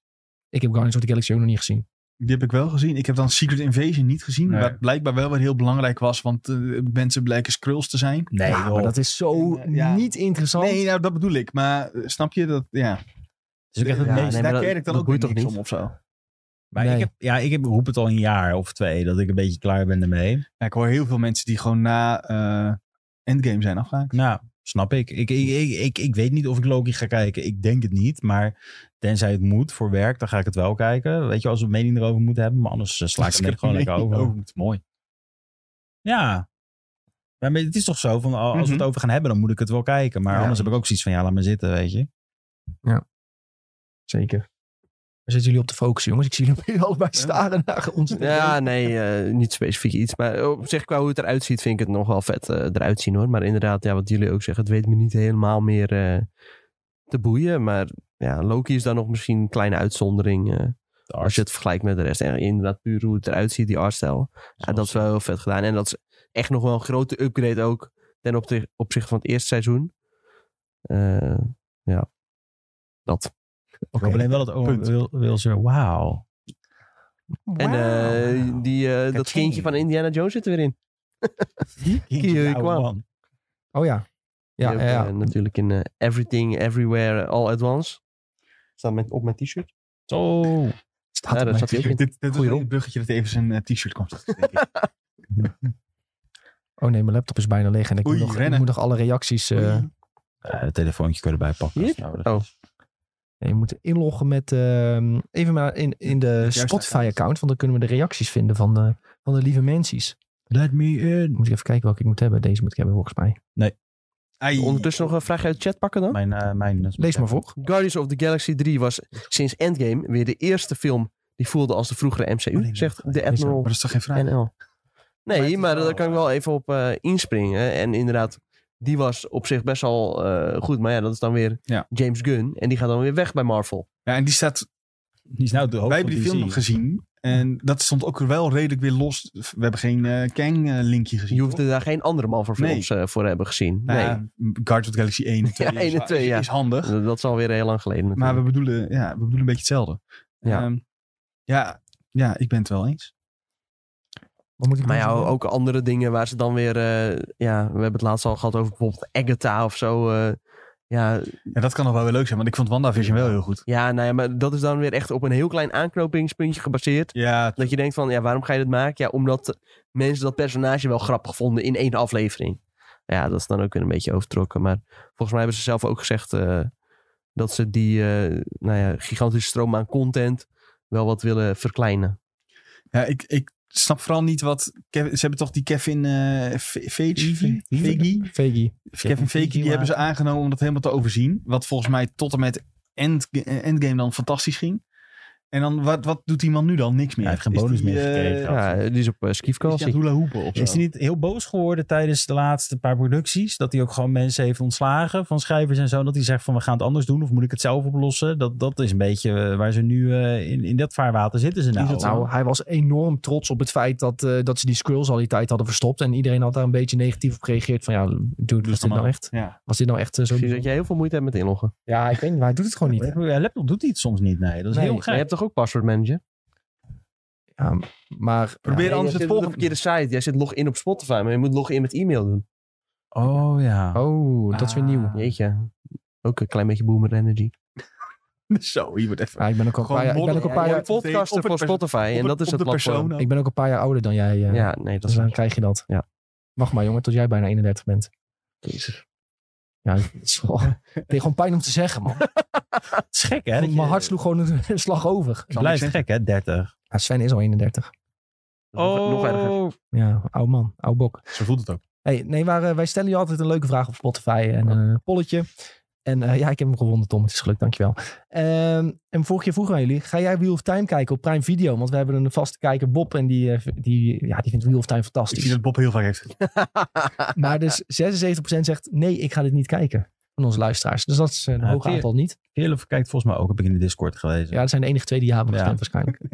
Ik heb Guardians of the Galaxy ook nog niet gezien. Die heb ik wel gezien. Ik heb dan Secret Invasion niet gezien. Nee. Wat blijkbaar wel weer heel belangrijk was. Want eh, mensen blijken Skrulls te zijn. Nee, ja, maar dat is zo En, eh, ja. niet interessant. Nee, nou, dat bedoel ik. Maar eh, snap je dat? Ja. Eh, is ook echt het Ja, meest nee, maar Daar dat- keer ik dan dat ook weer boeit toch niks niet? om of zo. Maar Nee. ik, heb, ja, ik heb, roep het al een jaar of twee dat ik een beetje klaar ben ermee. Ja, ik hoor heel veel mensen die gewoon na eh, Endgame zijn afgehaakt. Nou, snap ik. Ik, ik, ik, ik. ik weet niet of ik Loki ga kijken. Ik denk het niet. Maar tenzij het moet voor werk, dan ga ik het wel kijken. Weet je, als we een mening erover moeten hebben. Maar anders eh, sla ik Dus het net heb gewoon er lekker mee- over. Oh, het is mooi. Ja. Ja, Maar het is toch zo van al- als we het Mhm. over gaan hebben, dan moet ik het wel kijken. Maar Ja. anders heb ik ook zoiets van ja, laat maar zitten, weet je. Zeker. Waar zitten jullie op te focussen, jongens? Ik zie jullie jullie allebei staren naar ons. Ja, nee, eh, niet specifiek iets. Maar op zich, qua hoe het eruit ziet, vind ik het nog wel vet eh, eruit zien hoor. Maar inderdaad, ja, wat jullie ook zeggen, het weet me niet helemaal meer eh, te boeien. Maar ja, Loki is dan nog misschien een kleine uitzondering. eh, als je het vergelijkt met de rest. En inderdaad, puur hoe het eruit ziet, die artstijl. Ja, dat is wel heel vet gedaan. En dat is echt nog wel een grote upgrade ook. Ten opte- opzichte van het eerste seizoen. Eh, ja. Dat. Ik hoop alleen wel dat Owen Punt. wil, wil ze. Wauw. En eh, die, eh, dat Ka-ching. kindje van Indiana Jones zit er weer in. Kindje, oude Kwan. man. Oh ja. Ja, Die ja, ook, ja. eh, natuurlijk in eh, Everything, Everywhere, All at Once. Staat met, op mijn t-shirt. Zo. Staat Ja, op dat mijn zat hij ook t-shirt. Dit, dit is Goeie wel rol. het bruggetje dat even zijn eh, t-shirt komt. denk ik. Oh nee, mijn laptop is bijna leeg en ik, Oei, moet, nog, ik rennen. moet nog alle reacties... eh, Oei. Eh, het telefoontje kun je erbij pakken. als Hier? het nou nodig Oh. nee, je moet inloggen met... ehm, even maar in, in de juiste Spotify-account, want dan kunnen we de reacties vinden van de, van de lieve mensies. Let me in. Moet ik even kijken welke ik moet hebben. Deze moet ik hebben volgens mij. Ai. Ondertussen nog een vraag uit de chat pakken dan. Mijn, eh, mijn, Lees maar voor. Guardians of the Galaxy 3 was sinds Endgame weer de eerste film die voelde als de vroegere MCU, Oh, nee, zegt de nee, Maar Admiral dat is toch geen vraag? NL. Maar het Nee, is maar wel, daar kan ik wel even op eh, inspringen. En inderdaad, die was op zich best wel eh, goed. Maar ja, dat is dan weer Ja. James Gunn. En die gaat dan weer weg bij Marvel. Ja, en die staat Die is nou de hoofd Wij van hebben die film DC. gezien. En dat stond ook wel redelijk weer los. We hebben geen eh, Kang-linkje gezien. Je hoefde daar geen andere Marvel Nee. films eh, voor hebben gezien. toch? Nou nee, ja, Guardians of the Galaxy 1 en 2, Ja, 1 en is, 2, ja. is handig. dat- dat is alweer heel lang geleden Maar we natuurlijk. bedoelen, ja, we bedoelen een beetje hetzelfde. Ja. Ehm, ja, ja, ik ben het wel eens. Wat moet ik Maar doen? ja, ook andere dingen waar ze dan weer... eh, ja, we hebben het laatst al gehad over bijvoorbeeld Agatha of zo. eh, ja, Ja, dat kan nog wel weer leuk zijn, want ik vond WandaVision wel heel goed. ja, nou ja, maar dat is dan weer echt op een heel klein aanknopingspuntje gebaseerd. Ja, Dat je denkt van, ja, waarom ga je dit maken? Ja, omdat mensen dat personage wel grappig vonden in één aflevering. Ja, dat is dan ook weer een beetje overtrokken. Maar volgens mij hebben ze zelf ook gezegd eh, dat ze die eh, nou ja, gigantische stroom aan content wel wat willen verkleinen. ja ik, ik snap vooral niet wat... Kev- ze hebben toch die Kevin eh Fe- Feige? Feige? Veggie. Kevin Feige, die hebben ze aangenomen om dat helemaal te overzien. Wat volgens mij tot en met End, eh, Endgame dan fantastisch ging. En dan, wat, wat doet die man nu dan? Niks meer. Hij heeft geen Is bonus die, meer eh, gekregen. is Ja, die is op uh, die aan het hula hoepen of zo? Is hij niet heel boos geworden tijdens de laatste paar producties? Dat hij ook gewoon mensen heeft ontslagen van schrijvers en zo. Dat hij zegt van we gaan het anders doen of moet ik het zelf oplossen? Dat, dat is een beetje eh, waar ze nu eh, in, in dat vaarwater zitten ze nou. Nou, hij was enorm trots op het feit dat, eh, dat ze die Skrulls al die tijd hadden verstopt. En iedereen had daar een beetje negatief op gereageerd. Van ja, dude, was dit nou normaal. echt? Ja. Was dit nou echt eh, zo? Precies dat jij heel veel moeite hebt met inloggen. Ja, ik weet niet, maar hij doet het gewoon niet. Ja, laptop doet hij het soms niet. Nee, dat is Nee, heel Maar je gek. hebt toch ook password manager? Ja, maar Probeer ja, jij anders het zit op de volgende. verkeerde site. Jij zit log in op Spotify, maar je moet log in met e-mail doen. Oh ja. Oh, dat is weer nieuw. Ah. Jeetje. Ook een klein beetje boomer energy. eh, Zo, hier wordt even... Ja, ik ben ook al een Gewoon paar jaar, ik ben ook modder- een paar Ja, jaar, ja. podcaster Op voor het pers- Spotify op en de- dat is op het de platform. persoon. ik ben ook een paar jaar ouder dan jij. eh, Oh. Ja, nee, dat dus is dan krijg je dat. Ja. Wacht maar jongen, tot jij bijna 31 bent. Jezus. Ja, het is wel- ik deed gewoon pijn om te zeggen, man. Het is gek hè? dat je- eh. Mijn hart sloeg gewoon een, een slag over. Het blijft gek hè, 30. Ja, Sven is al 31. Nog, nog Oh. erger. Oh. Ja, oud man, oud bok. Ze voelt het ook. Hey, nee, maar eh, wij stellen je altijd een leuke vraag op Spotify en een polletje. En eh, ja, ik heb hem gewonnen, Tom. Het is gelukt, dankjewel. Ehm en vorige keer vroegen we aan jullie, ga jij Wheel of Time kijken op Prime Video? Want we hebben een vaste kijker, Bob, en die, eh, die, ja, die vindt Wheel of Time Ik fantastisch. zie dat Bob heel vaak heeft. Maar dus 76% zegt, nee, ik ga dit niet kijken. Van onze luisteraars. Dus dat is een Ja, hoog oké. aantal niet. Heerlijk kijkt volgens mij ook, heb ik in de Discord gelezen. Ja, dat zijn de enige twee die ja hebben Ja. gestemd waarschijnlijk.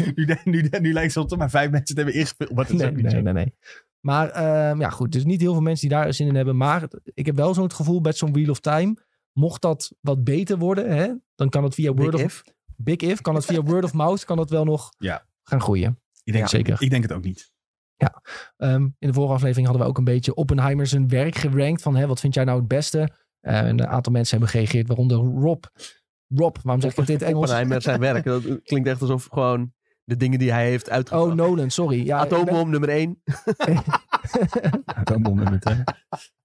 Ja, maar nu, nu, nu lijkt het alsof er maar vijf mensen het hebben ingespeeld. Maar dat is Nee, ook niet zo. nee, nee, nee. Maar ehm, ja, goed. Dus niet heel veel mensen die daar zin in hebben. Maar ik heb wel zo'n gevoel bij zo'n Wheel of Time. Mocht dat wat beter worden, hè, dan kan het via Big Word of if. Big If, kan het via Word of Mouth, kan dat wel nog Ja. gaan groeien. Ik denk, Ja, zeker. Ik denk het ook niet. Ehm, in de vorige aflevering hadden we ook een beetje Oppenheimer zijn werk gerankt. Van hè, wat vind jij nou het beste? Eh, en een aantal mensen hebben gereageerd, waaronder Rob. Rob, waarom zeg ik het in het Engels? Oppenheimer, zijn werk. Dat klinkt echt alsof gewoon de dingen die hij heeft uitgebracht. Oh, Nolan, sorry. Ja, ik ben- Atoombom nummer 1. Atoombom nummer twee.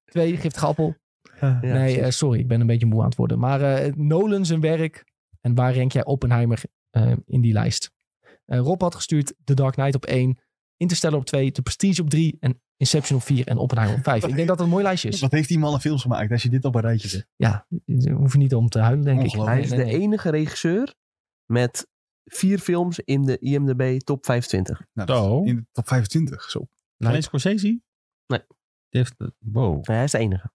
Twee, giftige appel. Ja. nee, eh, sorry, ik ben een beetje moe aan het worden. Maar eh, Nolan zijn werk. En waar rank jij Oppenheimer eh, in die lijst? Eh, Rob had gestuurd The Dark Knight op 1, Interstellar op 2, The Prestige op 3 en Inception op 4 en Oppenheimer op 5. Ik denk dat dat een mooi lijstje is. Wat heeft die man een films gemaakt als je dit op een rijtje zet? Ja, daar hoef je niet om te huilen, denk ik. Ongelooflijk. Hij is Nee, nee, de nee. enige regisseur met vier films in de IMDb top 25. Nou, Zo. dat is In de top 25. Zo. Alleen Scorsese? Nee. Die heeft... Wow. Nee, hij is de enige.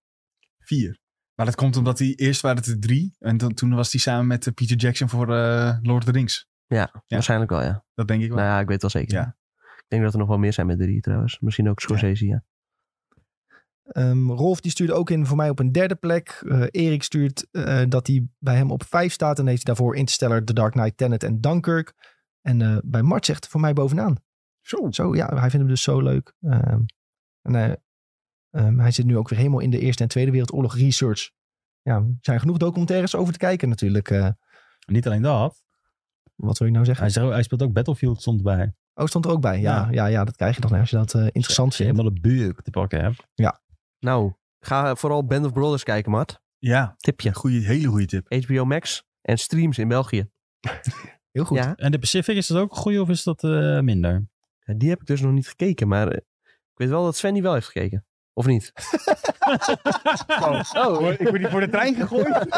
Vier. Maar dat komt omdat hij eerst waren het er drie. En toen- toen was hij samen met eh, Peter Jackson voor eh, Lord of the Rings. Ja, waarschijnlijk wel, ja. Dat denk ik wel. Nou ja, ik weet het wel zeker. Ja. Ik denk dat er nog wel meer zijn met drie trouwens. Misschien ook Scorsese, ja. Ehm, Rolf die stuurde ook in voor mij op een derde plek. Eh, Erik stuurt eh, dat hij bij hem op vijf staat. En heeft daarvoor Interstellar, The Dark Knight, Tenet en Dunkirk. En eh, bij Mart zegt voor mij bovenaan. Zo. Zo, ja, hij vindt hem dus zo leuk. Ehm, en, eh, ehm, hij zit nu ook weer helemaal in de Eerste en Tweede Wereldoorlog research. Ja, er zijn genoeg documentaires over te kijken natuurlijk. eh, Niet alleen dat. wat wil je nou zeggen? Hij, zei- hij speelt ook Battlefield stond bij. Oh, stond er ook bij. Ja, Ja. ja. Ja, dat krijg je dan als je dat eh, interessant vindt. Helemaal de buik te pakken hebt. Nou, ga vooral Band of Brothers kijken, Mart. Ja, Tipje. goeie, hele goede tip. HBO Max en streams in België. Heel goed. Ja, En de Pacific, is dat ook een goeie of is dat eh, minder? Ja, die heb ik dus nog niet gekeken, maar eh, ik weet wel dat Sven die wel heeft gekeken. Of niet? Oh, Ik word hier voor de trein gegooid.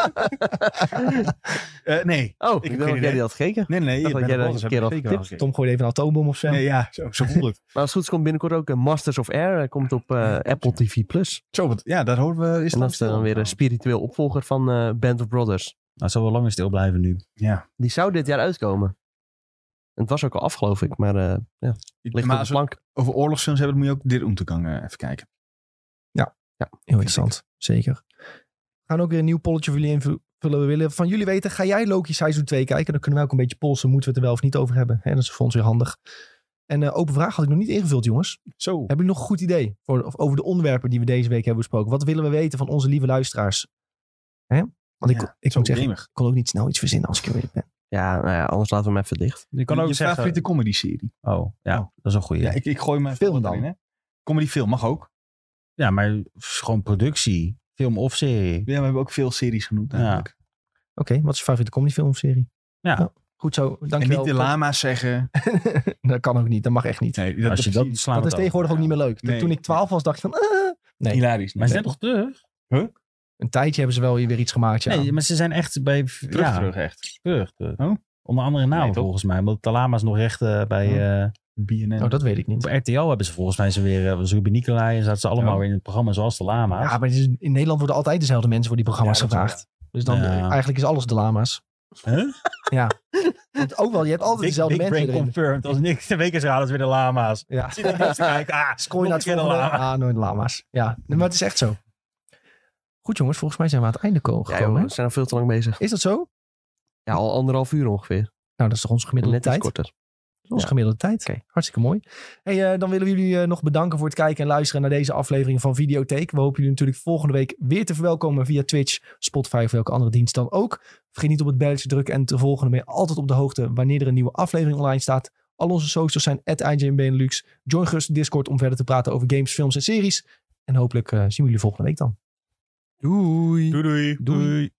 Eh, nee. oh ik, geen dacht dat jij idee. die had gekeken. Nee, nee. dacht dat jij dat dat een keer had getipt. Tom gooit even een atoombom of zo. Nee, ja, zo, zo voelt het. Maar als het goed is komt binnenkort ook eh, Masters of Air. eh, Komt op eh, Apple TV+. Plus. Zo, want, ja, daar horen we. Is En dat Oh. is dan weer een spiritueel opvolger van eh, Band of Brothers. Nou, zal wel langer stil blijven nu. Ja. Die zou dit jaar uitkomen. En het was ook al af, geloof ik. Maar eh ja, ligt maar op als de we het plank. over oorlogsfilms hebben, dan moet je ook dit Omtegang eh, even kijken. Heel interessant, zeker. We gaan ook weer een nieuw polletje voor jullie invullen. We willen van jullie weten, ga jij Loki seizoen 2 kijken? Dan kunnen wij ook een beetje polsen, moeten we het er wel of niet over hebben. Hè, dat is voor ons weer handig. En eh, open vraag had ik nog niet ingevuld, jongens. Zo. Hebben jullie nog een goed idee voor, of over de onderwerpen die we deze week hebben besproken? Wat willen we weten van onze lieve luisteraars? Hè? Want ik, Ja, ik zo moet zeggen, gamig. ik kon ook niet snel iets verzinnen als ik er weer ben. Ja, nou ja, anders laten we hem even dicht. Je kan ook je zeggen... favoriete comedy-serie. Oh, ja. Oh. Dat is een goeie. Ja, Ja, ik, ik gooi mijn Film film dan. erin, hè. Comedy-film mag ook. maar f- gewoon productie. Film of serie. Ja, we hebben ook veel series genoemd Ja. eigenlijk. Oké, wat is je favoriete comedyfilm of serie? Ja. Nou, goed zo, en dankjewel. niet de lama's zeggen. dat kan ook niet, dat mag echt niet. Nee, dat, Als je dat, precies. slaan we dat is het over. tegenwoordig ook niet meer leuk. Toen- Nee. Toen ik 12 was, dacht ik van... eh, Hilarisch. Maar ze zijn toch terug? Huh? Een tijdje hebben ze wel weer iets gemaakt, ja. Nee, maar ze zijn echt bij... Terug, ja, terug echt. terug, terug. Oh. Onder andere namen Nee, toch? volgens mij. Omdat Talama is nog recht eh, bij... Ja. eh, BNN. Oh, dat weet ik niet. op RTL hebben ze volgens mij ze weer... eh, Ruben Nicolai en zaten ze allemaal Ja. weer in het programma zoals Talama. Ja, maar het is- in Nederland worden altijd dezelfde mensen voor die programma's gevraagd. Dus dan Ja. eigenlijk is alles de lama's. Huh? Want ook wel, je hebt altijd Big, dezelfde Big mensen Brain erin. confirmed. Als niks te wekersraad is weer de lama's. Ja. Zit ik dus te kijken. Ah, Scroll je naar het nog een keer volgende. een lama. Ah, nooit lama's. Ja, nee, maar het is echt zo. Goed jongens, volgens mij zijn we aan het einde ko- Ja, gekomen. joh, we zijn al veel te lang bezig. is dat zo? Nou, Ja, al anderhalf uur ongeveer. dat is toch onze gemiddelde Net iets tijd? korter. Dat is onze Ja. gemiddelde tijd. Oké. Hartstikke mooi. Hey, eh, dan willen we jullie eh, nog bedanken voor het kijken en luisteren naar deze aflevering van Videotheek. We hopen jullie natuurlijk volgende week weer te verwelkomen via Twitch, Spotify of welke andere dienst dan ook. Vergeet niet op het belletje te drukken en te volgen. Dan ben je altijd op de hoogte wanneer er een nieuwe aflevering online staat. Al onze socials zijn @IGNBenelux. Join gerust de Discord om verder te praten over games, films en series. En hopelijk eh, zien we jullie volgende week dan. Doei. Doei doei. Doei. doei.